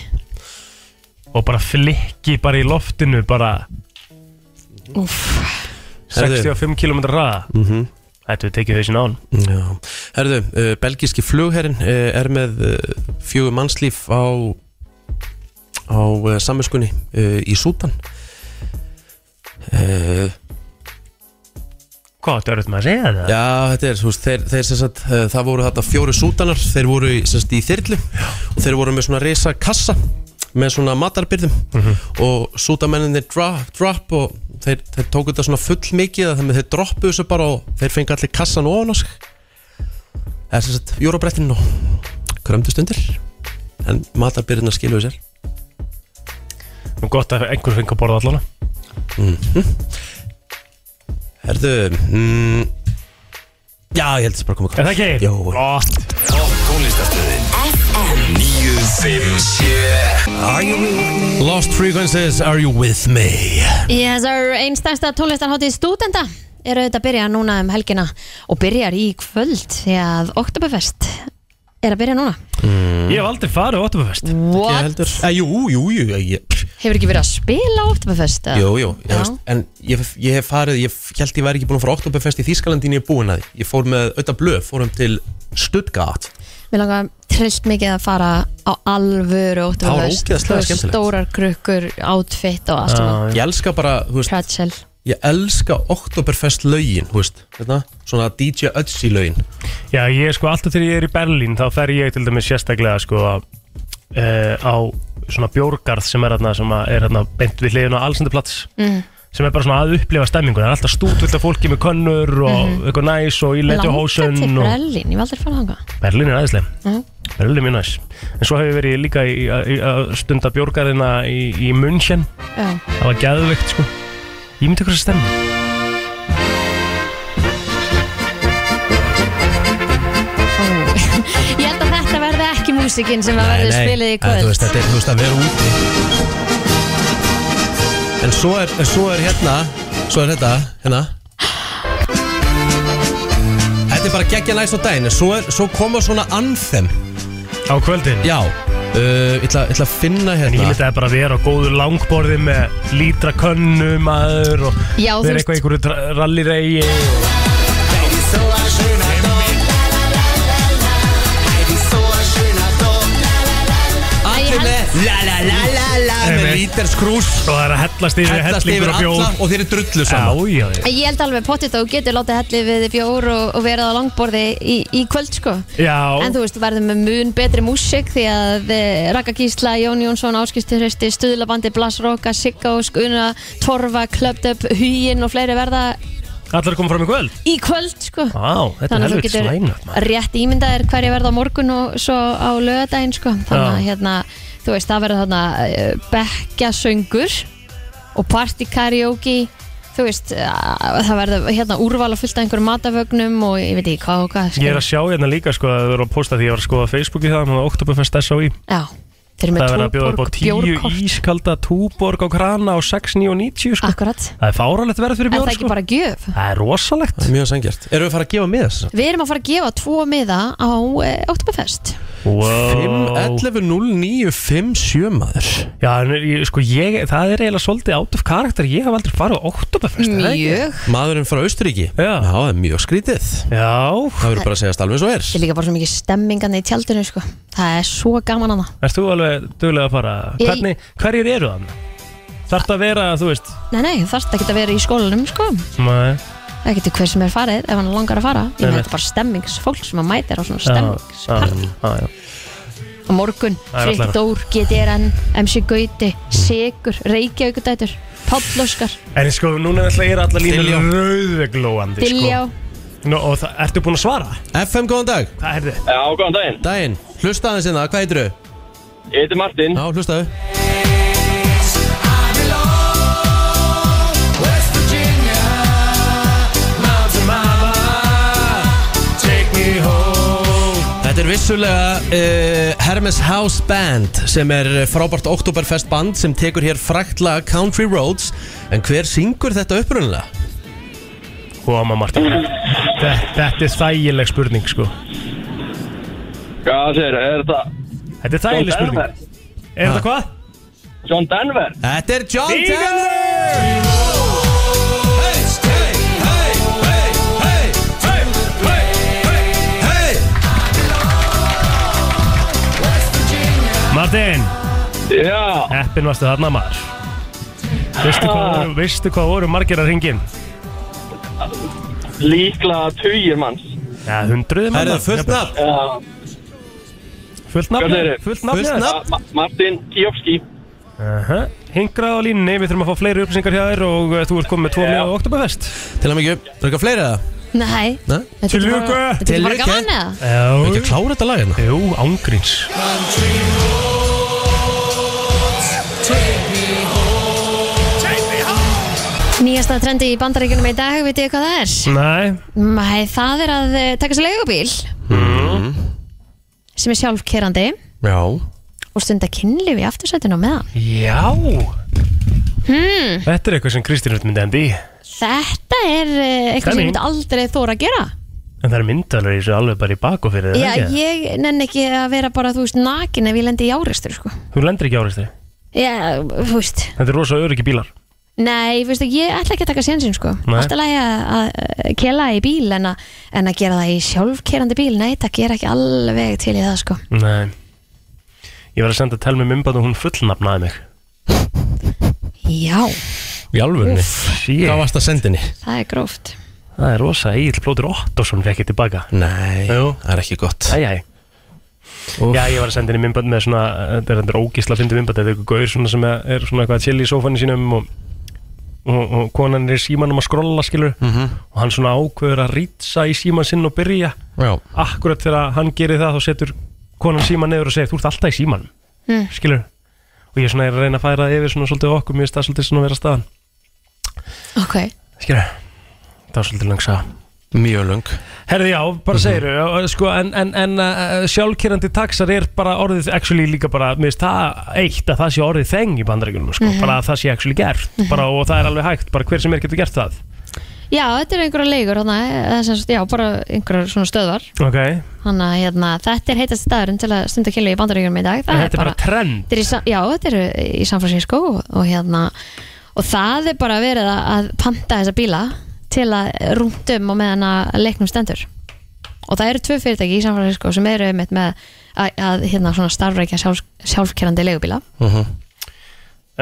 Og bara flikki bara í loftinu bara
Úf,
65 km hraða mm -hmm. Þetta er tekið hausin á hann
Mhm. Já. herðu, uh, belgíski flugherrin uh, er með uh, fjögur mannslíf á á uh, samvinskunni uh, í Sútan uh,
Hvað, þetta er auðvitað maður að segja það?
Já, þetta er, þú veist, þeir, þeir sem sagt, eh, það voru þetta fjóri sútanar, þeir voru í, sem sagt, í þyrlu og þeir voru með svona risa kassa með svona matarbyrðum og sútamenninni drop, drop og þeir, þeir tóku þetta svona full mikið að þeim, þeir droppu þessu bara og þeir fengi allir kassan ofan á sig eða sem sagt, jórabrettin og krömdust undir en matarbyrðina skiluðu sér
Nú gott að einhver fengi að borða allana
mm Herðu mm, Já, ég held að það bara komið
Er það ekki?
Jó
Tónlistastöðin Are you with me?
Lost Frequencies, Are You With Me
Yes, our einstæðsta tónlistarháttið stúdenda eru auðvitað að byrja núna um helgina og byrjar í kvöld því að Oktoberfest er að byrja núna
Ég hef aldrei farið á Óttubafest
What?
Eh, Jú, jú, jú ég,
Hefur ekki verið að spila á Oktoberfest? eða?
Jú, jú, ég,
Já.
veist, en ég, ég hef farið Ég held ég væri ekki búin að fara á Oktoberfest í Þískalandin Ég er búin að því, ég fór með auðvitað blöf Fórum til Stuttgart
Mér langar trillt mikið að fara á alvöru
Það var
Oktoberfest
ógeðslega
Þú veist,
skemmtilegt.
Stórar krukkur, outfit og allt saman
Ég elska bara, þú veist
Pretzel
Ég elska Oktoberfest lögin, þú veist þetta, Svona DJ Ötzi lögin
Já, ég sko alltaf þegar ég er í Berlín þá fer ég til dæmis sérstaklega sko uh, á svona bjórgarð sem er hérna, sem að er hérna beint við hliðin á Alsendurplats
Mhm.
sem er bara svona að upplifa stemmingun það er alltaf stútvöld af fólki með könnur og eitthvað næs og í
Langar Mhm. til
letuhósun og...
Berlín, ég var aldrei að fara þangað
Berlín er aðeinslega
Mhm.
Berlín er mjög næs en svo hef ég verið líka í, í, að stunda bjórgarðina í, í München
Já.
það var gæðveikt sko ég myndi ykkur að stemma
Ég held að þetta verði ekki músikinn sem að verði spilið í
en, Eh, þú
kvöld
veist, þetta er, þú veist, að vera úti En svo er, en svo er hérna Svo er þetta, hérna Þetta er bara geggja næst á daginn en Svo, er, svo koma svona anthem
Á kvöldin?
Já Uh, ég ætla ég ætla að finna
En ég
hérna
myndi að bara vera á góðu langborði með lítra könnu maður og
Já, þú veist-
vera eitthvað í einhverju dra- rallyregi og...
La la la la la Með
Einmitt.
víterskrús
Og það er að hellast yfir
Hellast
hellingur
yfir
og bjór
alla og þeir eru drullu saman
Já, já, já.
Ég held alveg pottit að þú getur látið hellið við bjór og, og verið á langborði í, í kvöld sko
Já,
En þú veist, þú verður með mun betri músík því að eh, Ragga Gísla, Jón Jónsson, Áskistur Hristi, Stuðlabandi, Blas Róka, Sigga og Skuna, Torfa, Klöptöp, Huginn og fleiri verða
allar koma fram í kvöld
í kvöld sko
Vá, þetta er
Þannig að þú
helviti
getur
slæna
rétt ímyndaðir hverja verða á morgun og svo á lögadaginn sko. Þannig að
Já.
hérna, þú veist, það verður þarna eh, bekkjasöngur og party karaoke þú veist, eh, það verður hérna úrvala fullt af einhverjum matavögnum og ég veit ekki hvað og hvað
Ég er að sjá hérna líka sko að það eru að posta því ég var að skoða Facebooki það með Oktoberfest SOI
Já, þeir eru
Það verður
með
að bjóða upp á
túborg,
10
bjórkort
ískalda túborg á krana á 6,990 sko
Akkurat
Það er fáralegt verð fyrir
Er það
bjór
ekki
sko
bara gjöf?
Það er rosalegt
Það er mjög sangjart Erum við að fara að gefa með þess?
Við erum að fara að gefa tvo miða á eh, Oktoberfest
Wow.
511-0957 maður
Já, en ég- sko ég, það er eiginlega svolítið out of character Ég hef aldrei farið á Oktoberfest er það ekki?
Maðurinn frá Austuríki Já það er mjög skrítið
Já
Það verður bara að segjast alveg svo er
Þetta er líka bara svo mikið stemmingan í tjaldinu sko. Það er svo gaman hana
Erst þú alveg duglega að fara?
Ég-
Hvernig, hverjir eru þann? Þarf það að vera, þú veist
Nei, nei, þú þarft ekki að vera í skólanum sko.
Nei
Það getur hver sem er farið ef hann langar að fara Ég
Nei,
meina
nei.
þetta er bara stemmingsfólk sem að mætir á svona stemming
Stemmingsparti
Á morgun,
Það er
Frikki
allavega.
Dór, GTRN, MC Gauti, Sigur, Reykjavíkudætur, Páll Óskar,
En sko, núna ætla ég er allar
Diljá.
lína rauðveglóandi
Diljá
sko. Nú, Og það, ertu búin að svara?
FM, góðan dag
Það er þið
Já, góðan daginn
Daginn, hlusta aðeins hérna, hvað heitir þau?
Ég heiti Martin
Já, hlustaðu Þetta er vissulega uh, Hermes House Band sem er uh, frábært Oktoberfest band sem tekur hér fraktla Country Roads en hver syngur þetta upprunnilega?
Góma Martin þetta, þetta er þægileg spurning sko
Hvað sér, er þetta
Þetta er þægileg
John
spurning
Denver?
Er þetta hvað?
John Denver
Þetta er John Denver
Martin,
Já,
eppin varstu þarna maður Veistu hvað, voru- veistu hvað voru margir að ringin?
Líklega tugir manns
Já, hundruði
Er
manna.
það fullt nafn? Já
Fullt nafn?
Hvað segirðu?
Fullt nafn, já.
Martin Kiofski
Aha. Hingrað á línni, við þurfum að fá fleiri upplýsingar hjá þér og eh, þú ert komið með tvo miða á Oktoberfest
Til að mikið, er eitthvað fleiri eða?
Nei,
Nei?
þetta er bara- Þetta er bara gaman eða?
Við
ekki að klára þetta lag hérna
Jú, ángríns
Nýjasta trendi í bandaríkunum í dag, veit ég hvað það er?
Nei
Nei, það er að eh, taka sér leigubíl
mm.
sem er sjálfkerandi
Já
og stunda kynlíf í aftursætinu á meðan.
Já
Hmm,
Þetta er eitthvað sem Kristín Rödd myndi endi í
þetta er eh, eitthvað sem
Stemming.
ég myndi aldrei þóra að gera.
En það er myndalega í þessu alveg bara í bak og fyrir
Já, ég nenn ekki að vera bara, þú veist, nakin ef ég lendi í áreistur, sko.
Þú lendir ekki áristri
Já, þú veist,
Þetta er rosa öryggi bílar
nei, þú veist, ég ætla ekki að taka sénsinn, sko.
Nei.
Alltaf lægi að að kela í bíl en að, en að gera það í sjálfkerandi bíl, nei, það gera ekki alveg til í það, sko.
Nei Ég var að senda tel með mymbat og hún fullnafnaði mig
Já,
Í alvörni
Hvað
varst að sendinni?
það er gróft.
Það er rosa Egil Plótur Ottosson fekk ég tilbaka
Nei, Jú. það er ekki gott
Æj, æj Já, ég var að senda henni mymband með svona eh, Þetta er þetta ógísla að fyndi mymband Þetta er eitthvað gaur svona sem er svona eitthvað að chill í sófannu sínum og, og, og konan er í símanum að skrolla skilur og hann svona ákveður að rýtsa í síman sinn og byrja
Já.
Akkurat þegar hann gerir það þá setur konan síman neyður og segir Þú ert alltaf í símanum
Mm.
skilur og ég svona er að reyna að færa það yfir svona svolítið á okkur mér stað svolítið svona vera staðan
Ok.
skilur, það var svolítið langsa
Mjög lang
herði já, bara segir sko, en, en, en uh, sjálfkerrandi taxar er bara orðið actually líka bara mér finnst það eitt að það sé orðið þeng í bandarækjunum sko,
Mhm.
bara að það sé actually gert bara, og það er alveg hægt, bara hver sem er getur gert það
Já, þetta eru einhverja leigur, þarna, eða sem sagt, já, bara einhverjar svona stöðvar.
ok,
Þannig að hérna, þetta er heitast staðurinn til að stunda kynlu í bandaríkjum í dag. Það
þetta er bara trend
þetta er í, Sa- já, þetta er í San Francisco og, og hérna, og það er bara verið að, að panta þessa bíla til að rúndum og meðan að leiknum stendur. Og það eru tvö fyrirtæki í San Francisco sem eru einmitt með að, að hérna, svona starfrækja sjálf, sjálfkerrandi leigubíla.
Mhm.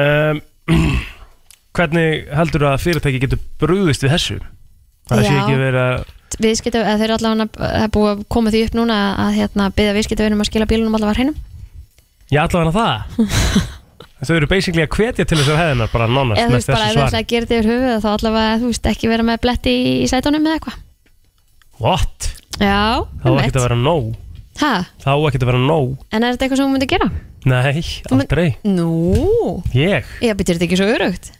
um, hvernig heldur að fyrirtæki getur brúðist við þessu það sé
Já.
ekki verið að
Viðskipta, eða þeir eru allavega það er búið að koma því upp núna að, að hérna, byggja viðskiptavinum að skila bílunum allavega hreinum.
Já, allavega það Þau eru basically að hvetja til þessar hefðinar bara nánast
eða þú
með
veist bara ef
þessu
þú ætla
svar
að gera þetta yfir höfuð þá allavega þú veist ekki vera með bletti í, í sætunum eða eitthvað
What?
já,
Þá er ekkert að vera nóg
ha,
Þá er ekkert að vera nóg
en er þetta eitthvað sem þú myndir gera?
Nei,
mynd-
aldrei
nú,
Ég?
ég byrjir þetta ekki svo örugt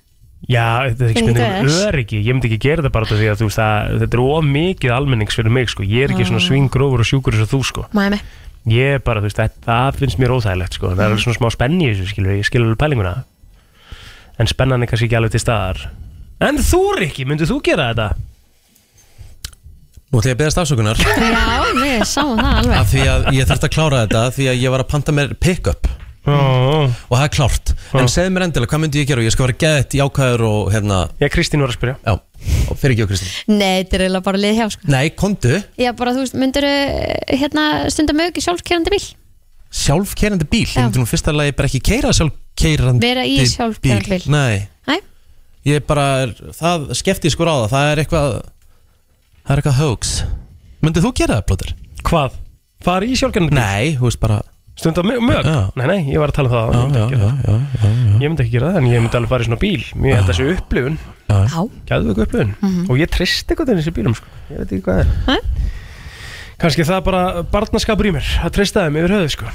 Já, þetta er ekki
Ekki
spennið um
þess.
öryggi Ég myndi ekki gera þetta bara út af því að þú veist að þetta er of mikið almennings fyrir mig sko Ég er ekki
Ah.
svona svingrófur og sjúkur eins og þú sko
mæmi,
Ég er bara, þú veist, það, það finnst mér óþægilegt sko Það er alveg svona smá spenni í þessu skilur, ég skilur alveg pælinguna En spennan er kannski ekki alveg til staðar En þú, Rikki, myndir þú gera þetta?
Nú ætla ég að beðast afsökunar
já, við sáum það alveg
Af því að ég þurfti að klára þetta Því að ég var að panta mér pick-up
oh.
Og það er klárt En segð mér endilega, hvað myndi ég gera? Ég skal vera gæðið í ákvæður og hérna
Já, Kristín var að spyrja
Já, og fyrir ekki á Kristín
nei, þetta er eiginlega bara lið hjá sko
Nei, komdu
já, bara þú veist, myndir hérna stunda mög í sjálfkerrandi bíl
Sjálfkeirandi bíl Ég
Já.
myndi nú fyrsta lagi bara ekki keira sjálfkeirandi
Vera í sjálfkeyrandi bíl.
Nei
Nei.
Ég bara, er, það skefti skur á það Það er eitthvað Það er eitthvað hoax Myndið þú gera það, Plóter?
Hvað? Far í sjálfgerðandi
bíl? Nei, þú veist bara
Stund á mög? Nei, nei, ég var að tala um það áðan,
Já, já, já, já, já.
Ég myndi ekki gera það, en ég myndi alveg fara í svona bíl Mér held þessi upplifun
já,
Gæðvöku upplifun Og ég trist eitthvað til þessi bílum sko. Ég veit ekki hvað það er Kanski það er bara barnaskapur í mér Að trista þeim yfir höfuð sko.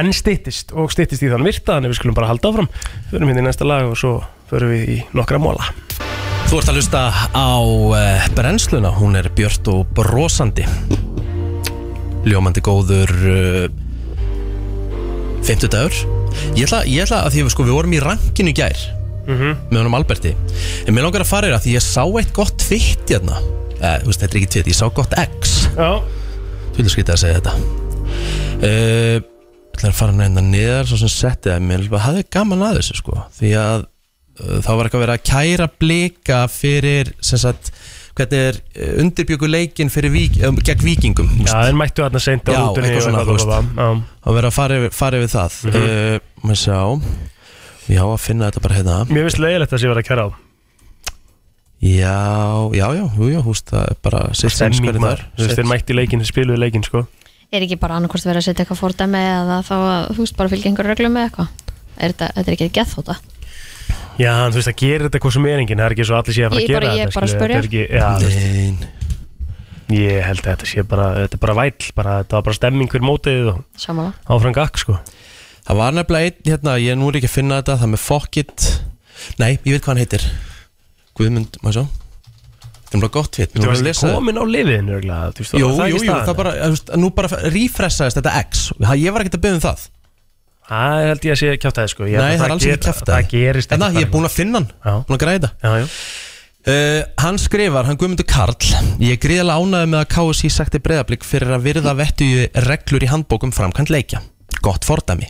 En styttist og styttist í þann virtaðan Ef við skulum bara halda áfram Förum hérna í næsta lag og svo förum við í nokkra móla
Þú ert að lusta á uh, brennsluna, hún er björt og brosandi Ljómandi góður uh, 50 dagur Ég ætla, ég ætla að því að sko, við vorum í rankinu í gær
Mhm.
með honum Alberti En mér langar að fara þér að því ég sá eitt gott tvitt hérna eh, Þú veist, þetta er ekki tvitt, ég sá gott X
Já
Þú vil skrítið að segja þetta uh, Það er að fara neina niðar svo sem setti það mér Það hafði gaman að þessu sko Því að uh, þá var eitthvað verið að kæra blika fyrir sem sagt hvernig er uh, undirbjöku leikin fyrir vík, um, gegn víkingum
Já, þeir mættu þarna seint á
Já,
rútunni
eitthvað
og
svona,
eitthvað,
þú
bla,
veist.
bla, bla. Já.
að vera að fara yfir, fara yfir það mm
Mhm.
Maður sjá Já, að finna þetta bara hérna
Mér finnst leiðilegt að þessi var að kæra á
Já, já, já, jú, já, húst, það er bara sitt sem
Stemming,
hvernig það er.
maður. Þú veist, þeir mættu í leikinn, spiluðu leikinn, sko
Er ekki bara annarkvort verið að setja eitthvað fordæmi eða þá að þú veist bara fylgja einhverju reglum með eitthvað Er þetta, þetta er ekki gett þóta
Já, en þú veist, það gerir þetta hvað sem er enginn Það er ekki svo allir sé að fara
Ég
að
bara-
gera
ég
þetta,
bara
skilur,
spyrja.
þetta er ekki, já, þú veist. Ég held að þetta sé bara, þetta er bara væll bara, Þetta var bara stemming fyrir mótið og
Samanlega
áfram gakk, sko
Það var nefnilega einn, hérna, ég er nú er ekki að finna þetta, það með Fuck It, nei, ég veit hvað hann heitir, Guðmund, maður svo, þetta er bara gott við,
Þú varst ekki komin á liðin, örgulega Jú,
Jú, jú, jú, það bara, þú veist, nú bara refreshaðist þetta X, Ha, ég var ekkert að byggja um það.
Það held ég að sé kjátaði, sko Ég held
Nei,
að
það er alls ekki
ger-
kæft
Það gerist
Þannig
ekki
að Hérna, ég er búin að finna hann, búin að græða
já, já.
Uh, Hann skrifar, hann Guðmundur Karl Ég er gríðarlega ánæði með að KSI sagti breyðablík fyrir að virða vettu reglur í handbókum framkvæmt leikja Gott fordæmi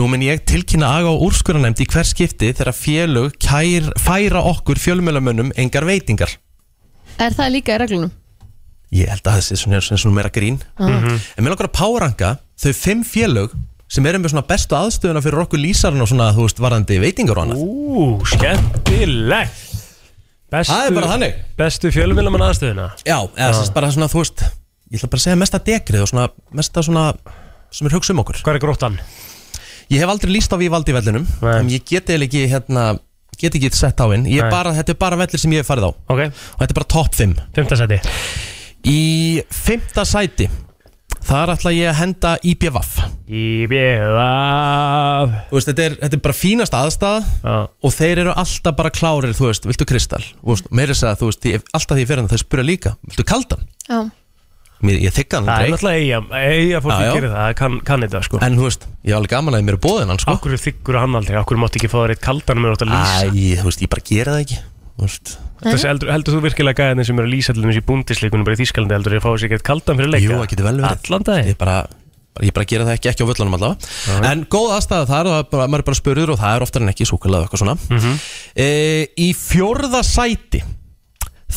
Nú mun ég tilkynna aga og úrskuranæmt í hver skipti þegar félög kær, færa okkur fjölmjölamönnum engar veitingar
Er það líka í reglunum?
Ég held að það sé svona, svona, svona meira grín
Ah. Mhm.
En mér langar að páranga þau fimm félög sem eru með svona bestu aðstöðuna fyrir okkur lýsarinn og svona, þú veist, varðandi veitingar og annað
Ú, skemmtilegt bestu,
Það er bara þannig.
Bestu fjölumvilamann aðstöðuna
Já, eða sérst bara svona, þú veist Ég ætla bara að segja mesta degrið og svona mesta svona sem er hugsa um okkur
Hvað er gróttan?
Ég hef aldrei líst á Vivaldi vellinum en ég get eða ekki, hérna get ekki sett á inn, ég er
Nei.
bara, þetta er bara vellir sem ég hef farið á
Ok.
og þetta er bara topp 5
Fymta seti
Í fymta sæti þar ætla ég að henda IPVAF
IPVAF
Þú veist, þetta er, þetta er bara fínast aðstæða og þeir eru alltaf bara klárir, þú veist, viltu kristall Þú veist, meira þess að, þú veist, ég, alltaf því ég fyrir hann þeir spura líka, viltu kaldan?
Já
Mér, ég þykka hann
Það er
aldrei.
náttúrulega eiga, eiga fólk
Já, já.
að gera það, það kann, kann þetta sko
En þú veist, ég var alveg gaman að ég mér er bóðin hann sko
Akkur er þykkur hann aldrei, akkur mátt ekki fá það reitt kaldan með átt að lýsa
Æ, þú veist, ég bara gera það ekki Þú veist
Þessi, heldur, heldur þú virkilega gæðin sem eru að lýsa til þessi búndisleikunum bara í Þýskalandi heldur þér að fá sér ekkert kaldan fyrir leika?
Jú, það getur vel verið
Allan daginn
Ég bara, ég bara gera það ekki, ekki á völlunum allavega En góð aðstæða þar, og það er bara, maður er bara spurður og það er oftar en ekki súkulega eitthvað svona
Mhm.
e, Í fjórða sæti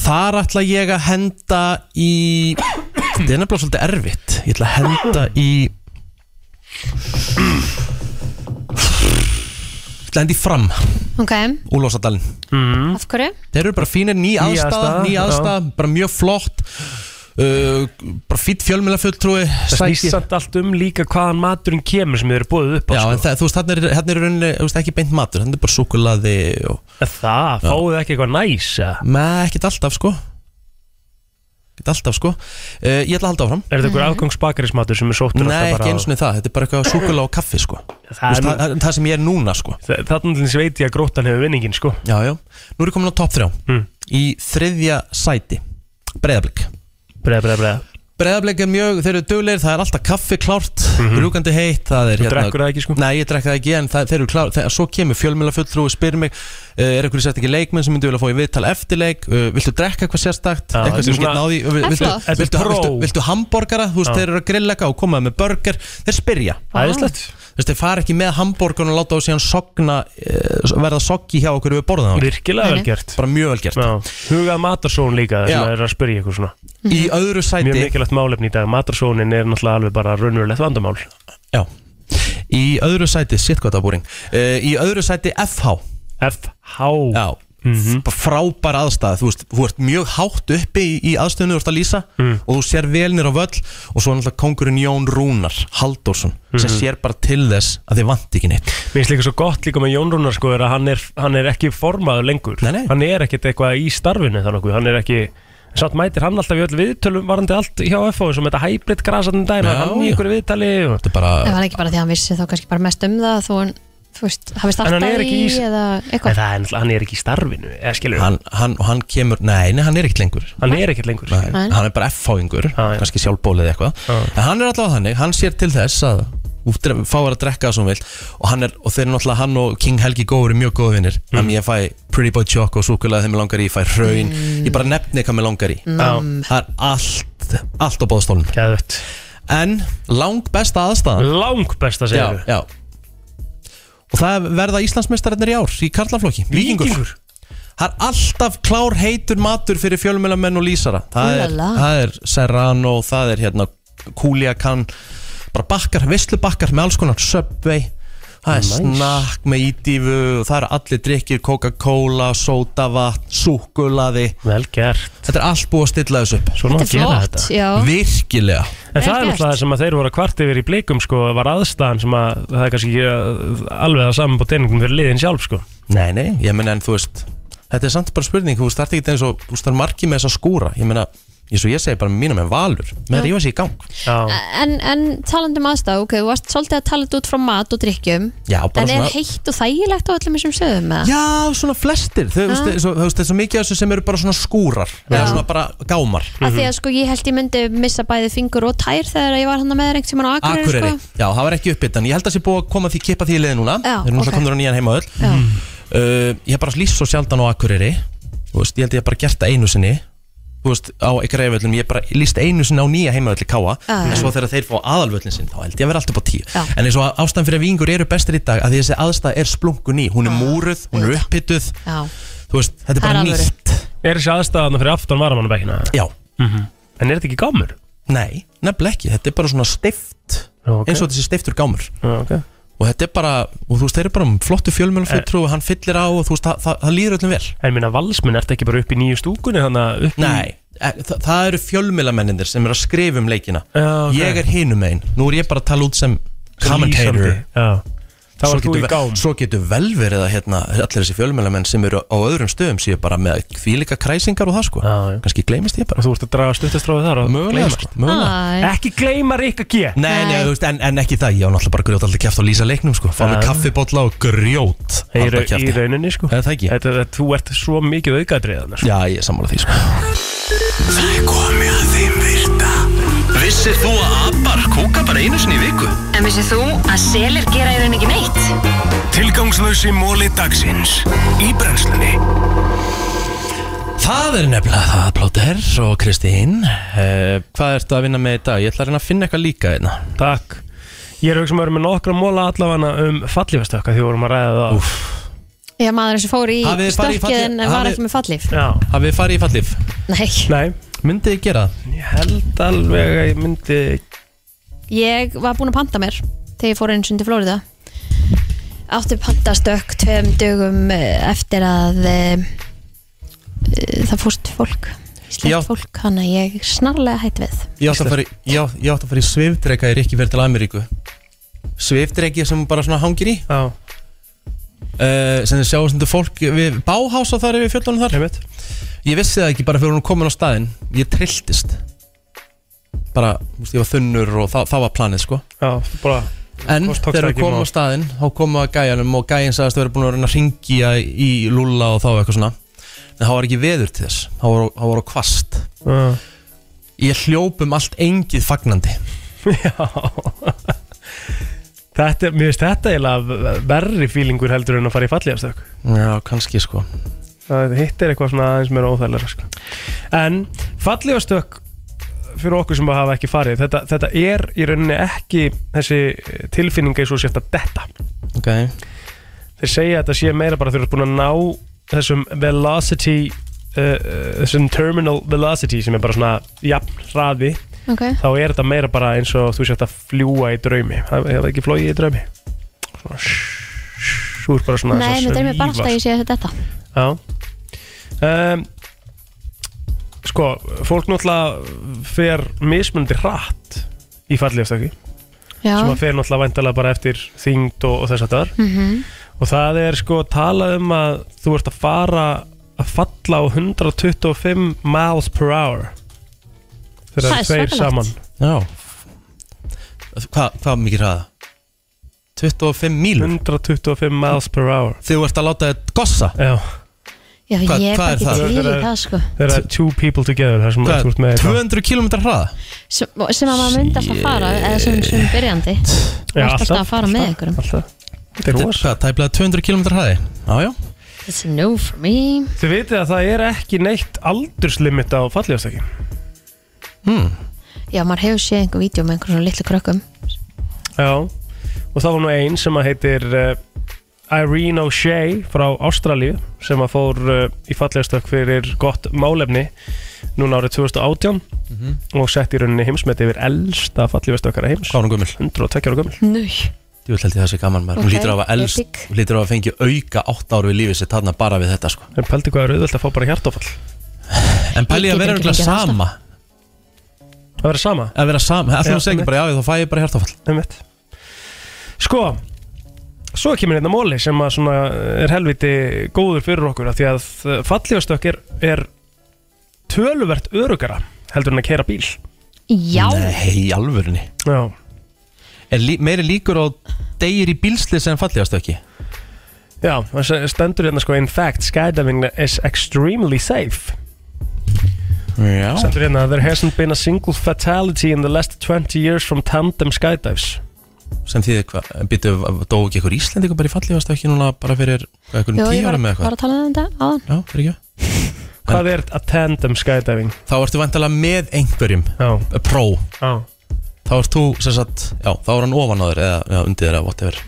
Þar ætla ég að henda í Þetta er nefnilega svolítið erfitt Ég ætla að henda í Ég ætla að henda í fram
Ok,
Hmm?
Úlósadalinn mm.
af hverju?
Þeir eru bara fínir, ný
Ný
aðstæða,
aðstaða,
ný aðstæða, bara mjög flott uh, bara fýtt fjölmjöla fulltrúi
Það snýst samt allt um líka hvaðan maturinn kemur sem þið eru búið upp á
Já,
sko.
en það, þú veist, hann er, hann er rauninni, þú veist, ekki beint matur, hann er bara súkulaði og...
Það, fáið þið ekki eitthvað næs eða?
Nei, ekkert alltaf, sko Ekkert alltaf, sko uh, Ég ætla að halda áfram
Er þetta einhver afgangsbakarismatur sem er sóttur
Nei,
alltaf bara
ekki eins og það, þetta er bara eitthvað súkula og kaffi, sko það,
Það er nú-
það, það, það sem ég er núna, sko
Þa- Þarna til þess veit ég að gróttan hefur vinningin sko
Já, já, nú er ég komin á topp þrjá
Hmm.
Í þriðja sæti Breiðablik
Breða, breða, breða
Breiðablik er mjög, þeir eru dugleir, það er alltaf kaffi klárt, mm heitt það er,
Mhm. Þú drekkur það ekki,
sko? Nei, ég drekka það ekki, en það, þeir eru klárt þegar, Svo kemur fjölmjöla fulltrú og spyrir mig uh, Er einhverju sérstakki leikmenn sem myndi vilja fá í viðtal eftir leik uh, Viltu drekka eitthvað sérstakt,
Já,
eitthvað
þetta
sem get
er svona-
náði
Það er
viltu,
flott. Þetta er
viltu,
pró.
viltu, viltu hambúrgara, þú veist,
Já.
þeir eru að grilla eitthvað og koma með burger Þeir spyrja
Æðislegt.
Þú veist, Þeir fara ekki með hambúrgarna og láta á síðan sogna, uh, verða soggi hjá okkur við borðan
Virkilega vel gert
Bara mjög vel gert
Já. Hugað matarsón líka sem
Já.
það er að spyrja ykkur svona
Í öðru sæti
Mjög mikilvægt málefni í dag Matarsónin er náttúrulega alveg bara raunverulegt vandamál
Já Í öðru sæti, sitt hvað það er búring uh, Í öðru sæti FH
FH
Já mm frábær aðstæða, þú veist, þú ert mjög hátt uppi í, í aðstöðunni þú ert að lýsa og þú sér velnir á völl og svo er náttúrulega kongurinn Jón Rúnar Halldórsson sem
Mhm.
sér bara til þess að þið vant ekki neitt
Mér finnst líka svo gott líka með Jón Rúnar sko er að hann er, hann er ekki formaður lengur nei, nei. Hann er ekkert eitthvað í starfinu þannig Hann er ekki Sátt mætir hann alltaf í öll viðtölum varandi allt hjá FH sem þetta hybrid grasaðin dæma
Já,
hann í
já.
ykkur viðtali og...
Þetta er bara
Ef hann ekki bara því að hann vissi þá kannski bara mest um það þú, en, þú veist, hafi
En hann er
startað í,
ekki í-
eða
En
eitthvað
það er náttúrulega, hann er ekki í starfinu eða skilur
hann, hann, og hann kemur, nei, nei, hann er ekkert lengur
Hann er ekkert lengur
nei,
Nei.
Hann er bara F-fáingur, kannski sjálfbólið eitthvað En hann er allavega þannig, hann sér til þess að þú dre- fáir að drekka það sem þú vilt og, hann er, og þeir eru náttúrulega hann og King Helgi Góður eru mjög góðu vinnir mm. ég fæ Pretty Boy Choco og súkulega þegar mér langar í ég fæ hraun, ég bara nefni hvað mér langar í
Mm.
það er allt allt á bóðstólun
Gæðvögt
en lang besta aðstæðan
lang besta
segir já, já. og það verða Íslandsmeistararnir í ár í Karlaflokki, Víkingur,
Víkingur.
Það er alltaf klár heitur matur fyrir fjölmjölamenn og lýsara það er,
Úlala.
það er Serrano, það er hérna Kúliakan, bara bakkar, vislubakkar með alls konar Subway, það er
Nice.
snakk með ídífu og það eru allir drikkir, Coca-Cola, sódavatn, súkulaði
Vel gert
Þetta er allt búið að stilla þessu upp
Svona Þetta er gera flott, þetta. já.
Virkilega
En það er náttúrulega það sem að þeir voru að kvart yfir í blikum sko, var aðstæðan sem að það er kannski ekki uh, alveg að saman på teiningum fyrir liðin sjálf sko.
Nei, nei, ég menn en þú veist Þetta er samt bara spurning, þú starti ekki eins og þú starf margi með þess að skúra, ég meina eins og ég segi bara mínum en valur, með að
Já.
rífa sér í gang
Já,
En, en talandi um aðstæð, ok, þú varst svolítið að tala þetta út frá mat og drikkjum
bara
En er
svona
heitt og þægilegt á öllum þessum stöðum? eða?
Já, svona flestir, þau veist,
Já.
þau- þú veist, þessu mikið af þessu sem eru bara svona skúrar eða svona bara gámar
Af því að sko ég held ég myndi missa bæði fingur og tær þegar ég var hann með þér einhvern tímann á Akureyri,
Akureyri,
sko.
já það var ekki uppbyttan Ég held að sé búið að koma því, kippa því í liði núna
Já,
Þeir eru
ok.
náttúrulega komnir á nýjan heima öll uh, Ég hef bara líst svo sjaldan á Akureyri Þú veist, Ég held ég hef bara gert það einu sinni Þú veist, á einhverja eföllum Ég hef bara líst einu sinni á nýja heima öll í Káa
Já,
En
já.
svo þegar þeir fá aðalvöllin sinn Þá held ég að vera alltaf upp á tíu En eins og að ástæðan fyrir að vingur eru bestir í dag Að því þessi aðstæð er splunkun í Hún er múruð, hún er uppbyttuð
Já.
Þú veist, þetta er
Það er
bara
alvöru.
nýtt
Er þessi aðstæðan fyrir aftan varamannabækina?
Já Mhm.
En er þetta ekki gámur?
Nei, nefnileg ekki, þetta er bara svona stift
ok.
eins og þetta sé stiftur gámur
Já, ok
og þetta er bara, og þú veist, þeir eru bara um flottu
Eh.
fjölmjölfuttru og hann fyllir á og þú veist, það, það, það líður öllum vel
En minna valsminn, ertu ekki bara upp í nýju stúkunni þannig að upp í...
Nei, e, það, það eru fjölmjölamennindir sem eru að skrifa um leikina
Já, ok.
Ég er hinum einn, nú er ég bara að tala út sem
Lýsandi,
commentator
já. Þá
Svo
ert þú
getur
í
ve-
gám.
Svo getur vel verið að hérna, allir þessi fjölmjölamenn sem eru á öðrum stöðum séu bara með fílika kræsingar og það sko já, Kannski gleymist ég bara
Þú ert að draga stuttastráði þar og
Mögulega,
gleymast.
sko, mögulega
Ekki gleyma Rikka G
Nei, nei, þú veist, en, en ekki það, ég á náttúrulega bara grjót alltaf kæft á lýsa leiknum sko Fá með
Já.
kaffibólla og grjót
Í,
Alltaf
ra- í
kjafti.
rauninni sko
Það ekki
þetta, þetta, Þú ert svo mikið aukaðriðan sko.
Já, ég er sammála því sko
Það er komið að þeim virta Vissir þú að abar kúka bara einu sinni í viku?
En vissið þú að selir gera í rauninni ekki neitt?
Tilgangslösi móli dagsins Í brennslunni
Það er nefnilega það, Plóter og Kristín uh, Hvað ertu að vinna með í dag? Ég ætla að reyna að finna eitthvað líka hérna. einna
Takk Ég er auðvitað sem verið með nokkra móla allavega um fallífastökka því við vorum að ræða það Úf.
Já, maður sem fór í
Hafið þið farið í
stökkið
fallhlíf?
en var
Hafið-
ekki með fallif
Já
Hafið þið farið í fallif?
Nei,
Nei
Myndið þið gera það?
Ég held alveg að ég myndi
ég var búin að panta mér þegar ég fór eins og til Flórida Átti pantastökk tveim dögum eh, eftir að e, það fórst fólk
Já.
Íslensk fólk, hann að ég snarlega hætti við
Ég átti að fara í, ég átti, ég átti að fara í svifdreka í Rikki fyrir til Ameríku Svifdreki sem hún bara svona hangir í Eh,
Já
sem þið sjáum sem fólk við báhása þar yfir fjöllunum þar
Einmitt.
Ég vissi það ekki bara fyrir hún komin á staðinn Ég trilltist Bara, þú veist, ég var þunnur og það, það var planið sko
Já, bara
En
Tókst- tókst
þegar við
ekki
komum
mál.
á staðinn þá komum við að gæjanum og gæjan sagðist að vera búin að reyna að ringja í Lúlla og þá eitthvað svona en það var ekki veður til þess það var, það var á kvast
uh.
Ég hljóp um allt engið fagnandi
Þetta, mér finnst þetta eiginlega verri fílingur heldur en að fara í fallífastök
Já, kannski sko
Það- Hitt er eitthvað svona aðeins meira óþægilega sko. En fallífastök fyrir okkur sem hafa ekki farið þetta, þetta er í rauninni ekki þessi tilfinninga eins og sért að detta
Ok
Þeir segja að þetta sé meira bara þegar þú ert búin að ná þessum velocity uh, uh, þessum terminal velocity sem er bara svona jafn hraði
Ok.
þá er þetta meira bara eins og þú sért að fljúa í draumi það er ekki flóið í draumi svona shhh, þú ert bara svona
Nei,
svona
mér dreymir bara alltaf að ég
svífast.
sé þetta
Já um, Sko, fólk náttúrulega fer mismunandi hratt í fallíðastöki
Já.
sem að fer náttúrulega væntalega bara eftir þyngd og, og þess að þar
Mhm.
og það er sko talað um að þú ert að fara að falla á 125 miles per hour þegar það er tveir saman
Já Hvað hva mikið hraða? 25 mílur?
125 miles per hour
Þegar þú ert að láta þetta gossa?
Já
Já,
Hvað-
ég
hvað
er bara
er
ekki
það?
til í
Þegar-
það sko
There are two people together þar sem
Hvað,
þú ert með þetta.
200 km hraða?
sem, sem að maður myndast að fara eða sem, sem byrjandi Þú ert alltaf að fara með ykkur
alltaf.
Þetta er hvað, tæplega 200 km hraði? Já, já
It's a no for me
Þið vitið að það er ekki neitt aldurslimit á fallíðastöki
hmm.
Já, maður hefur séð einhver vídeo með einhverjum svona litlu krökkum
Já, og það var nú ein sem að heitir uh, Irene O'Shea frá Ástralíu sem að fór uh, í fallegastökk fyrir gott málefni núna árið 2018 og sett í rauninni heimsmeti yfir elsta fallegastökkara heims
Hvað var hún gömul?
102 ára gömul
Nú
Ég held ég það sé gaman maður Hún
Ok,
lítur á að hafa elst
epic.
Hún lítur á að fengi auka 8 ár við lífið sér Þarna bara við þetta sko
En pældi hvað er auðvöld að fá bara hjartofall
En pæli að
Ég get
vera
ekki
örugglega
fengið að
sama
Að vera sama
Að vera sama Það
Já,
fyrir að segja bara já þá fæ ég bara hjartafall
Einmitt. Sko Svo kemur hérna móli sem að svona er helviti góður fyrir okkur af Því að fallífastökk er, er töluvert örugara heldur en að keira bíl
Já,
Nei, í alvörunni
Já
Er lí, meiri líkur á degir í bílsli sem fallegast ekki?
Já, það s- stendur hérna sko In fact, skydiving is extremely safe
Já
Stendur hérna There hasn't been a single fatality in the last 20 years from tandem skydives
Sem því hvað, býtu, dó ekki ykkur Íslendingur bara í fallegast ekki núna bara fyrir hvað, einhverjum
Jú, ég
tíu
var,
ára með
var
eitthvað
að tala um þetta áðan
Já, fyrir ekki
Hvað er að tandem skydiving?
Þá ertu vantilega með einhverjum
Já.
Pro
Já.
Þá ert þú sem sagt, já, þá er hann ofan á þér eða, eða undir þér eða whatever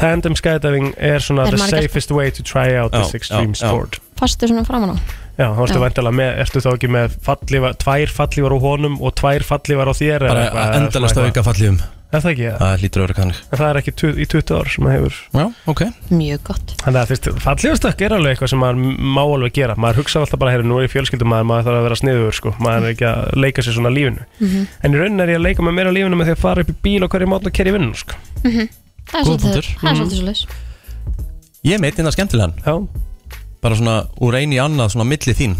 Tandem skydiving er svona
Er
the
margar-
safest way to try out
Já,
this extreme
já, já.
sport
Fastu svona framan á
Já, þá ertu
Já.
væntanlega með, ertu þá ekki með fallífa, tvær fallífar á honum og tvær fallífar á þér eða
Bara
eitthvað, eða
endalast
svona
að auka fallífum
Er það ekki, ja?
Það lítur að vera kannig
En það er ekki tu, í 20 ár sem maður hefur
Já, ok
Mjög gott
Þannig að þú veist, fallífastökk er alveg eitthvað sem maður má alveg gera Maður hugsa alltaf bara, heyrðu, nú er ég fjölskyldum maður, maður þarf að vera sniður, sko Maður er ekki að leika sér svona lífinu
Mhm.
En í raunin er ég að leika með mér á lífinu með því að fara upp í bíl og hverju mátn og kerja vinnu, sko
Mhm. Það
Góð
er svolítið
punktur.
Það er
Mhm.
svolítið svolítið
Ég meit hérna skemmtilegan
Já.
Bara svona úr einu í annað, svona milli þín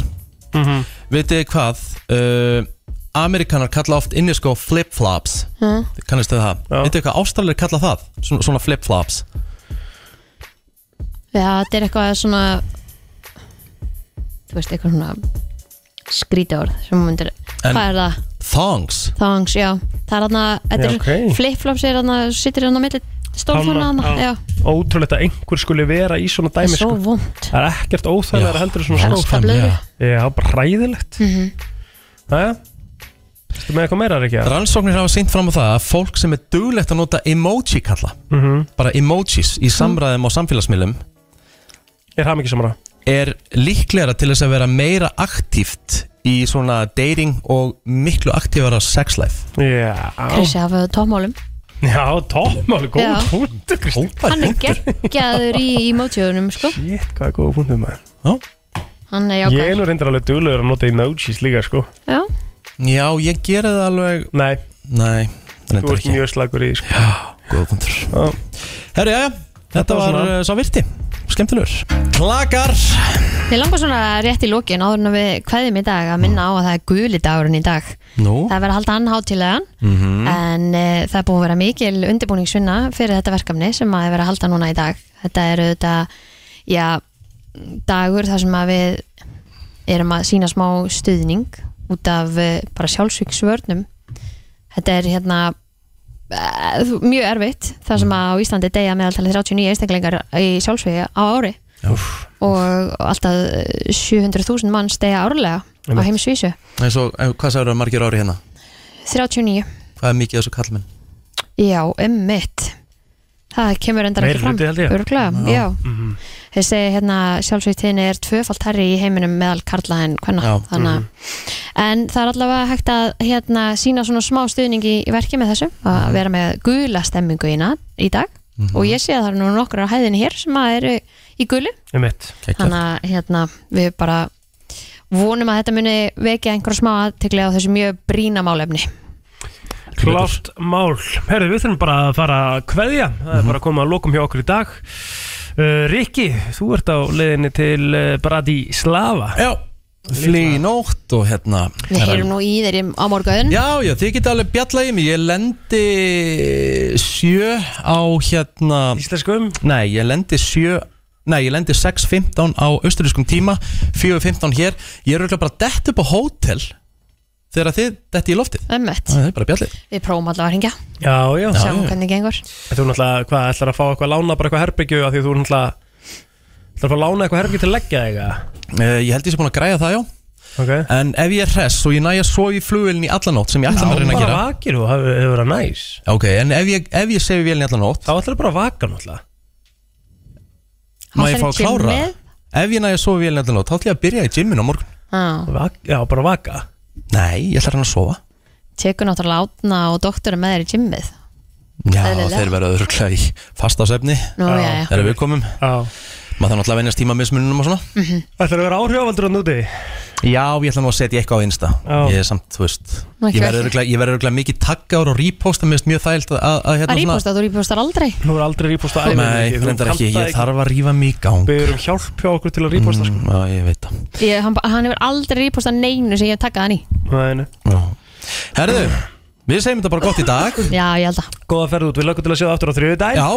mm
Mhm.
-hmm.
Vitið þið hvað uh, Amerikanar kalla oft inniskó flip-flops
Mm.
Kannist þau það? Vitið þið hvað ástralir kalla það? Svona, svona flip-flops
Já, þetta er eitthvað svona Þú veist, eitthvað svona skrítið orð sem hún myndir
En-
Hvað er það?
Thongs
Thongs, já Það er þarna, þetta
Já,
er
ok.
flip-flops er þarna, sittir þarna á milli stólfónu þarna, já
Ótrúlegt að einhver skuli vera í svona
Það er
dæmi
svo
sko.
vond
Það er ekkert óþægilega
Já,
heldur en svona
helst
skó
það blöðru.
Já, bara ræðilegt
mm
Jæja Ertu með eitthvað meira, Ríkja?
Rannsóknir hafa sýnt fram á það að fólk sem er duglegt að nota emoji kalla
Mhm.
Bara emojis í samræðum á samfélagsmiðlum
Er hafmyggi samara?
Er líklegra til þess að vera meira aktíft í svona dating og miklu aktífara sex life
Já
Krissi uh, hafa tómálum
Já, toppmáli, góð
Já.
punktu, Kristi
Hann er geggjaður í emojiunum, sko
Shit, hvað er góð punktu maður
Hann er
Ég
jákvæður
er nú reyndar alveg duglegur að nota emojis líka, sko
Já,
Já, ég gera það alveg
Nei,
Nei,
þú
reyndar
ert
ekki
mjög slagur í, því, sko
Góða punktur
Já.
Herru, já, þetta var
svona.
uh, sá virti Skemmtilegur Klakar
Mér langar svona rétt í lokin áður en við kveðum í dag að minna á að það er guli dagurinn í dag
Nú
Það er verið að halda hann hátilegan
Mhm.
en e, það er búið að vera mikil undirbúningsvinna fyrir þetta verkefni sem að er verið að halda núna í dag Þetta er auðvitað já, dagur þar sem að við erum að sína smá stuðning út af eh, bara sjálfsvíksvörnum Þetta er hérna eh, þú- mjög erfitt þar sem að á Íslandi deyja meðaltalið 39 einstaklingar í sjálfsvíði á ári og alltaf eh, 700.000 mann stegja árlega á
Einmitt.
heimsvísu
Eins og, eh, hvað sagður það margir ári hérna?
39,
Hvað er mikið af þessu kallmenn?
já, emmitt það kemur endar
Meiri
ekki fram
hluti, held ég.
örglega,
Já. Mhm.
já, þeir segja hérna sjálfsvíktinni er tvöfalt herri í heiminum meðal karla en hvenna
Já. mhm.
þannig að En það er allavega hægt að hérna, sína svona smá stuðning í í verki með þessu
Mhm.
að vera með gula stemmingu í, na- í dag og ég sé að það eru nú nokkur á hæðinni hér sem að eru í gulu
Um mitt
þannig að hérna, við bara vonum að þetta muni vekja einhverja smá aðtegli á þessu mjög brína málefni
Klárt mál Herðu, við þurfum bara að fara að kveðja Það
Mhm.
er bara að koma að lokum hjá okkur í dag uh, Rikki, þú ert á leiðinni til uh, Bratislava
Já Flý í nótt og hérna
Við heyrum nú í þeir á morgun
Já, já, þið geta alveg bjallað í mig Ég lendi sjö á hérna
Íslenskum?
Nei, ég lendi sjö Nei, ég lendi 6.15 á austurískum tíma 4.15 hér Ég er auðvitað bara dett upp á hótel Þegar þið detti í loftið
Ömmett,
Það er bara bjallið
við prófum allavega að hringja
Já, já
Sjáum hvernig gengur
Þú náttúrulega, hvað, ætlar að fá eitthvað að lána bara eitthvað herbyggju af því að þú náttúrulega ætlar að fá að lána eitthvað herbyggju til að leggja þig eða?
Eh, Ég held ég sé búin að græja það, já
okay.
En ef ég er hress og ég næja svo í flugvélni í allanótt sem ég ætla að reyna að
bara
gera
vakir og það hefur verið næs
Já, Ok, en ef ég, ef ég sefi vélni allanótt
Þá ætlar bara að vaka náttúrulega
Má
Hann
ég
fer
fá
í
að klára?
gymmið?
Ef ég næja svo vélni allanótt, þá ætla ég að byrja í gymmin á morgun
ah,
Vak, Já, bara vaka
Nei, ég ætla að reyna að sofa
Tekur náttúrulega átna og doktorum með þeir í gymmið
Já,
Eðlilega.
þeir verða öðruglega í fastasefni
Nú, Já. já, já.
Þegar við komum Já Maður þarf náttúrulega að venjast tíma mismunum og svona
Mhm.
Ætlar að vera áhrifavaldur á núti? Já, ég ætla nú að setja eitthvað á Insta Ég er samt, þú veist
Nú, ekki
Ég verður
ekki.
örugglega- ég verður örugglega mikið taggáður og reposta Mér finnst mjög þægilt að, að, að
Að rýposta, þú rýpostar aldrei
Nú er aldrei rýposta
Nei, reyndar ekki, ég þarf að rífa mig í gang
Við erum um hjálp hjá okkur til að rýposta sko.
Já, ég veit það
ég, hann, hann hefur aldrei rýposta neinu sem ég hef takkað hann í
Nei, nei.
Herðu, við segjum þetta bara gott í dag
Já, ég held að
Góða ferð út, við lögum til að sjá það aftur á þriðu dag
Já,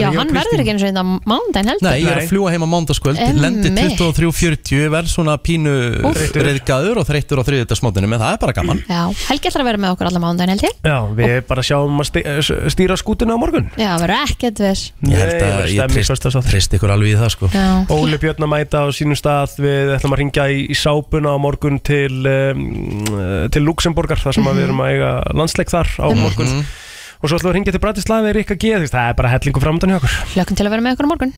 Já, hann verður ekki eins og þetta mándaginn heldur
Nei, ég er að fljúa heim á mándagskvöld
Emmi.
Lendi 23.40, verð svona pínu
Úff. Þreyttur.
reyðgaður og þreyttur á þriðutasmótinu En það er bara gaman
Já, Helgi ætlar að vera með okkur alla mándaginn held ég
Já, við bara sjáum að sti- eh, stýra skútuna á morgun
Já, það verður ekkert viss
Ég held að ég trist, trist ykkur alveg í það sko
Já.
Óli Björn að mæta á sínum stað Við ætlum að ringja í, í sápuna á morgun til, um, eh, til Luxemburgar Þar sem að við erum að eiga landsleik þar á morgun Og svo ætlum við að ringja til Bratislava eða Rikka G þú veist, Það er bara hellingu framöndan hjá okkur
Hlökkum til að vera með okkur á morgun